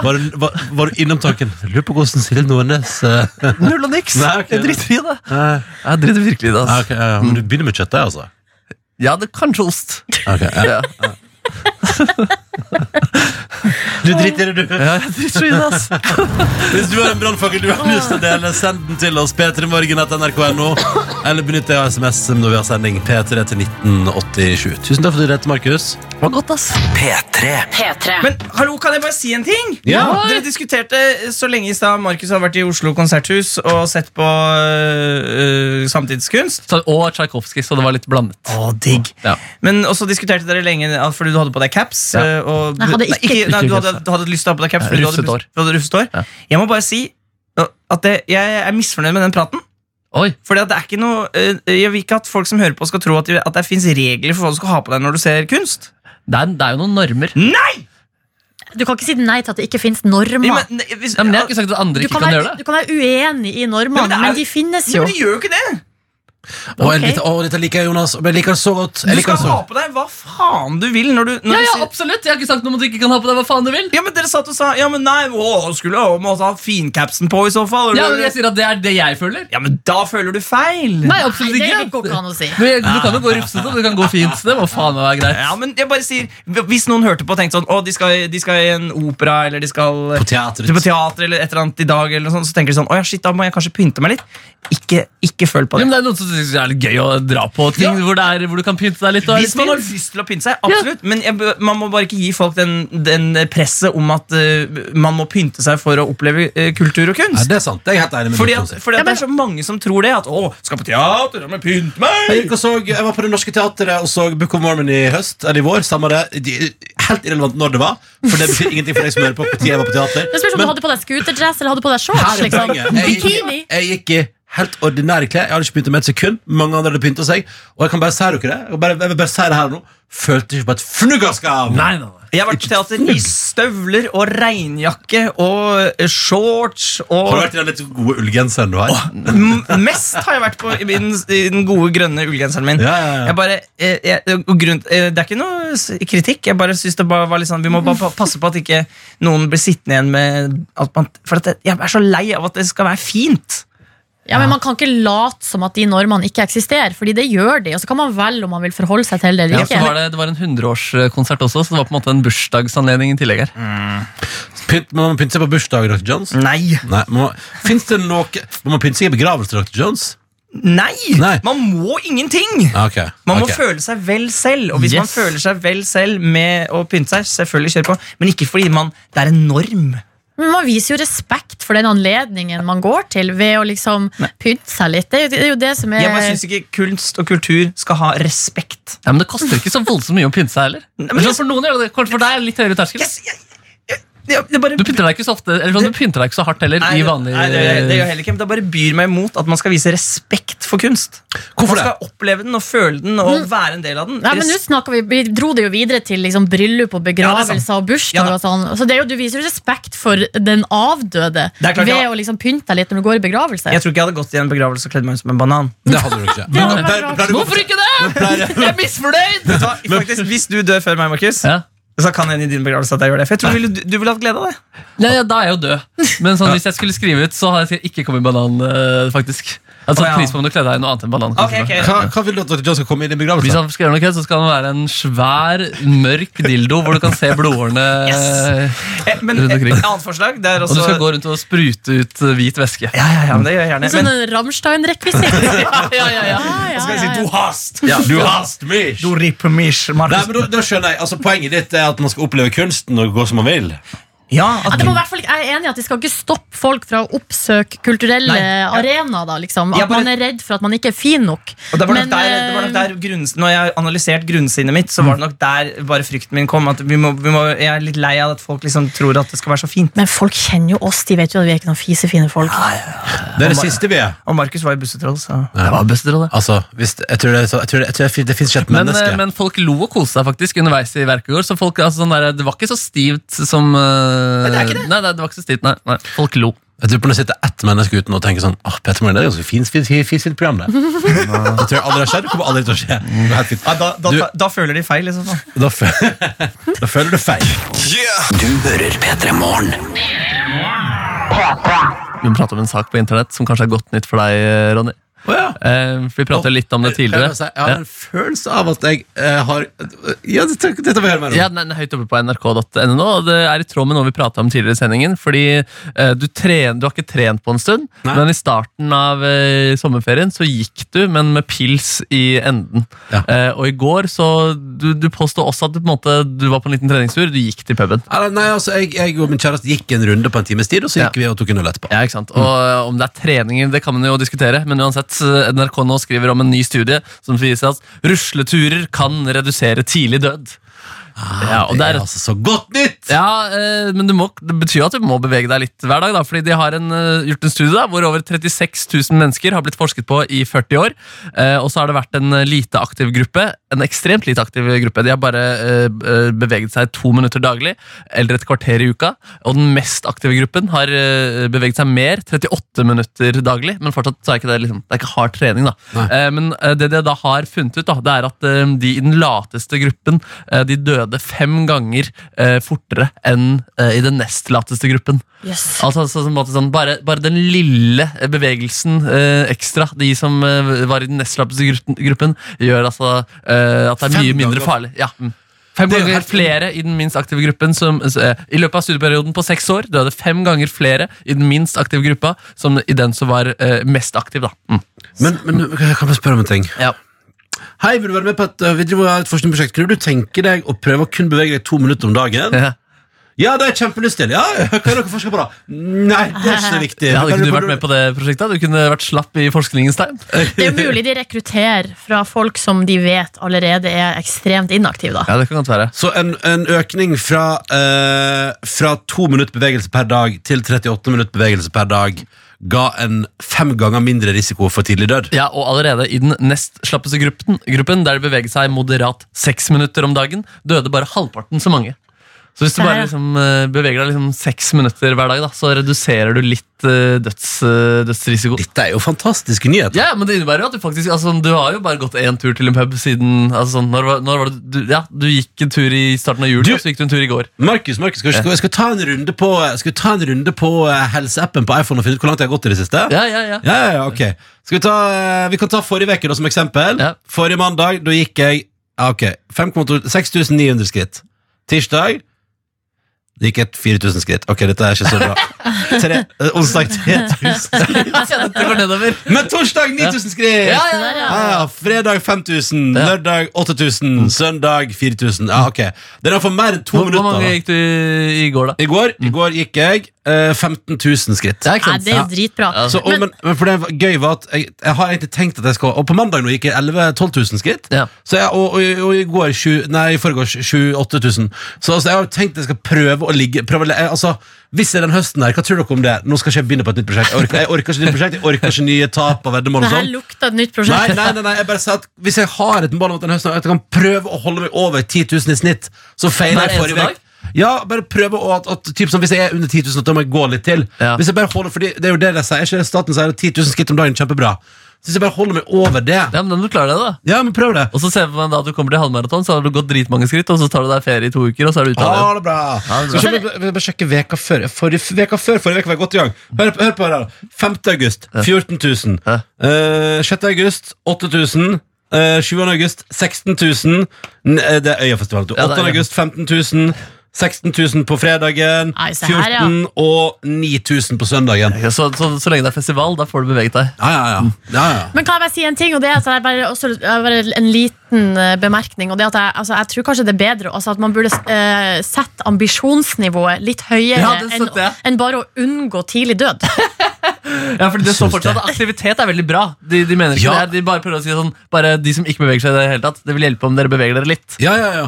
[SPEAKER 9] var du, var, var du innom tanken Lurer på hvordan Silje Nordnes eh,
[SPEAKER 4] Null og niks.
[SPEAKER 9] Nei, ok.
[SPEAKER 4] Jeg driter i det.
[SPEAKER 9] eh,
[SPEAKER 4] Jeg driter virkelig i det.
[SPEAKER 9] ja,
[SPEAKER 4] Altså.
[SPEAKER 9] ok, ja, ja, Men du begynner med kjøttdeig, altså?
[SPEAKER 4] Ja, det kanskje ost.
[SPEAKER 9] Ok, ja.
[SPEAKER 4] Ja.
[SPEAKER 9] Du driter i det, du.
[SPEAKER 4] Ja, jeg driter så i det, ass.
[SPEAKER 9] Hvis du har en brannfakkel du har lyst til å dele, send den til oss. p3morgen.nrk.no. Eller benytt deg av SMS når vi har sending. P3 til 1987. Tusen takk for at du ringte, Markus.
[SPEAKER 4] Det var godt, ass.
[SPEAKER 11] P3.
[SPEAKER 12] P3.
[SPEAKER 5] Men hallo, kan jeg bare si en ting?
[SPEAKER 9] Ja.
[SPEAKER 5] Dere diskuterte så lenge i stad Markus har vært i Oslo konserthus og sett på øh, samtidskunst.
[SPEAKER 4] Så, og Tsjajkovskij, så det var litt blandet.
[SPEAKER 5] Å, digg.
[SPEAKER 4] Ja.
[SPEAKER 5] Men også diskuterte dere lenge ja, fordi du hadde på deg caps.
[SPEAKER 4] Ja.
[SPEAKER 5] øh, Og,
[SPEAKER 3] Nei, hadde ikke-
[SPEAKER 5] nei,
[SPEAKER 4] Ikke
[SPEAKER 5] du, hadde,
[SPEAKER 4] caps.
[SPEAKER 5] du hadde lyst til å ha på deg caps
[SPEAKER 4] Ja,
[SPEAKER 5] fordi du hadde
[SPEAKER 4] rufset hår.
[SPEAKER 5] Du hadde rufset hår.
[SPEAKER 4] Ja.
[SPEAKER 5] Jeg må bare si øh, at det, jeg er misfornøyd med den praten.
[SPEAKER 4] Oi,
[SPEAKER 5] Fordi at det er ikke noe øh, Jeg vil ikke at folk som hører på, skal tro at, de- at det fins regler for hva du skal ha på deg når du ser kunst.
[SPEAKER 4] det er, det er jo noen normer.
[SPEAKER 3] Du kan ikke si nei til at det ikke finnes normer.
[SPEAKER 5] Ja, men, hvis,
[SPEAKER 4] Ja, men jeg har ikke sagt at andre
[SPEAKER 3] du,
[SPEAKER 4] ikke
[SPEAKER 3] kan
[SPEAKER 4] kan
[SPEAKER 3] være,
[SPEAKER 4] gjøre det.
[SPEAKER 3] du kan være uenig i
[SPEAKER 5] Nei,
[SPEAKER 3] normene,
[SPEAKER 5] men det er-
[SPEAKER 3] men, de finnes
[SPEAKER 5] Nei,
[SPEAKER 3] jo.
[SPEAKER 5] men de gjør jo ikke det!
[SPEAKER 9] Og jeg
[SPEAKER 3] Ok.
[SPEAKER 9] liker- å, dette liker jeg, Jonas. Men jeg liker det så godt.
[SPEAKER 5] Du
[SPEAKER 9] Jeg liker
[SPEAKER 5] skal
[SPEAKER 9] det
[SPEAKER 5] ha
[SPEAKER 9] så.
[SPEAKER 5] på deg hva faen du vil når du når
[SPEAKER 4] Ja,
[SPEAKER 5] du
[SPEAKER 4] ja,
[SPEAKER 5] sier-
[SPEAKER 4] absolutt. Jeg har ikke sagt noe om at du ikke kan ha på deg hva faen du vil.
[SPEAKER 5] Ja, men Dere satt og sa ja, men nei, å, skulle å, måtte ha fincapsen på i så fall.
[SPEAKER 4] Ja, men Jeg sier at det er det jeg føler.
[SPEAKER 5] ja, men da føler du feil!
[SPEAKER 4] Nei,
[SPEAKER 3] Nei,
[SPEAKER 4] absolutt
[SPEAKER 3] det
[SPEAKER 4] ikke.
[SPEAKER 3] går ikke an å si.
[SPEAKER 4] Du, du kan jo gå rufsete, og du kan gå fint. Det må faen meg være greit.
[SPEAKER 5] Ja, men jeg bare sier, Hvis noen hørte på og tenkte sånn å, de skal, de skal i en opera eller de skal
[SPEAKER 9] På teatret.
[SPEAKER 5] på teater eller et eller annet i dag, eller noe sånt, så tenker de sånn å ja, shit, da må jeg kanskje pynte meg litt. Ikke, ikke følg på
[SPEAKER 4] Ja,
[SPEAKER 5] det.
[SPEAKER 4] men det er noen som synes det er litt gøy å dra på ting hvor, det er, hvor du kan pynte deg litt. Og er
[SPEAKER 5] Hvis
[SPEAKER 4] litt
[SPEAKER 5] man har
[SPEAKER 4] fin.
[SPEAKER 5] lyst til å pynte seg, absolutt. Men jeg, bø- man må bare ikke gi folk den, den presset om at eh, man må pynte seg for å oppleve eh, kultur og kunst.
[SPEAKER 9] Nei, det er sant. Jeg er helt enig med
[SPEAKER 5] Fordi,
[SPEAKER 9] Markus.
[SPEAKER 5] at, fordi at det er så mange som tror det. At 'Å, skal på teater, ja, men pynt
[SPEAKER 9] Jeg,
[SPEAKER 5] meg!'
[SPEAKER 9] gikk og så, jeg var på Det Norske Teatret og så Book of Mormon i høst Eller i vår, samme det De- Helt irrelevant når det var For det betyr ingenting for deg som hører på På tiden jeg var på teater
[SPEAKER 3] Det spørs om
[SPEAKER 9] Men
[SPEAKER 3] du hadde på deg scooterdress eller hadde på deg shorts.
[SPEAKER 9] her er
[SPEAKER 3] Liksom.
[SPEAKER 9] poenget jeg
[SPEAKER 3] Bikini.
[SPEAKER 9] gikk, jeg gikk i helt ordinære klær Jeg hadde ikke pyntet meg et sekund Mange andre hadde pyntet seg Og jeg kan bare si dere det Jeg, bare, jeg vil bare si det her nå Følte ikke på et fnuggaskam
[SPEAKER 4] Nei, nei, nei.
[SPEAKER 5] Jeg har vært på teater i støvler og regnjakke og eh, shorts
[SPEAKER 9] Har du
[SPEAKER 5] og
[SPEAKER 9] vært i den litt gode ullgenseren du har?
[SPEAKER 5] M- Mest har jeg vært på i den, i den gode, grønne ullgenseren min.
[SPEAKER 9] Ja, ja, ja.
[SPEAKER 5] Jeg bare, eh, jeg, og grunn, eh, det er ikke noe s- kritikk. Jeg bare synes det bare var litt sånn Vi må bare pa- passe på at ikke noen blir sittende igjen med at man, For at jeg- jeg er så lei av at det skal være fint.
[SPEAKER 3] Ja, men Man kan ikke late som at de normene ikke eksisterer, Fordi det gjør de. Og så kan man velge om man vil forholde seg til det
[SPEAKER 4] Ja,
[SPEAKER 3] eller
[SPEAKER 4] så
[SPEAKER 3] ikke.
[SPEAKER 4] var det, det var en 100-årskonsert også, så det var på en måte en bursdagsanledning i tillegg.
[SPEAKER 5] Mm.
[SPEAKER 4] her
[SPEAKER 9] Pynt, må man pynte seg på bursdag, Dr. Jones?
[SPEAKER 5] Nei!
[SPEAKER 9] Nei, må, finnes det noe Må man pynte seg i begravelse, Dr. Jones?
[SPEAKER 5] Nei!
[SPEAKER 9] Nei.
[SPEAKER 5] Man må ingenting!
[SPEAKER 9] Ja, ok
[SPEAKER 5] Man må
[SPEAKER 9] Ok.
[SPEAKER 5] føle seg vel selv, og hvis man
[SPEAKER 4] Yes.
[SPEAKER 5] føler seg vel selv med å pynte seg, selvfølgelig kjør på, men ikke fordi man, det er en norm.
[SPEAKER 3] Men man viser jo respekt for den anledningen man går til, ved å liksom pynte seg litt. Det er jo det, er jo det som er
[SPEAKER 5] Jeg bare syns ikke kunst og kultur skal ha respekt.
[SPEAKER 4] Ja, men Det koster ikke så voldsomt mye å pynte seg heller.
[SPEAKER 5] men
[SPEAKER 4] Sånn For noen gjør det, det. Kanskje for deg er det litt høyere terskel.
[SPEAKER 5] Yes, jeg, jeg, det, det bare...
[SPEAKER 4] Du pynter deg ikke så ofte, eller sånn, du pynter deg ikke så hardt heller.
[SPEAKER 5] Nei,
[SPEAKER 4] i vanlig...
[SPEAKER 5] nei, det, det gjør jeg heller ikke, men det bare byr meg imot at man skal vise respekt for kunst. man
[SPEAKER 9] Hvorfor det?
[SPEAKER 5] skal oppleve den og føle den og være en del av den.
[SPEAKER 3] Nei, men nå snakker vi, vi dro det jo videre til liksom bryllup og
[SPEAKER 5] Ja, det er sant.
[SPEAKER 3] begravelser og
[SPEAKER 5] Ja,
[SPEAKER 3] bursdag.
[SPEAKER 5] da.
[SPEAKER 3] og sånn. Så det er jo, Du viser jo respekt for den avdøde
[SPEAKER 5] Det er klart,
[SPEAKER 3] ved
[SPEAKER 5] ja.
[SPEAKER 3] å liksom pynte deg litt når du går i begravelse.
[SPEAKER 5] Jeg tror ikke jeg hadde gått i en begravelse og kledd meg ut som en banan.
[SPEAKER 9] Det hadde du ikke Men,
[SPEAKER 3] hadde vært
[SPEAKER 9] pleier-
[SPEAKER 3] rart.
[SPEAKER 9] pleier du-
[SPEAKER 4] Hvorfor ikke det?! Jeg er misfornøyd!
[SPEAKER 5] Vet du hva? Faktisk, hvis du dør før meg, Markus,
[SPEAKER 4] Ja.
[SPEAKER 5] så kan jeg i din begravelse at jeg gjør det. For jeg tror du ville, du ville hatt glede av det.
[SPEAKER 4] Ja, ja, da er jeg jo død. Men sånn, hvis jeg skulle skrive ut, så har jeg ikke kommet i banan. eh, faktisk Altså,
[SPEAKER 5] Å, ja.
[SPEAKER 4] Pris på om du kledde deg i noe annet enn banan. kanskje.
[SPEAKER 9] Hva, hva vil du at Dr. Jones skal komme inn i begravelsen?
[SPEAKER 4] Hvis han skal gjøre noe kødd, så skal han være en svær, mørk dildo hvor du kan se blodårene.
[SPEAKER 5] Yes. Altså- Eh, Men
[SPEAKER 4] Rundt
[SPEAKER 5] et
[SPEAKER 4] omkring.
[SPEAKER 5] annet forslag det er
[SPEAKER 4] Og
[SPEAKER 5] også
[SPEAKER 4] du skal gå rundt og sprute ut eh, hvit væske.
[SPEAKER 5] Ja, ja, ja, men det gjør jeg gjerne.
[SPEAKER 3] Sånn
[SPEAKER 5] Men,
[SPEAKER 3] en Rammstein-rekvisitt.
[SPEAKER 4] Ja, ja, ja, ja.
[SPEAKER 3] Ja, ja,
[SPEAKER 5] så skal jeg
[SPEAKER 3] ja,
[SPEAKER 5] si
[SPEAKER 3] ja.
[SPEAKER 5] du hast!
[SPEAKER 9] Ja, du hast mich!
[SPEAKER 5] Du ripper mich,
[SPEAKER 9] Nei,
[SPEAKER 5] Markus.
[SPEAKER 9] men da, da skjønner jeg, altså Poenget ditt er at man skal oppleve kunsten og gå som man vil.
[SPEAKER 5] Ja,
[SPEAKER 3] Ja,
[SPEAKER 5] at,
[SPEAKER 3] det må i hvert fall, ikke- jeg er enig i at Vi skal ikke stoppe folk fra å oppsøke kulturelle arenaer. da, liksom.
[SPEAKER 5] Jeg
[SPEAKER 3] At
[SPEAKER 5] bare-
[SPEAKER 3] man er redd for at man ikke er fin nok.
[SPEAKER 5] og det var nok
[SPEAKER 3] Men, eh,
[SPEAKER 5] der, det var nok der grunns, Når jeg har analysert grunnsinnet mitt, så var det nok der bare frykten min kom. At vi må, vi må, jeg er litt lei av at folk liksom tror at det skal være så fint.
[SPEAKER 3] Men folk kjenner jo oss. De vet jo at vi er ikke noen fisefine folk.
[SPEAKER 9] Det er det siste vi er.
[SPEAKER 5] Og Markus var jo bussetroll, så
[SPEAKER 4] Det var best råd, det.
[SPEAKER 9] Altså, hvis, jeg tror det, er så- jeg tror det, jeg tror det, det fins ikke et
[SPEAKER 4] Men,
[SPEAKER 9] menneske.
[SPEAKER 4] eh, men folk lo og koste seg faktisk underveis i verket i går. Så folk, altså, sånn der, det var ikke så stivt som eh,
[SPEAKER 5] det er ikke det.
[SPEAKER 4] Nei, nei, det var ikke så stivt, nei, nei. Folk lo.
[SPEAKER 9] jeg tror på det sitter ett menneske uten å tenke sånn Åh, Petter Morgen, det er et ganske fint, fint, fint, fint program, det. Det tror jeg aldri har skjedd. Det kommer aldri til å skje. Det er helt fint.
[SPEAKER 5] ja, da, da,
[SPEAKER 9] Du-
[SPEAKER 5] da, føler de feil. Liksom.
[SPEAKER 9] Da, fø- da føler du feil.
[SPEAKER 11] Du hører P3 Morgen.
[SPEAKER 4] Vi må prate om en sak på internett som kanskje er godt nytt for deg, eh, Ronny.
[SPEAKER 2] Å ja.
[SPEAKER 4] Eh, for vi pratet litt om det
[SPEAKER 2] Jeg,
[SPEAKER 4] tidligere.
[SPEAKER 2] jeg, jeg har en følelse av at jeg eh, har Ja, dette, dette vil jeg høre mer om.
[SPEAKER 4] Ja, den er høyt oppe på nrk.no, og det er i tråd med noe vi prata om tidligere i sendingen. Fordi eh, du, tren, du har ikke trent på en stund,
[SPEAKER 2] Nei.
[SPEAKER 4] men i starten av eh, sommerferien så gikk du, men med pils i enden.
[SPEAKER 2] Ja.
[SPEAKER 4] Eh, og i går så Du, du påstod også at du, på en måte, du var på en liten treningstur. Du gikk til puben.
[SPEAKER 2] Eller, Nei, altså, jeg, jeg og min kjæreste gikk en runde på en times tid, og så gikk vi og tok en øl etterpå.
[SPEAKER 4] Ja, ikke sant? Og eh, Om det er treninger, det kan man jo diskutere, men uansett, eh, NRK nå skriver om en ny studie som viser at rusleturer kan redusere tidlig død. ja, og
[SPEAKER 2] det
[SPEAKER 4] det
[SPEAKER 2] er
[SPEAKER 4] er-
[SPEAKER 2] altså så godt nytt!
[SPEAKER 4] Ja, eh, men du må, Det betyr jo at du må bevege deg litt hver dag. da, fordi De har en, eh, gjort en studie da, hvor over 36 000 mennesker har blitt forsket på i 40 år. Eh, og så har det vært en eh, lite aktiv gruppe. En ekstremt lite aktiv gruppe. De har bare eh, b- eh, beveget seg to minutter daglig eller et kvarter i uka. Og den mest aktive gruppen har eh, beveget seg mer, 38 minutter daglig. Men fortsatt så er ikke det liksom, det er ikke hard trening. da.
[SPEAKER 2] Nei.
[SPEAKER 4] Eh, men eh, det de da har funnet ut, da, det er at eh, de i den lateste gruppen eh, de døde fem ganger eh, fortere enn eh, i den nest lateste gruppen.
[SPEAKER 3] Yes.
[SPEAKER 4] Altså, så, på en måte sånn, bare, bare den lille eh, bevegelsen eh, ekstra, de som eh, var i den nest lateste gruppen, gruppen gjør altså eh, at det er
[SPEAKER 2] Fem
[SPEAKER 4] mye mindre
[SPEAKER 2] ganger.
[SPEAKER 4] farlig. Ja. mm. Fem
[SPEAKER 2] Det er jo
[SPEAKER 4] ganger
[SPEAKER 2] helt-
[SPEAKER 4] flere i den minst aktive gruppen som, s- eh, I løpet av studieperioden på seks år døde fem ganger flere i den minst aktive gruppa som i den som var eh, mest aktiv. da. Mm.
[SPEAKER 2] Men, men jeg kan jeg spørre om en ting?
[SPEAKER 4] Ja.
[SPEAKER 2] Hei, vil du være med på et, øh, vi driver et forskningsprosjekt? Kunne du tenke deg å prøve å kun bevege deg to minutter om dagen?
[SPEAKER 4] Ja.
[SPEAKER 2] Ja, det har jeg kjempelyst til! Ja, hva er det dere forsker på, da? Nei, det er ikke så viktig.
[SPEAKER 4] Ja, hadde
[SPEAKER 2] Kan
[SPEAKER 4] ikke du vært med på det prosjektet? Du kunne vært slapp i forskningens tegn.
[SPEAKER 3] Det er jo mulig de rekrutterer fra folk som de vet allerede er ekstremt inaktive. da.
[SPEAKER 4] Ja, det kan godt være.
[SPEAKER 2] Så en, en økning fra, eh, fra to minutter bevegelse per dag til 38 minutter bevegelse per dag ga en fem ganger mindre risiko for tidlig død.
[SPEAKER 4] Ja, og allerede i den nest slappeste gruppen, gruppen der det beveget seg moderat seks minutter om dagen, døde bare halvparten så mange. Så hvis du
[SPEAKER 3] Der,
[SPEAKER 4] bare
[SPEAKER 3] ja.
[SPEAKER 4] liksom, eh, beveger deg liksom seks minutter hver dag, da, så reduserer du litt eh, døds, eh, dødsrisiko.
[SPEAKER 2] Dette er jo fantastiske nyheter.
[SPEAKER 4] Ja, men det innebærer jo at du faktisk altså, Du har jo bare gått én tur til en pub siden altså, sånn, når, var- når var det, du, Ja, du gikk en tur i starten av juli,
[SPEAKER 2] Du-
[SPEAKER 4] og så gikk du en tur i går.
[SPEAKER 2] Markus, Markus, skal, vi- skal, vi- skal vi ta en runde på, skal vi ta en runde på eh, helseappen på iPhone og finne ut hvor langt jeg har gått i det siste?
[SPEAKER 4] Ja, ja, ja.
[SPEAKER 2] Ja, ja, ja, ok Skal vi ta eh, Vi kan ta forrige veke da som eksempel
[SPEAKER 4] Ja.
[SPEAKER 2] Forrige mandag, da gikk jeg ja, Ok, 5,2 6900 skritt Tirsdag Det gikk et 4000 skritt Ok, dette er ikke så bra Tre, eh, Onsdag 3000 skritt
[SPEAKER 4] Det går nedover.
[SPEAKER 2] Men torsdag 9000 skritt
[SPEAKER 4] Ja,
[SPEAKER 3] Så
[SPEAKER 4] ja,
[SPEAKER 3] der,
[SPEAKER 4] ja.
[SPEAKER 3] ja.
[SPEAKER 2] Ja, ja, fredag 5000,
[SPEAKER 4] Ja. Mm.
[SPEAKER 2] lørdag 8000, søndag 4000 Ja, ok Det er da for mer enn to
[SPEAKER 4] Hvor, hvor
[SPEAKER 2] minutter
[SPEAKER 4] mange
[SPEAKER 2] da.
[SPEAKER 4] gikk du i går, da?
[SPEAKER 2] I går, i går gikk jeg eh, 15 000 skritt
[SPEAKER 4] Ja, ikke
[SPEAKER 3] Nei,
[SPEAKER 4] sant?
[SPEAKER 3] det er jo dritbra.
[SPEAKER 4] Ja.
[SPEAKER 2] Så, og, men, men for det var- gøy var at jeg, jeg har egentlig tenkt at jeg skal Og på mandag nå gikk jeg 11 12 000 skritt.
[SPEAKER 4] Ja.
[SPEAKER 2] Så jeg, og, og, og i går sju- Nei, i forgårs 28 000. Så altså, jeg har tenkt jeg skal prøve å ligge prøve, å le- jeg, altså, Hvis det er den høsten her, hva tror dere om det? Nå skal ikke jeg begynne på et nytt prosjekt. Jeg orker, jeg orker ikke nytt prosjekt, jeg orker ikke nye tap av veddemål
[SPEAKER 3] Det
[SPEAKER 2] og
[SPEAKER 3] her
[SPEAKER 2] sånn.
[SPEAKER 3] lukta et nytt
[SPEAKER 2] Nei,
[SPEAKER 3] prosjekt.
[SPEAKER 2] nei, nei, nei, jeg bare sa at hvis jeg har et mål om at den høsten At jeg kan prøve å holde meg over 10 000 i snitt Så feiler jeg
[SPEAKER 4] Hver
[SPEAKER 2] forrige
[SPEAKER 4] eneste
[SPEAKER 2] vek ja, bare prøve å, at, at typ som hvis jeg er under 10 000 at Da må jeg gå litt til
[SPEAKER 4] Ja.
[SPEAKER 2] Hvis jeg bare holder, fordi det er jo det de sier Ikke det staten sier at 10 000 skritt om dagen, er kjempebra Så hvis jeg bare holder meg over det
[SPEAKER 4] Ja, men da må du klare det, da.
[SPEAKER 2] Ja, men prøv det
[SPEAKER 4] Og så ser man da at du kommer til halvmaraton, så har du gått dritmange skritt, og så tar du deg ferie i to uker, og så er du ute
[SPEAKER 2] Ha
[SPEAKER 4] av det.
[SPEAKER 2] det bra Skal vi bare- bare bare sjekke veka før Forrige veka før, forrige veka var jeg godt i gang Hør, hør på det her da. 5. august, 14 000
[SPEAKER 4] Ja.
[SPEAKER 2] Eh, 6. august, 8 000 Eh, 7. august, 16 000 N- eh, Det er Øyafestivalen 8.
[SPEAKER 4] Ja, det er
[SPEAKER 2] august, 15 000 16 000 på fredagen
[SPEAKER 3] Nei, se
[SPEAKER 2] 14
[SPEAKER 3] her, ja.
[SPEAKER 2] 000 og 9000 på søndagen
[SPEAKER 4] Ja, Så, så, så lenge det er festival, da får du beveget deg.
[SPEAKER 2] Ja, ja, ja, ja, ja.
[SPEAKER 3] Men kan jeg bare si en ting, og det er at det er bare, også, det er bare en liten eh, bemerkning. og det er at jeg, altså, jeg tror kanskje det er bedre altså, at man burde eh, sette ambisjonsnivået litt høyere
[SPEAKER 4] Ja, det
[SPEAKER 3] enn
[SPEAKER 4] støtter jeg.
[SPEAKER 3] enn bare å unngå tidlig død.
[SPEAKER 4] Ja, fordi det
[SPEAKER 2] Jeg
[SPEAKER 4] står
[SPEAKER 2] syns
[SPEAKER 4] fortsatt at Aktivitet er veldig bra. De, de mener ikke
[SPEAKER 2] Ja.
[SPEAKER 4] det her, de bare prøver å si sånn Bare de som ikke beveger seg i det hele tatt, det vil hjelpe om dere beveger dere litt.
[SPEAKER 2] ja, ja, ja.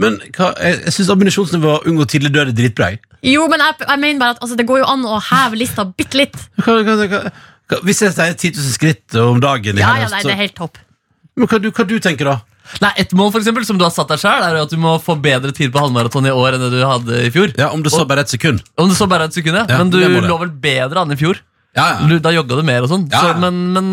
[SPEAKER 2] Men hva, jeg, jeg synes ammunisjonsnivået Unngå tidlig død er dritbra jeg.
[SPEAKER 3] Jo, men jeg, jeg mener bare at altså, det går jo an å heve lista bitte litt.
[SPEAKER 2] hva, hva, hva, hva, Hvis jeg sier 10 000 skritt om dagen i
[SPEAKER 3] Ja,
[SPEAKER 2] hele
[SPEAKER 3] ja,
[SPEAKER 2] høst,
[SPEAKER 3] nei,
[SPEAKER 2] så-
[SPEAKER 3] det er helt topp.
[SPEAKER 2] Men hva, du, hva du tenker da?
[SPEAKER 4] Nei, Et mål for eksempel, som du har satt deg selv er jo at du må få bedre tid på halvmaraton i år enn det du hadde i fjor.
[SPEAKER 2] Ja, om det så bare et sekund
[SPEAKER 4] Om det så bare er et sekund, ja.
[SPEAKER 2] Ja,
[SPEAKER 4] Men du
[SPEAKER 2] det må det.
[SPEAKER 4] lå vel bedre an i fjor?
[SPEAKER 2] Ja, ja
[SPEAKER 4] Du, da jogga du mer og sånn.
[SPEAKER 2] Ja.
[SPEAKER 4] Så, men, men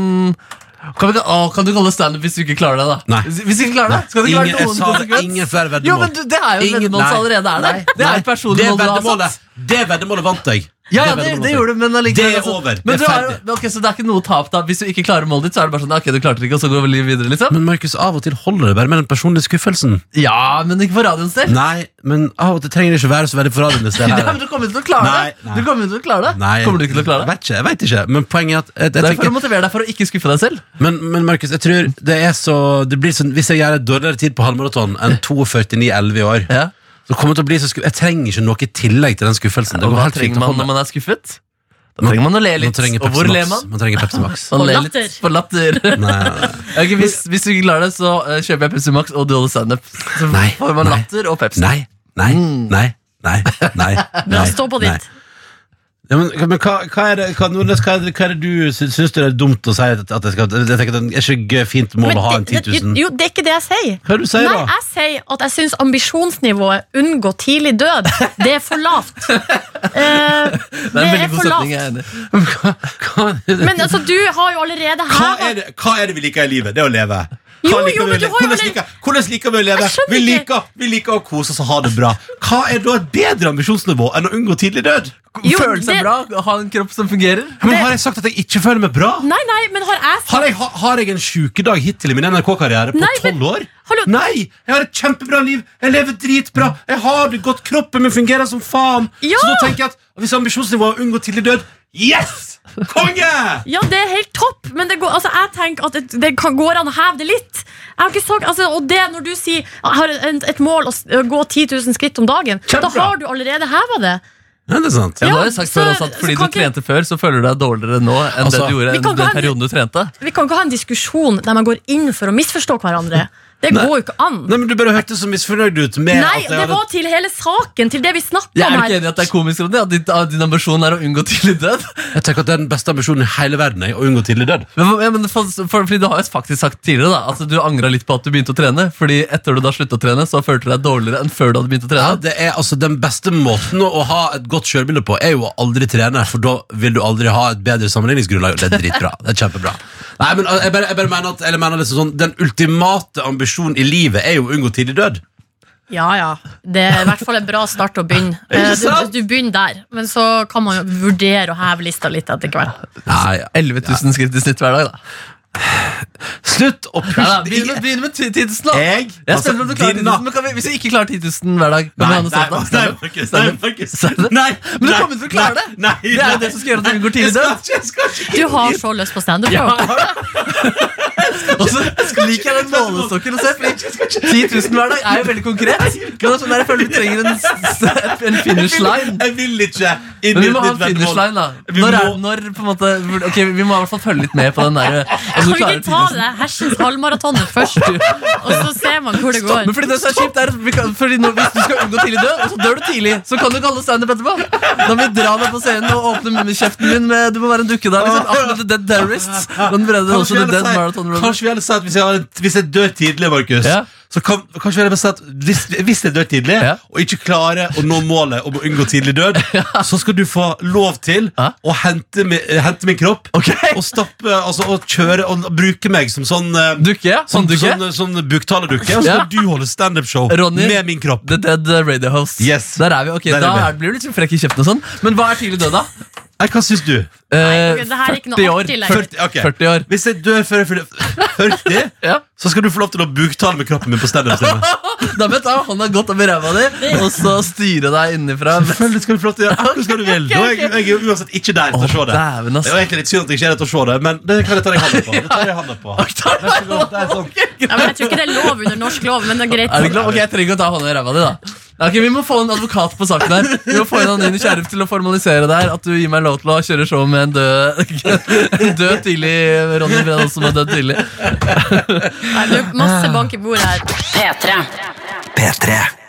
[SPEAKER 4] kan, vi, ikke- å, kan du kalle det standup hvis du ikke klarer det, da?
[SPEAKER 2] Nei.
[SPEAKER 4] Hvis, hvis du ikke klarer det, skal det ikke
[SPEAKER 2] Ingen-
[SPEAKER 4] være
[SPEAKER 2] jeg
[SPEAKER 4] noen
[SPEAKER 2] sa det,
[SPEAKER 4] konsekvens.
[SPEAKER 2] ingen flere veddemål.
[SPEAKER 4] Jo, men du, Det er jo et
[SPEAKER 2] Ingen-
[SPEAKER 4] veddemål som
[SPEAKER 2] nei.
[SPEAKER 4] allerede er der.
[SPEAKER 2] Nei,
[SPEAKER 4] det er
[SPEAKER 2] nei.
[SPEAKER 4] et personlig
[SPEAKER 2] Det
[SPEAKER 4] mål du har
[SPEAKER 2] veddemålet-
[SPEAKER 4] satt.
[SPEAKER 2] Det veddemålet vant jeg.
[SPEAKER 4] Ja, ja det, det gjorde du, men allikevel
[SPEAKER 2] Det er
[SPEAKER 4] altså,
[SPEAKER 2] over. Det
[SPEAKER 4] Men
[SPEAKER 2] er
[SPEAKER 4] du har,
[SPEAKER 2] ferdig.
[SPEAKER 4] men ok, så det er ikke noe tap, da? Hvis du ikke klarer målet ditt, så er det bare sånn Ok, du klarte det ikke, og så går vi litt videre, liksom?
[SPEAKER 2] Men Markus, av og til holder det bare med den personlige skuffelsen.
[SPEAKER 4] Ja, men ikke for radioens del.
[SPEAKER 2] Nei, men av og til trenger det ikke være så veldig for radioens del.
[SPEAKER 4] Ja,
[SPEAKER 2] heller.
[SPEAKER 4] men du kommer jo til å klare
[SPEAKER 2] Nei,
[SPEAKER 4] det!
[SPEAKER 2] nei.
[SPEAKER 4] Du kommer jo til å klare det.
[SPEAKER 2] Nei,
[SPEAKER 4] Kommer du ikke til å klare
[SPEAKER 2] Jeg
[SPEAKER 4] det?
[SPEAKER 2] vet ikke, jeg vet ikke. Men poenget er at jeg, jeg,
[SPEAKER 4] Det er for
[SPEAKER 2] tenker,
[SPEAKER 4] å motivere deg for å ikke skuffe deg selv.
[SPEAKER 2] Men, men Markus, jeg tror det er så det blir sånn, Hvis jeg gjør et dårligere tid på halvmaraton enn 2.49,11 i år
[SPEAKER 4] Ja.
[SPEAKER 2] Så kommer det til å bli så skuff Jeg trenger ikke noe i tillegg til den skuffelsen. Det
[SPEAKER 4] Og
[SPEAKER 2] går
[SPEAKER 4] hva
[SPEAKER 2] helt fint
[SPEAKER 4] trenger
[SPEAKER 2] å
[SPEAKER 4] man
[SPEAKER 2] holde.
[SPEAKER 4] når man er skuffet? Da trenger man å le
[SPEAKER 2] Man
[SPEAKER 4] litt.
[SPEAKER 2] trenger
[SPEAKER 4] Og hvor
[SPEAKER 2] Pepsi
[SPEAKER 4] ler
[SPEAKER 2] Max.
[SPEAKER 4] man?
[SPEAKER 2] Man trenger Pepsi Max.
[SPEAKER 4] Man
[SPEAKER 3] Og
[SPEAKER 4] ler
[SPEAKER 3] latter.
[SPEAKER 4] litt på latter.
[SPEAKER 2] Nei,
[SPEAKER 4] Ok, hvis, hvis du ikke klarer det, så eh, kjøper jeg Pepsi Max og Dual Standup. Så
[SPEAKER 2] Nei,
[SPEAKER 4] får man
[SPEAKER 2] nei.
[SPEAKER 4] latter og Pepsi.
[SPEAKER 2] nei, nei, nei. nei, nei,
[SPEAKER 3] Bra,
[SPEAKER 2] nei,
[SPEAKER 3] stå på
[SPEAKER 2] nei.
[SPEAKER 3] ditt.
[SPEAKER 2] Ja, men, men hva, hva, er det, hva, Nordnes, hva, er det, hva er det du sy- syns det er dumt å si? At, at jeg skal, jeg tenker at det er ikke gøy, fint mål å ha en
[SPEAKER 3] Men det-
[SPEAKER 2] 10
[SPEAKER 3] det-
[SPEAKER 2] 000.
[SPEAKER 3] Jo, det er ikke det jeg sier.
[SPEAKER 2] Hva er det du sier
[SPEAKER 3] Nei,
[SPEAKER 2] da?
[SPEAKER 3] jeg sier at jeg syns ambisjonsnivået unngå tidlig død, det er for lavt. Eh,
[SPEAKER 4] Det er en
[SPEAKER 3] det er
[SPEAKER 4] veldig
[SPEAKER 3] for
[SPEAKER 4] god setning.
[SPEAKER 3] lavt.
[SPEAKER 4] jeg er enig i.
[SPEAKER 2] Hva, hva, er det-
[SPEAKER 3] Men altså, du har jo allerede
[SPEAKER 2] hva,
[SPEAKER 3] heva
[SPEAKER 2] er det, hva er det vi liker i livet? Det er å leve. Hva
[SPEAKER 3] Jo,
[SPEAKER 2] liker
[SPEAKER 3] jo,
[SPEAKER 2] vi å
[SPEAKER 3] men du
[SPEAKER 2] leve?
[SPEAKER 3] har jo
[SPEAKER 2] hvordan,
[SPEAKER 3] allerede-
[SPEAKER 2] liker, hvordan liker vi å leve?
[SPEAKER 3] Jeg skjønner
[SPEAKER 2] Vi
[SPEAKER 3] ikke.
[SPEAKER 2] liker, vi liker å kose oss og ha det bra. Hva er da et bedre ambisjonsnivå enn å unngå tidlig død?
[SPEAKER 3] Jo,
[SPEAKER 4] Føle seg
[SPEAKER 3] det-
[SPEAKER 4] bra, ha en kropp som fungerer.
[SPEAKER 2] Men Har jeg sagt at jeg ikke føler meg bra?
[SPEAKER 3] Nei, nei, men har jeg
[SPEAKER 2] Har jeg, ha- har jeg en sjukedag hittil i min NRK-karriere på
[SPEAKER 3] Nei, men-
[SPEAKER 2] tolv år?
[SPEAKER 3] Hallo.
[SPEAKER 2] Nei! Jeg har et kjempebra liv, jeg lever dritbra, jeg har det godt, kroppen min fungerer som faen.
[SPEAKER 3] Ja.
[SPEAKER 2] Så da tenker jeg at hvis ambisjonsnivået er å unngå tidlig død Yes! Konge!
[SPEAKER 3] Ja, det er helt topp, men det går, altså, jeg tenker at det, det kan, går an å heve det litt. Jeg har ikke sagt, altså, og det når du sier jeg har et, et mål å s- å gå 10 000 skritt om dagen,
[SPEAKER 2] Kjempebra.
[SPEAKER 3] da har du allerede heva det.
[SPEAKER 2] Ja, det er sant.
[SPEAKER 4] Ja,
[SPEAKER 3] Ja,
[SPEAKER 4] du har jo sagt
[SPEAKER 3] så-
[SPEAKER 4] før også at
[SPEAKER 3] så
[SPEAKER 4] Fordi du
[SPEAKER 3] kan ikke-
[SPEAKER 4] trente før, så føler du deg dårligere nå enn
[SPEAKER 2] Altså,
[SPEAKER 4] det du gjorde
[SPEAKER 3] Vi kan
[SPEAKER 4] den
[SPEAKER 3] ikke ha en-
[SPEAKER 4] perioden du trente.
[SPEAKER 3] Vi kan ikke ha en diskusjon der man går inn for å misforstå hverandre. Det går jo ikke an.
[SPEAKER 2] Nei, men Du bare hørtes så misfornøyd ut med
[SPEAKER 3] Nei,
[SPEAKER 2] at jeg
[SPEAKER 3] det
[SPEAKER 2] hadde-
[SPEAKER 3] var til hele saken, til det vi snakka
[SPEAKER 4] altså, Jeg er
[SPEAKER 3] om
[SPEAKER 4] du ikke
[SPEAKER 3] her.
[SPEAKER 4] enig i at det er komisk, Ronny, at din, at din ambisjon er å unngå tidlig død.
[SPEAKER 2] Jeg tenker at det er den beste ambisjonen i hele verden jeg, å unngå tidlig død.
[SPEAKER 4] Men, ja, men for, for, fordi Du har jo faktisk sagt tidligere da, at du angra litt på at du begynte å trene. Fordi etter du da sluttet å trene, så følte du deg dårligere enn før du hadde begynt å
[SPEAKER 2] Ja,
[SPEAKER 4] trene.
[SPEAKER 2] det er altså Den beste måten å ha et godt sjølbilde på, er jo å aldri trene, for da vil du aldri ha et bedre sammenligningsgrunnlag. Det er dritbra. Det er kjempebra. Nei, men eh, jeg bare, jeg bare mener at eller jeg mener liksom sånn, Den ultimate ambisjonen i livet er jo å unngå tidlig død.
[SPEAKER 3] Ja, ja. Det er i hvert fall en bra start å begynne. Eh, Du,
[SPEAKER 2] sant?
[SPEAKER 3] du begynner der, men så kan man jo vurdere å heve lista litt etter hvert.
[SPEAKER 2] Nei, ja.
[SPEAKER 4] 11 000 skritt i snitt hver dag, da.
[SPEAKER 2] Slutt å
[SPEAKER 4] Nei, da
[SPEAKER 2] puste
[SPEAKER 4] begynn med, begynn med 10 000, da.
[SPEAKER 2] Jeg?
[SPEAKER 4] Jeg er spent på om du klarer 10
[SPEAKER 2] dina-
[SPEAKER 4] 000, men kan vi, Hvis du ikke klarer 10 000 hver dag,
[SPEAKER 2] Altså, Nei,
[SPEAKER 4] kan vi ha
[SPEAKER 2] nei,
[SPEAKER 4] noe sånt? da?
[SPEAKER 2] Markus, nei, Markus, nei, Markus.
[SPEAKER 4] Stemmer.
[SPEAKER 2] Nei,
[SPEAKER 4] Men du
[SPEAKER 2] nei,
[SPEAKER 4] kommer til å
[SPEAKER 2] nei,
[SPEAKER 4] klare det.
[SPEAKER 2] Nei,
[SPEAKER 4] Det er jo
[SPEAKER 2] nei.
[SPEAKER 4] det som skal gjøre at du unngår tidlig
[SPEAKER 2] Jeg skal
[SPEAKER 4] død.
[SPEAKER 2] ikke- jeg skal ikke
[SPEAKER 3] Du har så lyst på standup. Ja.
[SPEAKER 4] Og så liker jeg den målestokken å se. fordi 10 000 hver dag er jo veldig konkret. Men det er sånn der jeg føler vi trenger en, s- en finish line.
[SPEAKER 2] Jeg vil ikke inn
[SPEAKER 4] Men
[SPEAKER 2] i
[SPEAKER 4] vi må ha
[SPEAKER 2] ditt
[SPEAKER 4] en finish
[SPEAKER 2] veddemål.
[SPEAKER 4] line, da.
[SPEAKER 2] Vi
[SPEAKER 4] Når, er,
[SPEAKER 2] må-
[SPEAKER 4] når på en måte Ok, Vi må i hvert fall følge litt med på den der eh, om
[SPEAKER 3] Kan
[SPEAKER 4] du
[SPEAKER 3] vi
[SPEAKER 4] klarer
[SPEAKER 3] ikke ta
[SPEAKER 4] 10 000.
[SPEAKER 3] det hersens halvmaratonet først, og så ser man hvor det går?
[SPEAKER 4] Men fordi det som er kjipt er at vi kan, fordi når, Hvis du skal unngå tidlig død, og så dør du tidlig, så kan du ikke holde standup etterpå. Da må vi dra deg på scenen og åpne munnen- kjeften din med Du må være en dukke der. liksom Ahmed the Dead Terrorist. Den brede,
[SPEAKER 2] Kanskje vi
[SPEAKER 4] også the
[SPEAKER 2] heller
[SPEAKER 4] dead
[SPEAKER 2] sier-
[SPEAKER 4] marathon runner.
[SPEAKER 2] Kanskje vi heller sier at hvis jeg, har, en- hvis jeg dør tidlig, Markus
[SPEAKER 4] Ja.
[SPEAKER 2] Så kan, kanskje vi heller sier at hvis, hvis jeg dør tidlig
[SPEAKER 4] Ja.
[SPEAKER 2] Og ikke klarer å nå målet om å unngå tidlig død Så skal du få lov til
[SPEAKER 4] Ja.
[SPEAKER 2] Å hente, mi- eh, hente min kropp
[SPEAKER 4] Ok.
[SPEAKER 2] Og stappe, altså å kjøre Og bruke meg som sånn eh,
[SPEAKER 4] Dukke?
[SPEAKER 2] Sånn,
[SPEAKER 4] Hånddukke?
[SPEAKER 2] sånn, sånn buktaledukke Og så
[SPEAKER 4] Ja.
[SPEAKER 2] skal du holde stand-up show
[SPEAKER 4] Ronny.
[SPEAKER 2] Med min kropp
[SPEAKER 4] The Dead uh, Radio Host.
[SPEAKER 2] Yes.
[SPEAKER 4] Der er vi, ok,
[SPEAKER 2] Der er
[SPEAKER 4] Da
[SPEAKER 2] vi.
[SPEAKER 4] er blir du litt frekk i kjeften og sånn. Men hva er tidlig død, da?
[SPEAKER 2] Nei, Hva synes du?
[SPEAKER 4] Eh,
[SPEAKER 3] ok, det her er ikke noe
[SPEAKER 4] 40 år.
[SPEAKER 3] artig lenger.
[SPEAKER 4] 40,
[SPEAKER 2] Ok.
[SPEAKER 4] 40 år.
[SPEAKER 2] Hvis jeg dør før jeg fyller 40
[SPEAKER 4] Ja.
[SPEAKER 2] Så skal du få lov til å buktale med kroppen min på stand-up scenen
[SPEAKER 4] Da må jeg ta hånda godt over ræva di og så styre deg innenfra.
[SPEAKER 2] Selvfølgelig skal du få lov til å gjøre akkurat hva du vil. Da er jeg, jeg er uansett ikke der til å se det.
[SPEAKER 4] Dæven,
[SPEAKER 2] Det er jo egentlig litt synd at jeg ikke er der til å se det, men det kan jeg ta deg hånda på. Det tar jeg hånda på. Vær så god, det er sånn.
[SPEAKER 3] Ja, men jeg tror ikke det er lov under norsk lov, men det er greit.
[SPEAKER 4] Er det klart? Ok, Jeg trenger ikke å ta hånda i ræva di, da. Ok, Vi må få en advokat på saken her. Vi må få en anonym sheriff til å formalisere det her. At du gir meg lov til å kjøre show med en død, en død tidlig Ronny Breen også var død tidlig.
[SPEAKER 3] Nei, det er masse bank i bordet her.
[SPEAKER 7] P3.
[SPEAKER 6] P3